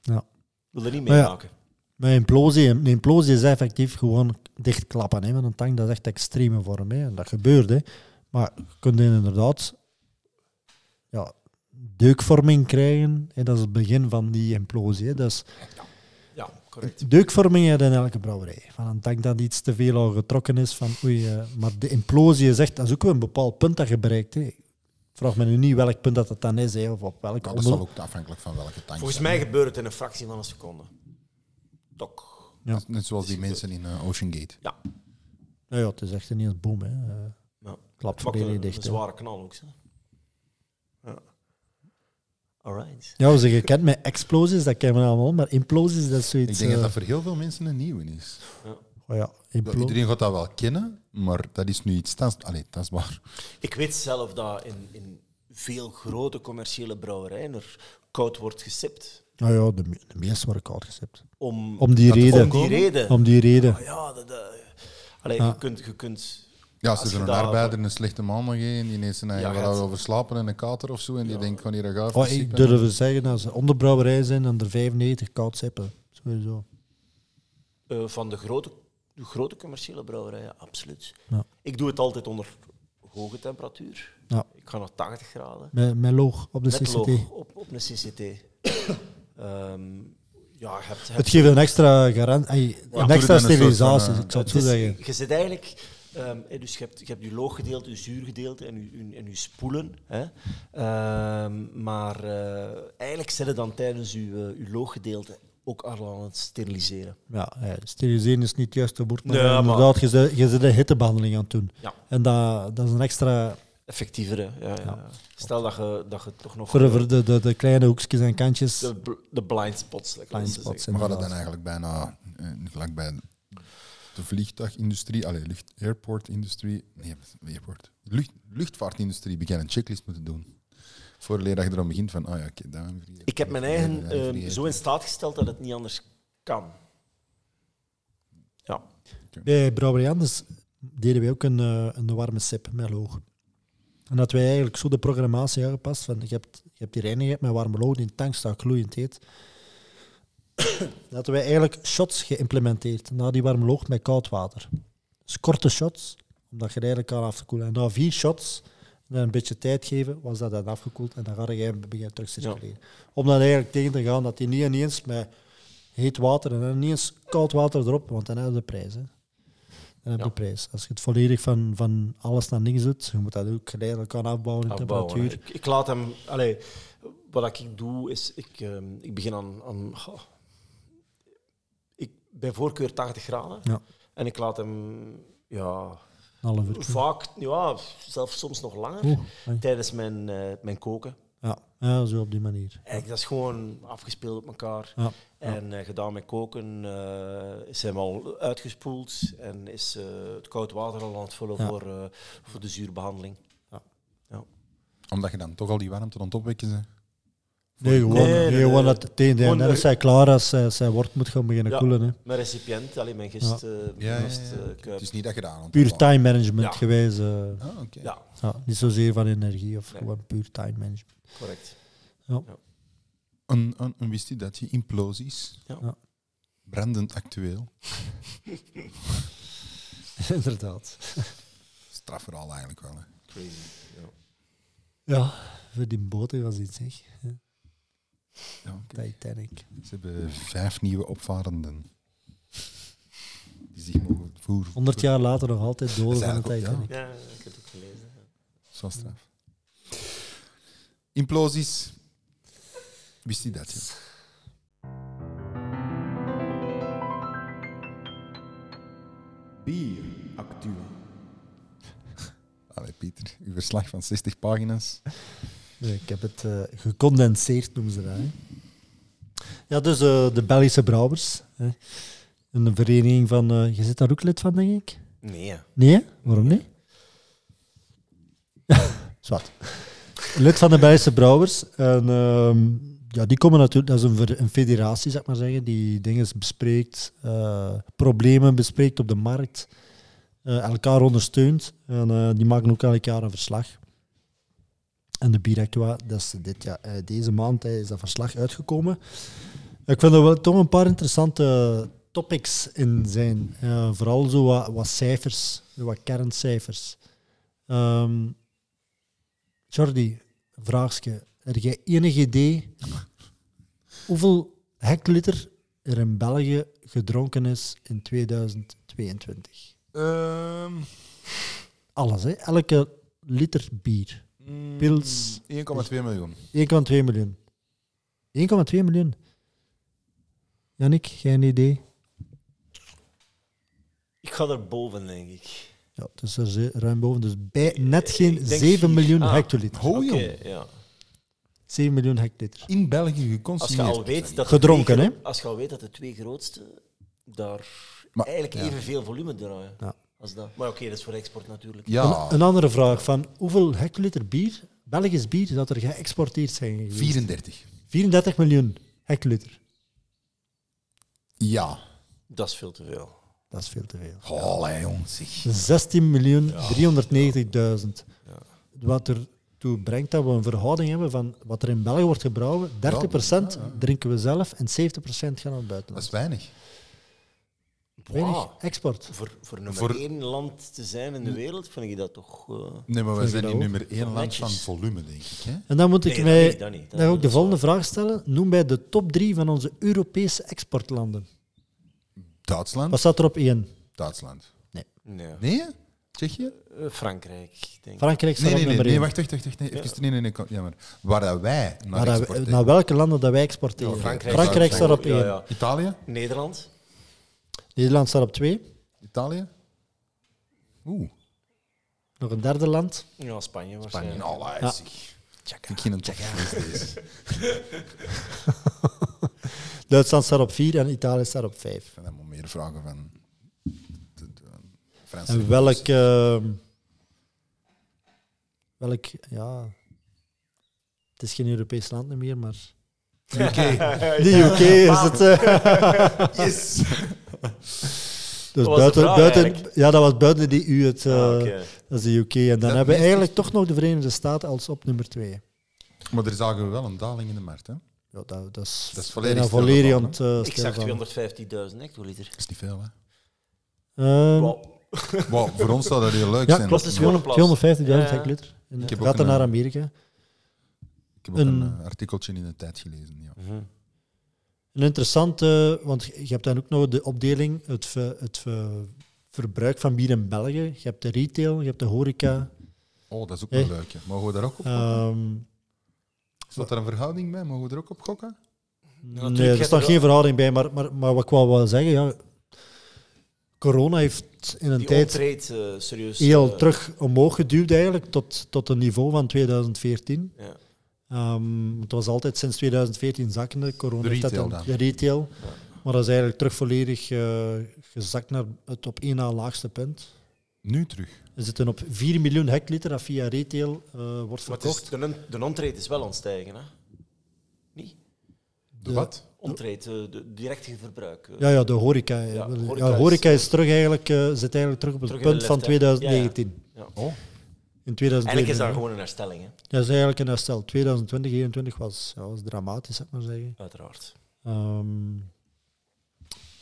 Speaker 2: Ja.
Speaker 4: Wil er niet
Speaker 2: Maar
Speaker 4: mee
Speaker 2: ja.
Speaker 4: maken.
Speaker 2: Maar implosie, een implosie is effectief gewoon dichtklappen hè, van een tank. Dat is echt extreme vorm. Hè. En dat gebeurt. Hè. Maar je kunt inderdaad ja, deukvorming krijgen. Hè. Dat is het begin van die implosie. Hè. Dat is
Speaker 4: ja. correct.
Speaker 2: Deukvorming heb je in elke brouwerij. Van een tank dat iets te veel al getrokken is. Van, oei, eh, maar de implosie is echt, dat is ook wel een bepaald punt dat je bereikt. Hè. Ik vraag me nu niet welk punt dat, dat dan is, hè, of op welk
Speaker 1: Maar dat
Speaker 2: onder-
Speaker 1: zal ook afhankelijk van welke tank.
Speaker 4: Volgens
Speaker 1: zijn.
Speaker 4: mij gebeurt het in een fractie van een seconde. Dok.
Speaker 2: Ja.
Speaker 1: Net zoals die mensen in eh, Ocean Gate.
Speaker 2: Nou ja, het is echt ineens boom. Hè. Eh,
Speaker 4: Ja.
Speaker 2: Klapt
Speaker 4: Het was
Speaker 2: voor
Speaker 4: een,
Speaker 1: eh,
Speaker 2: jullie
Speaker 4: een
Speaker 2: dicht. hè.
Speaker 4: zware knal ook. Zo. Ja. Alright.
Speaker 2: Ja, we zijn gekend met explosies, dat kennen we allemaal. Maar implosies, dat is zoiets...
Speaker 1: Ik denk dat
Speaker 2: eh,
Speaker 1: dat voor heel veel mensen een nieuwe is.
Speaker 2: oh ja,
Speaker 1: Dat
Speaker 2: implo-
Speaker 1: Iedereen gaat dat wel kennen, maar dat is nu iets... Dat is, allee, dat is waar.
Speaker 4: Ik weet zelf dat in, in veel grote commerciële brouwerijen er koud wordt gesipt.
Speaker 2: Nou ja, de, me- de meeste worden koud gesipt.
Speaker 4: Om,
Speaker 2: Om die
Speaker 1: Dat
Speaker 2: reden.
Speaker 4: om die reden.
Speaker 2: Om die reden.
Speaker 1: Oh,
Speaker 4: Ah ja, dat, dat- Allee,
Speaker 2: Ja.
Speaker 4: Je, kunt, je kunt...
Speaker 1: Ja,
Speaker 4: Als
Speaker 1: als er
Speaker 4: je
Speaker 1: een
Speaker 4: daar-
Speaker 1: arbeider een slechte man nog een, die ineens zijn eigen
Speaker 4: Ja,
Speaker 1: verhaal
Speaker 4: gaat-
Speaker 1: over slapen en een kater of zo, en die denkt van hier een gaaf.
Speaker 2: Oh, ik durf te zeggen, als ze onderbrouwerij zijn, dan er 95 koud sippen. Sowieso.
Speaker 4: eh, van de grote, de grote commerciële brouwerijen, absoluut.
Speaker 2: Ja.
Speaker 4: Ik doe het altijd onder hoge temperatuur.
Speaker 2: Ja.
Speaker 4: Ik ga naar 80 graden.
Speaker 2: Met, met loog op de
Speaker 4: Met
Speaker 2: CCT.
Speaker 4: loog op, op een CCT. *coughs* Ehm, ja, je hebt, je hebt
Speaker 2: Het geeft een extra garantie,
Speaker 1: doe
Speaker 2: een
Speaker 1: je dan
Speaker 2: extra
Speaker 1: een soort
Speaker 2: sterilisatie,
Speaker 1: van, eh,
Speaker 2: ik zou het zo
Speaker 4: Het is-
Speaker 2: zeggen.
Speaker 4: Je zit eigenlijk... ehm, hè, dus je hebt, je hebt je looggedeelte, je zuurgedeelte en je, je- en je spoelen. Hè. Ehm, maar eh, eigenlijk zit het dan tijdens je, eh, je looggedeelte ook al aan het steriliseren.
Speaker 2: Ja, eh, steriliseren is niet het juiste woord, maar
Speaker 4: Nee,
Speaker 2: eh,
Speaker 4: maar-
Speaker 2: inderdaad, je zit- je zit een hittebehandeling aan het doen.
Speaker 4: Ja.
Speaker 2: En dat, dat is een extra,
Speaker 4: Effectievere. Ja, ja.
Speaker 2: Ja.
Speaker 4: Stel dat je, dat je toch nog...
Speaker 2: voor, voor de, de, de kleine hoekjes en kantjes,
Speaker 4: de, bl- de blind spots. lekker
Speaker 2: blind
Speaker 4: zeggen.
Speaker 2: spots.
Speaker 1: Maar gaat het
Speaker 2: inderdaad.
Speaker 1: dan eigenlijk bijna eh, vlak bij de vliegtuigindustrie, allee, lucht, airportindustrie, nee, airport, lucht, luchtvaartindustrie beginnen een checklist moeten doen. Voor dat je erom begint van, ah ja, oké, daar hebben we
Speaker 4: Ik heb mijn eigen
Speaker 1: daar
Speaker 4: eh,
Speaker 1: hebben we
Speaker 4: ehm,
Speaker 1: hier.
Speaker 4: zo in staat gesteld dat het niet anders kan. Ja.
Speaker 2: Bij Brouwerij Anders dus deden wij ook een, eh, een warme sip met loog. En dat wij eigenlijk zo de programmatie aangepast van je hebt, je hebt hier reinigheid met warme loog die in de tank staat gloeiend heet. *coughs* dat wij eigenlijk shots geïmplementeerd na die warme loog met koud water. Dus korte shots, omdat je er eigenlijk kan afkoelen. En na vier shots, en een beetje tijd geven, was dat dan afgekoeld en dan ga je beginnen terug circuleren. Om dan eigenlijk tegen te gaan dat die niet ineens met heet water en dan ineens koud water erop, want dan heb je de prijs. Hè. Dan heb je
Speaker 4: Ja.
Speaker 2: de prijs. Als je het volledig van, van alles naar niks doet, je moet dat ook geleidelijk aan afbouwen in
Speaker 4: Afbouwen,
Speaker 2: temperatuur.
Speaker 4: hè. Ik, ik laat hem. Allee, wat ik doe is, ik, ehm, ik begin aan. aan goh, ik, bij voorkeur 80 graden.
Speaker 2: Ja.
Speaker 4: En ik laat hem ja,
Speaker 2: Een half uur.
Speaker 4: vaak, ja, zelfs soms nog langer,
Speaker 2: Oeh, ai.
Speaker 4: tijdens mijn, eh, mijn koken.
Speaker 2: ja. ja, zo op die manier.
Speaker 4: Eigenlijk, dat is gewoon afgespeeld op elkaar.
Speaker 2: Ja.
Speaker 4: En eh, gedaan met koken eh, is hem al uitgespoeld en is eh, het koud water al aan het vullen
Speaker 2: Ja.
Speaker 4: voor, eh, voor de zuurbehandeling.
Speaker 1: Omdat je dan toch al die warmte aan het opwekken bent.
Speaker 2: Nee, gewoon,
Speaker 4: Nee,
Speaker 2: nee,
Speaker 4: nee,
Speaker 2: gewoon
Speaker 4: nee.
Speaker 2: dat het een en
Speaker 4: Gewoon
Speaker 2: dan
Speaker 4: de-
Speaker 2: is zij klaar als zij, zij wordt moet gaan beginnen
Speaker 4: Ja.
Speaker 2: koelen. Hè.
Speaker 4: Mijn recipiënt, alleen mijn gist, eh mijn gast, eh,
Speaker 1: Het
Speaker 4: Kuip.
Speaker 1: is niet dat je daar aan het
Speaker 2: Puur
Speaker 1: opbouwen
Speaker 2: time management
Speaker 4: Ja.
Speaker 2: gewijs. eh,
Speaker 1: bent. Ah, oké.
Speaker 4: Ja,
Speaker 2: ja, niet zozeer van energie of
Speaker 4: Nee.
Speaker 2: gewoon puur time management.
Speaker 4: *laughs* correct.
Speaker 1: Een, een, een wist je dat je implosies?
Speaker 4: Ja.
Speaker 2: Ja.
Speaker 1: Brandend actueel.
Speaker 2: Inderdaad.
Speaker 1: Strafverhaal eigenlijk wel. Hè.
Speaker 4: Crazy. Ja.
Speaker 2: Ja, voor die boten was iets, zeg.
Speaker 1: Ja,
Speaker 2: Titanic.
Speaker 1: Ze hebben vijf nieuwe opvarenden. Die zich mogen voeren.
Speaker 2: 100 jaar later nog altijd doden
Speaker 1: Dat is
Speaker 2: van de
Speaker 1: eigenlijk ook- ja.
Speaker 2: Titanic.
Speaker 4: ja, ik heb het ook gelezen.
Speaker 1: Zo straf. Implosies. Wist je dat? Ja?
Speaker 3: Bier actueel.
Speaker 1: Allee, Pieter, uw verslag van 60 pagina's.
Speaker 2: Nee, ik heb het eh, gecondenseerd, noemen ze dat. Hè. Ja, dus eh, de Belgische Brouwers. Hè. Een vereniging van... eh, je zit daar ook lid van, denk ik?
Speaker 4: Nee, ja.
Speaker 2: Nee, hè? waarom niet? *laughs* Zwart. Lid van de Belgische Brouwers. En, ehm, ja, die komen natuurlijk, dat is een, ver- een federatie, zeg maar zeggen, die dingen bespreekt, eh, problemen bespreekt op de markt, eh, elkaar ondersteunt. En eh, die maken ook elk jaar een verslag. En de Biractua, dat is dit, ja, eh, deze maand eh, is dat verslag uitgekomen. Ik vind er wel toch een paar interessante topics in zijn. Eh, vooral zo wat, wat cijfers, wat kerncijfers. Ehm, Jordi, een vraagje. Heb jij enig idee hoeveel hectoliter er in België gedronken is in 2022?
Speaker 1: Ehm,
Speaker 2: Alles, hè? Elke liter bier.
Speaker 1: mm,
Speaker 2: Pils.
Speaker 1: 1,2 miljoen.
Speaker 2: 1,2 miljoen. 1,2 miljoen. Jannik, geen idee?
Speaker 4: Ik ga er boven, denk ik.
Speaker 2: Ja, het is er ze- ruim boven. Dus bij net
Speaker 4: Ik
Speaker 2: geen
Speaker 4: denk
Speaker 2: 7
Speaker 4: vier.
Speaker 2: miljoen
Speaker 4: Ah.
Speaker 2: hectoliter.
Speaker 1: Ho,
Speaker 4: Oké,
Speaker 1: jong.
Speaker 4: ja.
Speaker 2: 7 miljoen hectoliter.
Speaker 1: In België
Speaker 4: Als je
Speaker 1: geconsumeerd.
Speaker 4: al weet dat de
Speaker 2: Gedronken,
Speaker 4: twee
Speaker 2: hè?
Speaker 4: gro- Als je al weet dat de twee grootste daar
Speaker 1: Maar-
Speaker 4: eigenlijk
Speaker 1: ja.
Speaker 4: evenveel volume draaien
Speaker 2: Ja.
Speaker 4: als dat. Maar oké, dat is voor export natuurlijk.
Speaker 1: Ja,
Speaker 2: Een, een andere vraag. Van hoeveel hectoliter bier, Belgisch bier, dat er geëxporteerd zijn geweest?
Speaker 1: 34.
Speaker 2: 34 miljoen hectoliter.
Speaker 1: Ja. Oh,
Speaker 4: Dat is veel te veel.
Speaker 2: Dat is veel te veel.
Speaker 1: Allee, jong, zeg.
Speaker 2: 16 miljoen 390.000. Wat er toe brengt dat we een verhouding hebben van wat er in België wordt gebrouwen. 30% drinken we zelf en 70% gaan naar het
Speaker 1: Dat is
Speaker 2: buitenland.
Speaker 1: weinig.
Speaker 2: Weinig
Speaker 4: Wauw.
Speaker 2: export.
Speaker 4: Voor, voor nummer
Speaker 1: Voor-
Speaker 4: één land te zijn in de wereld, vind ik dat toch... eh,
Speaker 1: Nee, maar we
Speaker 2: Vind je
Speaker 1: zijn
Speaker 2: dat
Speaker 1: in
Speaker 2: ook?
Speaker 1: nummer 1 land van
Speaker 4: Netjes.
Speaker 1: volume, denk ik. Hè?
Speaker 2: En dan moet ik
Speaker 4: Nee, dat
Speaker 2: mij
Speaker 4: niet, dat niet. Dat
Speaker 2: dan ook
Speaker 4: is
Speaker 2: de
Speaker 4: wel-
Speaker 2: volgende vraag stellen. Noem mij de top drie van onze Europese exportlanden.
Speaker 1: Duitsland?
Speaker 2: Wat staat er op één?
Speaker 1: Duitsland.
Speaker 4: nee.
Speaker 1: Nee? hè? Tsjechië?
Speaker 4: Eh, Frankrijk, denk ik.
Speaker 2: Frankrijk staat
Speaker 1: Nee, nee, nee,
Speaker 2: op nummer
Speaker 1: nee,
Speaker 2: één.
Speaker 1: wacht, wacht, wacht. wacht, Nee, even, nee, nee, nee, kom, jammer. Waar dat wij naar
Speaker 2: Maar dat-
Speaker 1: exporteren.
Speaker 2: naar welke landen dat wij nou- exporteren?
Speaker 1: Ja,
Speaker 2: Frankrijk,
Speaker 1: Frankrijk.
Speaker 2: staat op
Speaker 4: Ja,
Speaker 2: één.
Speaker 4: ja.
Speaker 1: Italië?
Speaker 4: Nederland,
Speaker 2: Nederland staat op twee.
Speaker 1: Italië? Oeh.
Speaker 2: Nog een derde land.
Speaker 4: ja, Spanje waarschijnlijk.
Speaker 1: Spanje. Allee,
Speaker 2: Ja.
Speaker 1: zeg. Vind Ik geen top vijf, deze.
Speaker 2: Duitsland staat op vier en Italië staat op vijf.
Speaker 1: Ik vind helemaal meer vragen van... De, de, Franse
Speaker 2: En welk... ehm, welk... Ja... Het is geen Europees land meer, maar... *laughs*
Speaker 1: Oké.
Speaker 4: *laughs*
Speaker 2: De UK is het... eh,
Speaker 1: Yes!
Speaker 2: Dus
Speaker 4: was de
Speaker 2: buiten,
Speaker 4: vraag
Speaker 2: buiten,
Speaker 4: eigenlijk.
Speaker 2: ja, dat was buiten die EU, het, eh,
Speaker 4: Ah, oké.
Speaker 2: dat is de UK. En dan
Speaker 1: Dat
Speaker 2: hebben we
Speaker 1: meest-
Speaker 2: eigenlijk toch nog de Verenigde Staten als op nummer twee.
Speaker 1: Maar er zagen we wel een daling in de markt. Hè?
Speaker 2: Ja, dat, dat is,
Speaker 1: Dat is volledig
Speaker 2: bijna volledig
Speaker 1: stilgevallen,
Speaker 2: aan het eh,
Speaker 4: Ik zag
Speaker 2: stilvallen.
Speaker 4: 250.000 hectoliter.
Speaker 1: Dat is niet veel, hè?
Speaker 2: Ehm,
Speaker 4: Wow.
Speaker 1: Wow, voor ons zou dat heel leuk
Speaker 2: Ja,
Speaker 1: zijn.
Speaker 4: klopt, het is gewoon een plas.
Speaker 2: 250.000
Speaker 4: Ja.
Speaker 2: hectoliter. En eh,
Speaker 1: Ik heb
Speaker 2: Gaat
Speaker 1: ook een-
Speaker 2: dan
Speaker 1: eh,
Speaker 2: naar Amerika.
Speaker 1: Ik heb ook een,
Speaker 2: een-
Speaker 1: eh, artikeltje in de tijd gelezen. Ja.
Speaker 2: Een interessante, want je hebt dan ook nog de opdeling, het, ver- het ver- verbruik van bier in België. Je hebt de retail, je hebt de horeca.
Speaker 1: Oh, dat is ook
Speaker 2: Hey.
Speaker 1: wel leuk. hè. Mogen we daar ook op gokken?
Speaker 2: Ehm,
Speaker 1: Staat daar een verhouding bij? Mogen we er ook op gokken?
Speaker 4: natuurlijk,
Speaker 2: nee,
Speaker 4: je
Speaker 2: er staat
Speaker 4: hebt
Speaker 2: geen verhouding bij, maar, maar, maar wat ik wou wel zeggen, ja, corona heeft in een
Speaker 4: Die
Speaker 2: tijd
Speaker 4: optreedt eh, serieus.
Speaker 2: heel
Speaker 4: eh,
Speaker 2: terug omhoog geduwd eigenlijk, tot, tot een niveau van 2014.
Speaker 4: Ja.
Speaker 2: Ehm, het was altijd sinds 2014 zakkende, corona
Speaker 1: De
Speaker 2: heeft dat
Speaker 1: retail
Speaker 2: dan, de retail. Maar dat is eigenlijk terug volledig eh, gezakt naar het op één na laagste punt.
Speaker 1: Nu terug.
Speaker 2: We zitten op 4 miljoen hectoliter dat via retail eh, wordt
Speaker 4: Maar het is,
Speaker 2: verkocht.
Speaker 4: de, on- de ontrade is wel aan het stijgen, hè? Niet?
Speaker 1: De
Speaker 2: Ja.
Speaker 1: wat?
Speaker 4: Ontrade, eh, de directe verbruik. eh.
Speaker 2: Ja, ja, de horeca. eh,
Speaker 4: Ja,
Speaker 2: wel- Ja, horeca,
Speaker 4: horeca
Speaker 2: is, terug eigenlijk, eh, zit eigenlijk terug op het
Speaker 4: Terug in de
Speaker 2: punt van
Speaker 4: lift, hè? Ja, ja.
Speaker 2: 2019.
Speaker 1: Oh,
Speaker 2: In
Speaker 4: Eigenlijk
Speaker 2: 2019.
Speaker 4: is dat gewoon een herstelling, hè?
Speaker 2: Dat is eigenlijk een herstel. 2020, 2021 was, ja, was dramatisch, zou ik maar zeggen.
Speaker 4: Uiteraard.
Speaker 2: Ehm,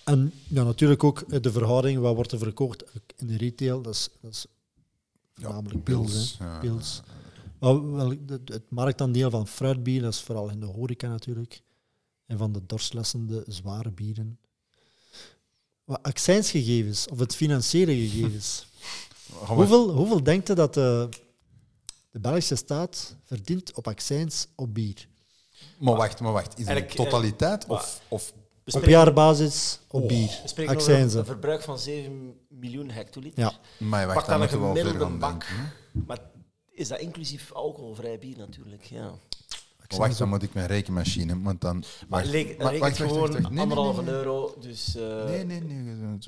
Speaker 2: en ja, natuurlijk ook eh, de verhouding, wat wordt er verkocht in de retail, dat is, dat is
Speaker 1: Ja,
Speaker 2: namelijk pils. hè.
Speaker 1: pils. Ja.
Speaker 2: Pils. Maar wel, de- de- het marktaandeel van fruitbier, dat is vooral in de horeca natuurlijk. En van de dorstlessende zware bieren. Wat accijnsgegevens, of het financiële
Speaker 1: *laughs*
Speaker 2: gegevens.
Speaker 1: Gaan we-
Speaker 2: hoeveel, hoeveel denkt u dat de, de Belgische staat verdient op accijns op bier?
Speaker 1: Maar wacht, maar wacht. Is het een
Speaker 4: Eigenlijk,
Speaker 1: totaliteit
Speaker 4: eh,
Speaker 1: of, of
Speaker 4: We
Speaker 2: Op
Speaker 4: spreken-
Speaker 2: jaarbasis op
Speaker 1: Oh.
Speaker 2: bier.
Speaker 4: we spreken over een
Speaker 2: Accijnzen.
Speaker 4: verbruik van 7 miljoen hectoliter.
Speaker 2: Ja.
Speaker 1: Maar
Speaker 4: Pak
Speaker 1: wacht,
Speaker 4: dan
Speaker 1: daar moeten
Speaker 4: een
Speaker 1: we wel verder
Speaker 4: gemiddelde
Speaker 1: aan
Speaker 4: bak.
Speaker 1: denken, hè.
Speaker 4: Maar is dat inclusief alcoholvrij bier natuurlijk? Ja.
Speaker 1: Maar wacht, dan moet ik mijn rekenmachine, want dan...
Speaker 4: Maar
Speaker 1: wacht,
Speaker 4: leek,
Speaker 1: wacht,
Speaker 4: rekent
Speaker 1: wacht, wacht,
Speaker 4: gewoon
Speaker 1: wacht, wacht. Nee, nee,
Speaker 4: anderhalve
Speaker 1: nee, nee.
Speaker 4: euro, dus eh
Speaker 1: Nee, nee, nee.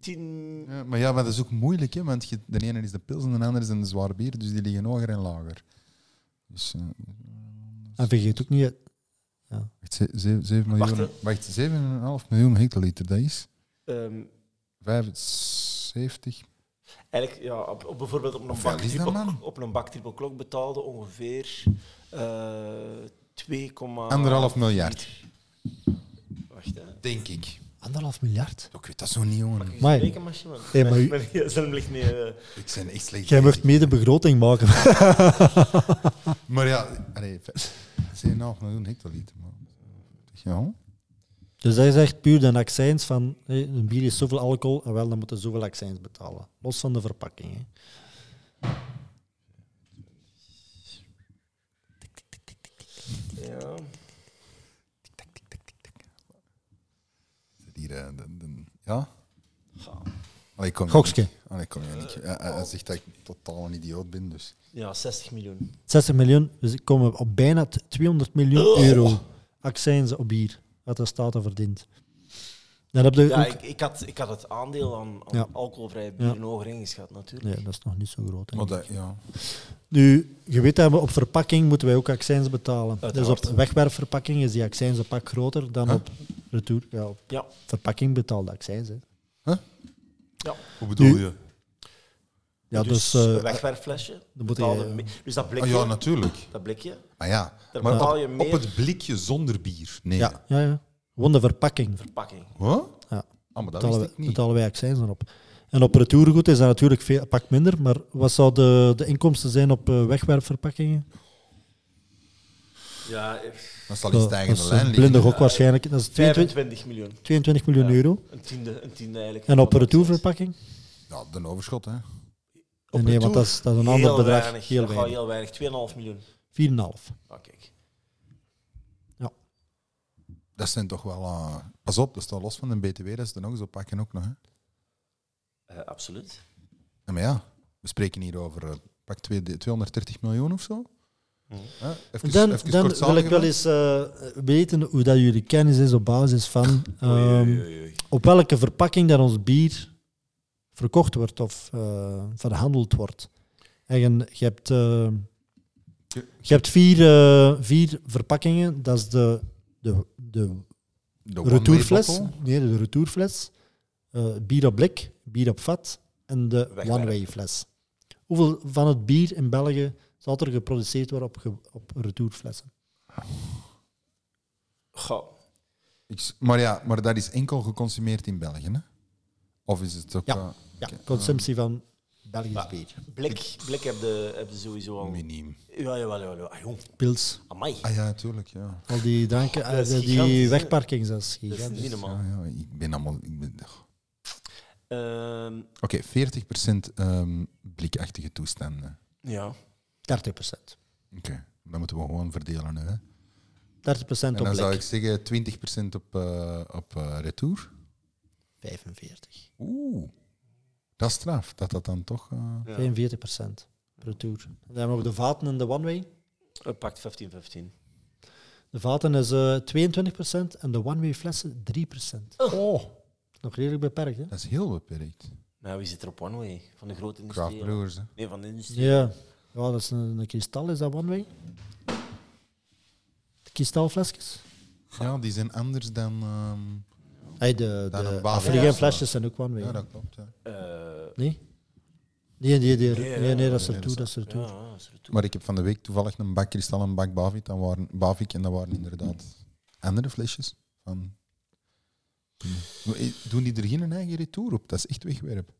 Speaker 4: tien...
Speaker 1: Ja, maar ja, maar dat is ook moeilijk, hè, want je- de ene is de pils en de andere is een zwaar bier, dus die liggen hoger en lager. Dus... eh,
Speaker 2: En vergeet ook niet,
Speaker 1: wacht, ze- ze- zeven
Speaker 4: Wacht, eh.
Speaker 1: miljoen... Wacht, 7,5 miljoen hectoliter, dat is...
Speaker 4: ehm,
Speaker 1: 75...
Speaker 4: eigenlijk, ja, op, op bijvoorbeeld op een,
Speaker 1: Hoeveel
Speaker 4: bak
Speaker 1: is dat,
Speaker 4: triple,
Speaker 1: man?
Speaker 4: op een bak triple klok betaalde ongeveer eh 2,
Speaker 1: Anderhalf miljard.
Speaker 4: Wacht, hè.
Speaker 1: Denk ik.
Speaker 2: anderhalf miljard.
Speaker 1: Ik weet dat zo niet, jongen.
Speaker 4: Pak
Speaker 2: Amai.
Speaker 4: je rekenmachine, man.
Speaker 2: Hey, maar u-
Speaker 4: Mijn *laughs* gsm ligt mee... eh,
Speaker 1: Ik ben echt slecht.
Speaker 2: Jij mocht mee de begroting maken. *laughs*
Speaker 1: Maar ja... Allee, fe- 7,5 miljoen hectoliter, man. Ja.
Speaker 2: Dus dat is echt puur de accijns van hé, een bier is zoveel alcohol, en wel, dan moeten zoveel accijns betalen. Los van de verpakking. Hè.
Speaker 4: ja.
Speaker 1: Zit hier, eh, de- de- ja? Allee, ik kom
Speaker 2: Gokske.
Speaker 1: hier niet. Allee, Ah, ik kom hier niet. Hij- hij- hij zegt dat ik totaal een idioot ben, dus...
Speaker 4: ja, 60 miljoen.
Speaker 2: 60 miljoen, dus ik kom op bijna t- 200
Speaker 4: Oh.
Speaker 2: miljoen euro accijnzen op bier, wat de staat al verdient. Dan heb je
Speaker 4: Ja,
Speaker 2: ook-
Speaker 4: ik, ik, had, ik had het aandeel aan, aan
Speaker 2: Ja.
Speaker 4: alcoholvrij
Speaker 2: Ja.
Speaker 4: bier hoger ingeschat, natuurlijk.
Speaker 2: Nee, dat is nog niet zo groot. denk
Speaker 1: Maar
Speaker 2: ik.
Speaker 1: dat, ja.
Speaker 2: Nu, je weet dat we op verpakking moeten wij ook accijns betalen.
Speaker 4: Uiteraard.
Speaker 2: Dus op wegwerpverpakking is die accijns een pak groter dan
Speaker 1: Huh?
Speaker 2: op retour. Ja, op
Speaker 4: Ja.
Speaker 2: verpakking betaalde accijns. Hè.
Speaker 1: Hoe bedoel
Speaker 2: Nu-
Speaker 1: je?
Speaker 2: Ja, dus,
Speaker 4: dus
Speaker 2: eh,
Speaker 4: een wegwerpflesje.
Speaker 2: dan moet eh,
Speaker 4: betaalde
Speaker 2: je-
Speaker 4: me- dus dat
Speaker 1: Ah,
Speaker 4: blikje,
Speaker 1: ja, natuurlijk.
Speaker 4: dat blikje
Speaker 1: Maar ja,
Speaker 4: Daar
Speaker 1: maar
Speaker 4: betaal
Speaker 1: op,
Speaker 4: je
Speaker 1: op
Speaker 4: meer-
Speaker 1: het blikje zonder bier. Nee.
Speaker 2: ja, ja, ja. Gewoon de verpakking.
Speaker 4: verpakking.
Speaker 1: Huh?
Speaker 2: Ja.
Speaker 1: Ah, maar dat
Speaker 2: betalen,
Speaker 1: wist ik
Speaker 2: wij-
Speaker 1: niet.
Speaker 2: betalen wij accijns dan op. En op retourgoed is dat natuurlijk veel, een pak minder, maar wat zou de, de inkomsten zijn op eh, wegwerpverpakkingen?
Speaker 4: Ja,
Speaker 1: Dat zal in
Speaker 2: dat
Speaker 1: stijgende
Speaker 2: is
Speaker 1: lijn
Speaker 2: een
Speaker 1: liggen.
Speaker 2: blinde gok waarschijnlijk. Dat is 22,
Speaker 4: 25 miljoen.
Speaker 2: 22 miljoen
Speaker 4: Ja.
Speaker 2: euro.
Speaker 4: Een tiende, een tiende eigenlijk.
Speaker 2: En op
Speaker 4: Wat dat is.
Speaker 2: retourverpakking?
Speaker 1: Ja, de overschot, hè.
Speaker 4: Op
Speaker 2: nee, want dat is, dat is een ander
Speaker 4: heel
Speaker 2: bedrag.
Speaker 4: Weinig,
Speaker 2: Heel
Speaker 4: heel weinig.
Speaker 2: weinig.
Speaker 4: Heel weinig, 2,5 miljoen.
Speaker 2: 4,5.
Speaker 4: Ah, kijk.
Speaker 1: Dat zijn toch wel... eh, pas op, dat staat los van de BTW, dat ze er nog eens op pakken ook nog, hè.
Speaker 4: Eh, absoluut.
Speaker 1: Ja, maar ja, we spreken hier over eh, pak twee- 230 miljoen of zo.
Speaker 4: Mhm.
Speaker 1: Hè? Even,
Speaker 2: Dan,
Speaker 1: even
Speaker 2: dan
Speaker 1: kort
Speaker 2: wil ik wel
Speaker 1: samengevat.
Speaker 2: eens eh, weten hoe dat jullie kennis is op basis van ehm, op welke verpakking dat ons bier verkocht wordt of eh, verhandeld wordt. En je je hebt, eh, je hebt vier, eh, vier verpakkingen. Dat is de, de, de
Speaker 1: De one-way
Speaker 2: retourfles.
Speaker 1: bottle.
Speaker 2: Nee, de retourfles. eh, bier op blik, bier op vat en de
Speaker 4: Wegwerpen.
Speaker 2: one-way fles. Hoeveel van het bier in België zal er geproduceerd worden op, ge- op retourflessen?
Speaker 4: Goh.
Speaker 1: Ik s- maar ja, maar dat is enkel geconsumeerd in België, hè? Of is het ook...
Speaker 2: Ja.
Speaker 1: eh,
Speaker 2: Ja,
Speaker 1: Oké,
Speaker 2: consumptie van Belgisch bier.
Speaker 4: Blik, blik heb je heb je sowieso al.
Speaker 1: miniem.
Speaker 4: Ja, jawel, jawel. jawel. Ah, jong,
Speaker 2: Pils,
Speaker 4: amai.
Speaker 1: Ah ja, tuurlijk, ja.
Speaker 2: al die dranken, eh,
Speaker 4: dat is gigantisch,
Speaker 2: die
Speaker 4: hè?
Speaker 2: wegparkings, dat is
Speaker 4: Dat is
Speaker 2: gigantisch.
Speaker 4: niet normaal.
Speaker 1: ja, ja ik ben allemaal... Ik ben, Oké,
Speaker 4: Ehm,
Speaker 1: 40% ehm, blikachtige toestanden.
Speaker 2: 30 procent.
Speaker 1: Oké, dat moeten we gewoon verdelen nu, hè?
Speaker 2: 30 procent
Speaker 1: En
Speaker 2: op
Speaker 1: dan zou ik
Speaker 2: blik,
Speaker 1: zeggen 20% op, eh, op eh, retour.
Speaker 2: 45.
Speaker 1: Oeh. Dat is straf, dat dat dan toch... eh,
Speaker 4: ja.
Speaker 2: 42 procent retour. En dan hebben we de vaten en de one-way.
Speaker 4: Eh, Pakt 15-15.
Speaker 2: De vaten is eh 22% en de one-way flessen 3%.
Speaker 1: Oh,
Speaker 2: Nog redelijk beperkt, hè?
Speaker 1: dat is heel beperkt.
Speaker 4: Nou, wie zit er op One Way? Van de grote
Speaker 1: Craft
Speaker 4: industrie?
Speaker 1: brewers, hè.
Speaker 4: Nee, van de industrie.
Speaker 2: Ja. ja, dat is een, een kristal, is dat one-way? De kristalflesjes?
Speaker 1: Ja, die zijn anders dan... ehm,
Speaker 2: Hey, de
Speaker 1: Dan
Speaker 2: de
Speaker 1: een water-
Speaker 2: Afrikaan
Speaker 1: Ja.
Speaker 2: flesjes zijn ook one-way.
Speaker 1: ja,
Speaker 2: hè?
Speaker 1: dat klopt, ja.
Speaker 4: Eh,
Speaker 2: Nee? Nee, nee, nee,
Speaker 4: Nee,
Speaker 2: nee,
Speaker 4: ja,
Speaker 2: nee, dat is
Speaker 1: nee,
Speaker 2: ertoe,
Speaker 1: dat
Speaker 2: dat is ertoe.
Speaker 4: ja, dat is er toe.
Speaker 1: Maar ik heb van de week toevallig een bak kristal en een bak Bavik. En, waren, Bavik, en dat waren inderdaad andere flesjes. Van... Doen die er geen eigen retour op? Dat is echt wegwerp.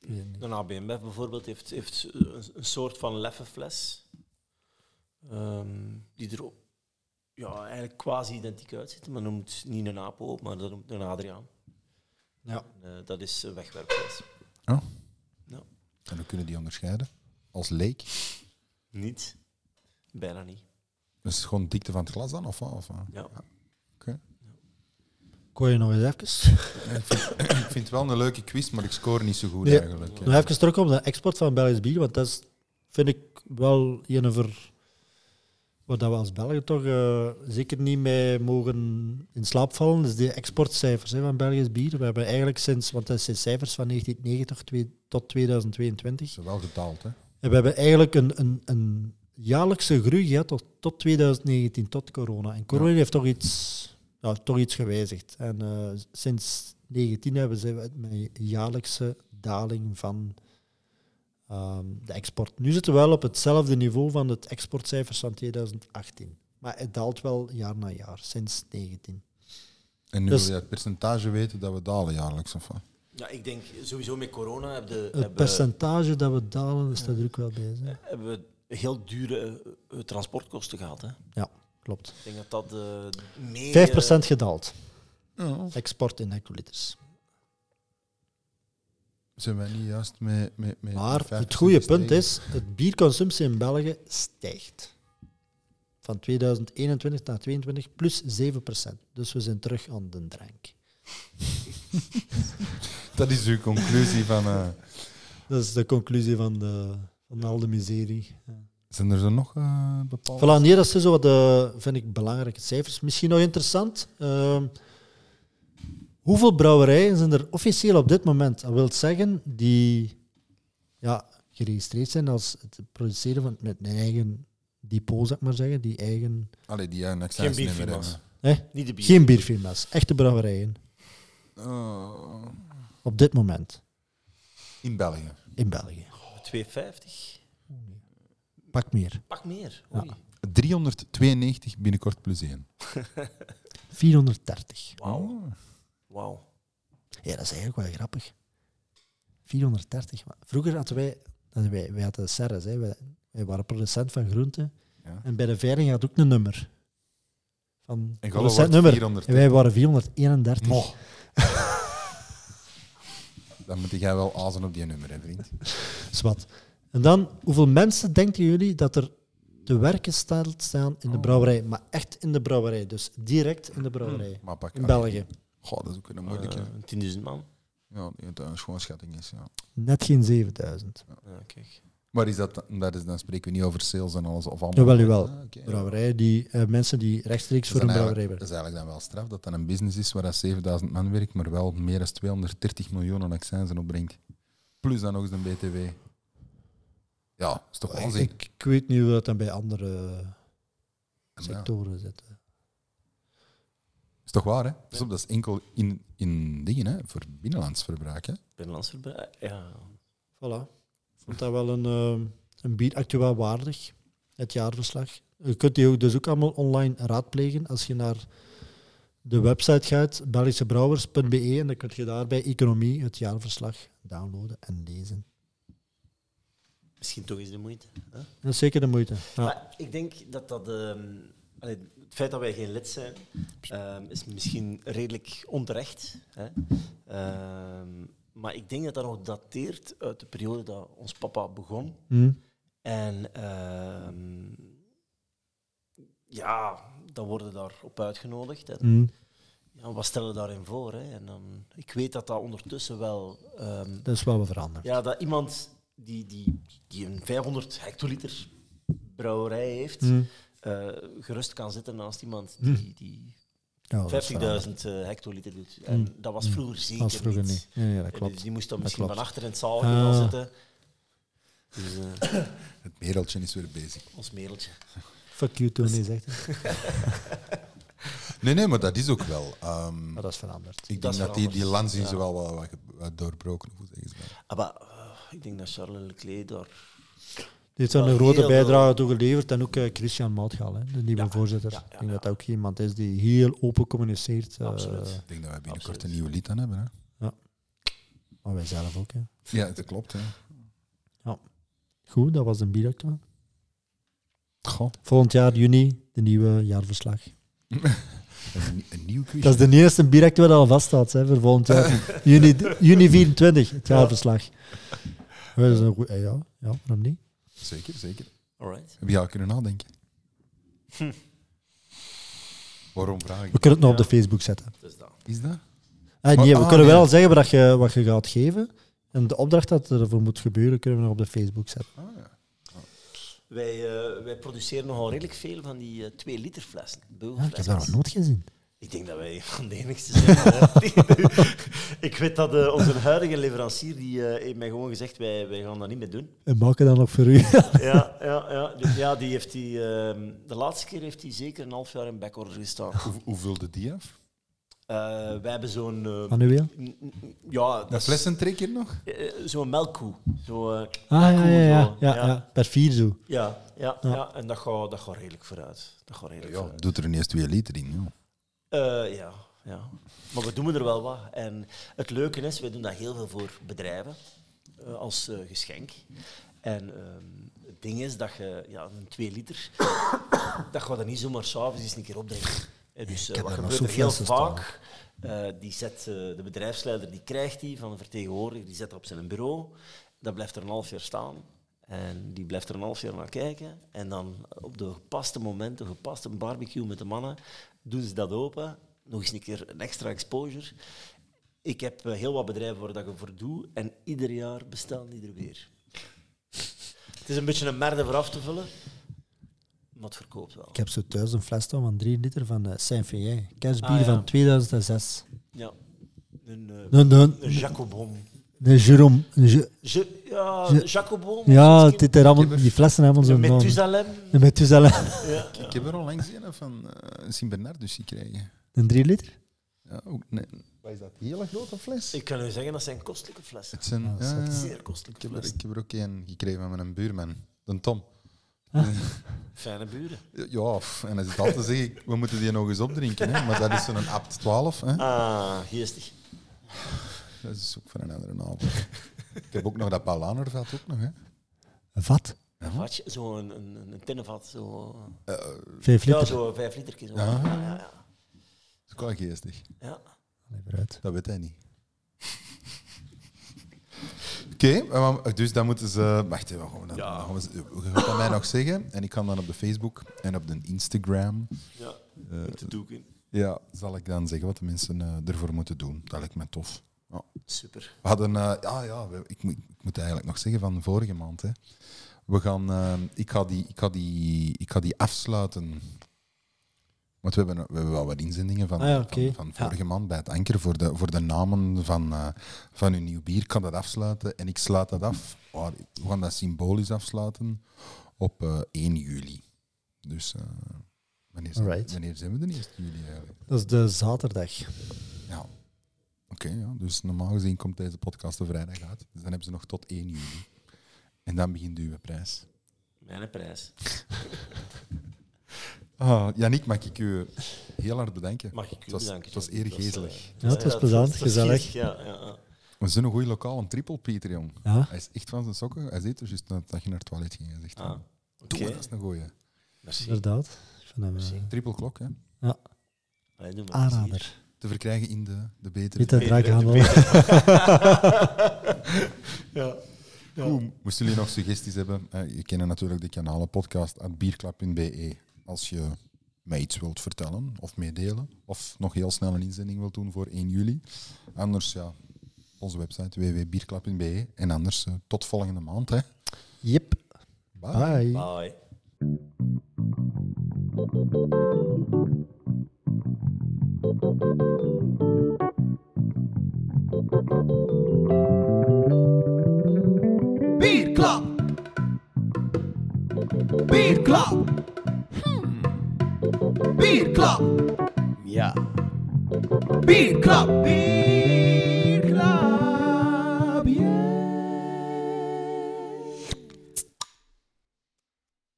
Speaker 2: Ik weet het niet.
Speaker 4: Een ABMF bijvoorbeeld heeft, heeft een, een soort van leffenfles. ehm, die er ook- ja, eigenlijk quasi identiek uitziet. Maar noemt niet een Apo op, maar dat noemt een Adriaan.
Speaker 2: Ja.
Speaker 4: En, eh, dat is een wegwerpfles.
Speaker 1: En dan kunnen die onderscheiden. Als leek.
Speaker 4: Niet? Bijna niet.
Speaker 1: Dat is gewoon dikte van Dus het glas dan? Of, wat, of, wat?
Speaker 4: Ja.
Speaker 2: Kon je nog eens even?
Speaker 1: Ik, *coughs* vind, ik vind het wel een leuke quiz, maar ik score niet zo goed
Speaker 2: Nee.
Speaker 1: eigenlijk. hè.
Speaker 2: Nog even terug op de export van Belgisch bier, want dat is, vind ik wel een ver... Waar dat we als Belgen toch eh, zeker niet mee mogen in slaap vallen, is de exportcijfers hè, van Belgisch bier. We hebben eigenlijk sinds, want dat zijn cijfers van 1990 twee- tot 2022,
Speaker 1: Ze hebben wel gedaald, hè?
Speaker 2: en we hebben eigenlijk een, een, een jaarlijkse groei gehad tot, tot 2019, tot corona. En corona heeft toch iets, ja, toch iets gewijzigd. En eh, sinds 19 hebben ze een jaarlijkse daling van ehm, de export. Nu zitten we wel op hetzelfde niveau van het exportcijfers van 2018. Maar het daalt wel jaar na jaar, sinds 19.
Speaker 1: En nu
Speaker 2: Dus-
Speaker 1: wil je het percentage weten dat we dalen jaarlijks. Of, wat?
Speaker 4: ja, ik denk sowieso met corona heb de,
Speaker 2: Het
Speaker 4: hebben,
Speaker 2: percentage dat we dalen is daar ook wel bij. hè.
Speaker 4: hebben we heel dure eh, eh, transportkosten gehad. Hè?
Speaker 2: Klopt.
Speaker 4: Ik denk dat dat eh meer...
Speaker 2: 5% gedaald. Export in hectoliters.
Speaker 1: Zijn wij niet juist met... met, met
Speaker 2: Maar
Speaker 1: 50%
Speaker 2: het goede punt
Speaker 1: gestegen?
Speaker 2: is, het bierconsumptie in België stijgt. Van 2021 naar 2022 plus 7 Dus we zijn terug aan de drank.
Speaker 1: Dat is uw conclusie van... eh,
Speaker 2: Dat is de conclusie van, de, van al de miserie. Ja.
Speaker 1: Zijn er zo nog eh bepaalde...
Speaker 2: Voilà, nee, dat zijn zo dus wat de, vind ik, belangrijke cijfers. Misschien nog interessant. ehm, hoeveel brouwerijen zijn er officieel op dit moment? Dat wil zeggen, die ja, geregistreerd zijn als het produceren van met een eigen depot, zou ik maar zeggen. Die eigen
Speaker 1: Allee, die eh, ja, een accijns
Speaker 4: Geen
Speaker 1: niet meer
Speaker 4: bierfirma's.
Speaker 1: hebben.
Speaker 2: Hè?
Speaker 4: Niet de bier.
Speaker 2: Geen bierfirma's, echte brouwerijen.
Speaker 1: Oh,
Speaker 2: Op dit moment
Speaker 1: in België.
Speaker 2: in België.
Speaker 4: 2,50.
Speaker 2: Pak meer.
Speaker 4: Pak meer.
Speaker 2: Ja.
Speaker 4: Oei.
Speaker 1: 392 binnenkort plus 1.
Speaker 2: 430.
Speaker 4: Wauw. Wauw.
Speaker 2: Ja, dat is eigenlijk wel grappig. 430. Maar Vroeger hadden wij, hadden wij, wij hadden Serres, hè. Wij, wij waren producent van groenten.
Speaker 1: Ja.
Speaker 2: En bij de veiling had ook een nummer. Van
Speaker 1: En Gallo
Speaker 2: producent
Speaker 1: wordt
Speaker 2: nummer.
Speaker 1: 400.
Speaker 2: En wij waren 431.
Speaker 1: Mo. Dan moet jij wel azen op die nummer, hè, vriend.
Speaker 2: Zwat. En dan, hoeveel mensen denken jullie dat er te werken staat- staan in de
Speaker 1: Oh.
Speaker 2: brouwerij? Maar echt in de brouwerij, dus direct in de brouwerij.
Speaker 1: Maar pak
Speaker 2: In België.
Speaker 1: Goh, dat is ook een moeilijke.
Speaker 4: Eh, 10.000 man.
Speaker 1: Ja, die het een schoonschatting is. Ja.
Speaker 2: Net geen 7000.
Speaker 4: Ja, kijk.
Speaker 1: Maar is dat, dat is, dan spreken we niet over sales en alles. Of allemaal.
Speaker 2: Jawel, jawel.
Speaker 1: Ah, oké.
Speaker 2: Brouwerij die, eh, mensen die rechtstreeks
Speaker 1: Dat is
Speaker 2: voor een
Speaker 1: dan
Speaker 2: brouwerij
Speaker 1: eigenlijk, dat
Speaker 2: werken.
Speaker 1: is eigenlijk dan wel straf dat dat een business is waar dat 7000 man werkt, maar wel meer dan 230 miljoen aan accijnzen opbrengt. Plus dan nog eens een BTW. Ja, dat is toch wel zin.
Speaker 2: Ik, ik weet niet hoe dat dan bij andere sectoren zit.
Speaker 1: is toch waar, hè? Dus dat is enkel in, in dingen, hè? Voor binnenlands verbruik, hè?
Speaker 4: Binnenlands verbruik. Ja.
Speaker 2: Voilà. Ik vond dat wel een, eh, een bier actueel waardig, het jaarverslag. Je kunt die ook dus ook allemaal online raadplegen als je naar de website gaat, belgischebrouwers.be, en dan kun je daar bij economie het jaarverslag downloaden en lezen.
Speaker 4: Misschien toch eens de moeite. hè?
Speaker 2: Dat is zeker de moeite. Ja.
Speaker 4: Maar ik denk dat dat. ehm, allee, het feit dat wij geen lid zijn, ehm, is misschien redelijk onterecht. Hè? Ehm, maar ik denk dat dat nog dateert uit de periode dat ons papa begon.
Speaker 2: Hm.
Speaker 4: En ehm, ja, dan worden daarop uitgenodigd. En
Speaker 2: Hm.
Speaker 4: ja, wat stellen we daarin voor? Hè? En dan, ik weet dat dat ondertussen wel ehm,
Speaker 2: Dat is wel wat veranderd.
Speaker 4: ja, dat iemand die, die, die een 500 hectoliter brouwerij heeft,
Speaker 2: Hm.
Speaker 4: eh, gerust kan zitten naast iemand
Speaker 2: Mm.
Speaker 4: die, die
Speaker 2: Ja,
Speaker 4: 50.000
Speaker 2: dat is veranderd.
Speaker 4: eh, hectoliter doet. En dat was vroeger zeker
Speaker 2: Mm. Dat was vroeger niet. Ja, ja, dat
Speaker 4: Eh,
Speaker 2: klopt.
Speaker 4: Dus die moest dan misschien
Speaker 2: klopt.
Speaker 4: van achter in het zaal
Speaker 2: Ah.
Speaker 4: gaan zitten. Dus eh,
Speaker 1: Het mereltje is weer bezig.
Speaker 4: ons mereltje.
Speaker 2: Fuck you, Tony, zegt hij.
Speaker 1: Nee, nee, maar dat is ook wel. ehm,
Speaker 2: *laughs* Maar dat is veranderd.
Speaker 1: ik denk
Speaker 4: dat is
Speaker 1: dat die, die
Speaker 4: veranderd,
Speaker 1: lans is
Speaker 4: ja.
Speaker 1: wel wat, wat ge- wat doorbroken. Hoe zeggen ze dat?
Speaker 4: Ah, maar, eh, ik denk dat Charles Leclerc daar...
Speaker 2: Die heeft wel een
Speaker 4: Wel
Speaker 2: grote
Speaker 4: heel veel-
Speaker 2: bijdrage toe geleverd. En ook eh, Christian Maatgaal, hè, de nieuwe voorzitter.
Speaker 4: ja,
Speaker 2: ik denk dat dat ook iemand is die heel open communiceert. eh,
Speaker 4: Absoluut.
Speaker 1: Ik denk dat wij binnenkort
Speaker 4: Absoluut.
Speaker 1: een nieuwe lied aan hebben. Hè?
Speaker 2: maar wij zelf ook. Hè.
Speaker 1: Ja, dat klopt. Hè.
Speaker 2: Goed, dat was een bieractua.
Speaker 1: Goh,
Speaker 2: Volgend jaar, juni, de nieuwe jaarverslag.
Speaker 1: een, een nieuw quizje.
Speaker 2: Dat is de eerste bieractua dat al vaststaat hè, voor volgend *laughs* jaar. juni, juni 24, het *laughs* jaarverslag. Ja. Dat is een goe- eh, ja, ja, waarom niet?
Speaker 1: Zeker, zeker.
Speaker 4: Alright.
Speaker 1: Heb je al kunnen nadenken? *laughs* Waarom vraag ik?
Speaker 2: We kunnen het nog op de Facebook zetten.
Speaker 4: Dus dat.
Speaker 1: Is dat?
Speaker 2: Ah,
Speaker 1: Maar-
Speaker 2: nee, we
Speaker 1: ah,
Speaker 2: kunnen wel
Speaker 1: nee.
Speaker 2: al zeggen wat je, wat je gaat geven. En de opdracht dat ervoor moet gebeuren, kunnen we nog op de Facebook zetten.
Speaker 1: Ah, ja.
Speaker 4: Wij, eh, wij produceren nogal redelijk veel van die eh, 2 liter flessen.
Speaker 2: Ja, ik heb
Speaker 4: beugelflessen.
Speaker 2: daar nog nooit gezien.
Speaker 4: Ik denk dat wij *laughs* van de enigste zijn. hè. *laughs* ik weet dat eh, onze huidige leverancier die, eh, heeft mij gewoon gezegd: wij, wij gaan dat niet meer doen.
Speaker 2: En maken dan nog voor *laughs* u.
Speaker 4: Ja, ja, ja. Dus ja die heeft die, ehm, de laatste keer heeft hij zeker een half jaar in backorder gestaan.
Speaker 1: Hoe, hoe vulde die af?
Speaker 4: Eh, wij hebben zo'n. eh,
Speaker 2: Manueel?
Speaker 4: n- n- ja, dat
Speaker 1: Dat
Speaker 4: is-
Speaker 1: flessentrek hier nog?
Speaker 4: eh, eh, zo'n melkkoe. Zo, eh,
Speaker 2: Ah, ja,
Speaker 4: koe,
Speaker 2: ja, ja,
Speaker 4: zo.
Speaker 2: ja,
Speaker 4: ja.
Speaker 2: ja. Per vier zo.
Speaker 4: Ja, ja,
Speaker 2: Ja.
Speaker 4: ja, en dat gaat, dat gaat redelijk vooruit. Dat gaat redelijk
Speaker 1: Ja,
Speaker 4: vooruit.
Speaker 1: doet er ineens twee liter in. joh.
Speaker 4: Eh, ja, ja. Maar we doen er wel wat. En het leuke is, we doen dat heel veel voor bedrijven eh, als eh, geschenk. En ehm, het ding is dat je ja, een 2 liter, *coughs* dat gaat er niet zomaar s'avonds eens een keer opdrinken. Eh,
Speaker 2: Ik
Speaker 4: dus eh,
Speaker 2: heb
Speaker 4: wat
Speaker 2: daar nog
Speaker 4: gebeurt er heel
Speaker 2: zo'n flessen
Speaker 4: vaak? eh, die zet, eh, de bedrijfsleider die krijgt die van de vertegenwoordiger, die zet dat op zijn bureau. Dat blijft er een half jaar staan. En die blijft er een half jaar naar kijken. En dan eh, op de gepaste momenten, gepaste barbecue met de mannen, doen ze dat open. Nog eens een keer een extra exposure. Ik heb eh, heel wat bedrijven waar dat ik voor doe. En ieder jaar bestellen die er weer. Het is een beetje een merde voor af te vullen. Maar het verkoopt wel.
Speaker 2: Ik heb zo thuis een fles staan van 3 liter van eh, Saint-Fien. Kerstbier
Speaker 4: Ah, ja.
Speaker 2: van 2006.
Speaker 4: Ja. Een, eh,
Speaker 2: Een, een,
Speaker 4: een Jacobon.
Speaker 2: een Jérôme. een Je-
Speaker 4: Je, ja,
Speaker 2: Je-
Speaker 4: Jacobon.
Speaker 2: ja,
Speaker 4: misschien.
Speaker 2: het is er allemaal, die flessen hebben zo'n naam.
Speaker 4: Methusalem.
Speaker 2: Een Methusalem.
Speaker 4: Ja.
Speaker 1: Ik heb er al langs een van eh Sint-Bernardus gekregen.
Speaker 2: *laughs* Een 3 liter?
Speaker 1: Ja, ook, nee. Wat is dat? Een hele grote fles?
Speaker 4: Ik kan u zeggen, dat zijn kostelijke flessen.
Speaker 1: Het zijn, ja, ja, ja.
Speaker 4: Zeer
Speaker 1: ik,
Speaker 4: kostelijke
Speaker 1: heb er,
Speaker 4: flessen.
Speaker 1: ik heb er ook een gekregen van mijn buurman, de Tom.
Speaker 4: Fijne buren.
Speaker 1: Ja, pff, en hij zit altijd te zeggen, we moeten die nog eens opdrinken. Hè? Maar dat is zo'n apt 12. Hè?
Speaker 4: Ah, geestig.
Speaker 1: Dat is ook van een andere avond. Ik heb ook nog dat Palanervat ook nog. Hè?
Speaker 2: Een vat?
Speaker 4: Een vatje, zo'n een, een, een tinnenvat. Zo.
Speaker 1: Eh,
Speaker 2: 5
Speaker 4: Ja,
Speaker 2: liter?
Speaker 4: zo'n vijf liter. Zo.
Speaker 1: Ja.
Speaker 4: Ja, ja, ja.
Speaker 1: Dat is wel geestig.
Speaker 4: ja.
Speaker 2: Allee, vooruit.
Speaker 1: Dat weet hij niet. *laughs* Oké, eh, maar- dus dan moeten ze. Wacht even, gewoon.
Speaker 4: Ja.
Speaker 1: Ja. Je gaat dat mij nog zeggen. En ik kan dan op de Facebook en op de Instagram.
Speaker 4: ja.
Speaker 1: eh,
Speaker 4: Te doeken.
Speaker 1: ja, zal ik dan zeggen wat de mensen eh, ervoor moeten doen. Dat lijkt me tof.
Speaker 4: Super.
Speaker 1: We hadden, eh, ja, ja, we- ik, moet- ik moet eigenlijk nog zeggen van vorige maand. Hè. We gaan, eh, ik, ga die, ik, ga die, ik ga die afsluiten. Want we hebben, we hebben wel wat inzendingen van,
Speaker 2: Ah ja,
Speaker 1: van-
Speaker 2: oké.
Speaker 1: van, vorige maand bij het anker voor de, voor de namen van, eh, van hun nieuw bier. Ik kan dat afsluiten en ik sluit dat af. Maar we gaan dat symbolisch afsluiten op eh, 1 juli. Dus eh, Wanneer zijn,
Speaker 2: Alright.
Speaker 1: wanneer zijn we de 1 juli eigenlijk?
Speaker 2: Dat is de zaterdag.
Speaker 1: Ja. Oké, ja. dus normaal gezien komt deze podcast de vrijdag uit. Dus dan hebben ze nog tot 1 juli. En dan begint de prijs.
Speaker 4: Mijn prijs.
Speaker 1: Ah, Yannick, mag ik u heel hard bedanken.
Speaker 4: Mag ik u
Speaker 1: Het was-
Speaker 4: bedanken.
Speaker 1: het was
Speaker 4: John.
Speaker 1: erg
Speaker 4: Dat eh,
Speaker 1: geestig.
Speaker 4: dat
Speaker 2: Ja, het was
Speaker 4: dat
Speaker 2: plezant,
Speaker 4: dat was
Speaker 2: gezellig.
Speaker 4: geestig, Ja, ja, ja.
Speaker 1: We zijn een goede lokaal, een triple Peter, jong.
Speaker 2: Ja.
Speaker 1: Hij is echt van zijn sokken. Hij zit er juist nadat dat je naar het toilet ging. Hij zegt,
Speaker 4: Ah,
Speaker 1: doe
Speaker 4: oké.
Speaker 1: maar, dat is een goeie.
Speaker 4: Merci.
Speaker 2: Inderdaad. Ik vind hem, eh,
Speaker 4: Merci.
Speaker 1: Triple klok, hè.
Speaker 4: Allee, doe maar plezier.
Speaker 2: aanrader.
Speaker 1: Te verkrijgen in de, de betere...
Speaker 2: Niet uit
Speaker 4: Peter,
Speaker 2: draakhandel.
Speaker 4: ja. Ja.
Speaker 1: Goed, moesten jullie nog suggesties hebben? Eh, je kent natuurlijk de kanalen podcast at bierklap.be. E. Als je mij iets wilt vertellen of meedelen, of nog heel snel een inzending wilt doen voor 1 juli. Anders, ja, onze website www.bierklap.be. En anders, eh, tot volgende maand. Hè.
Speaker 2: Yep.
Speaker 1: Bye.
Speaker 2: Bye.
Speaker 4: Bye.
Speaker 3: Bierklap. Bierklap. Hmm. Bierklap. Ja. Bierklap. Bierklap.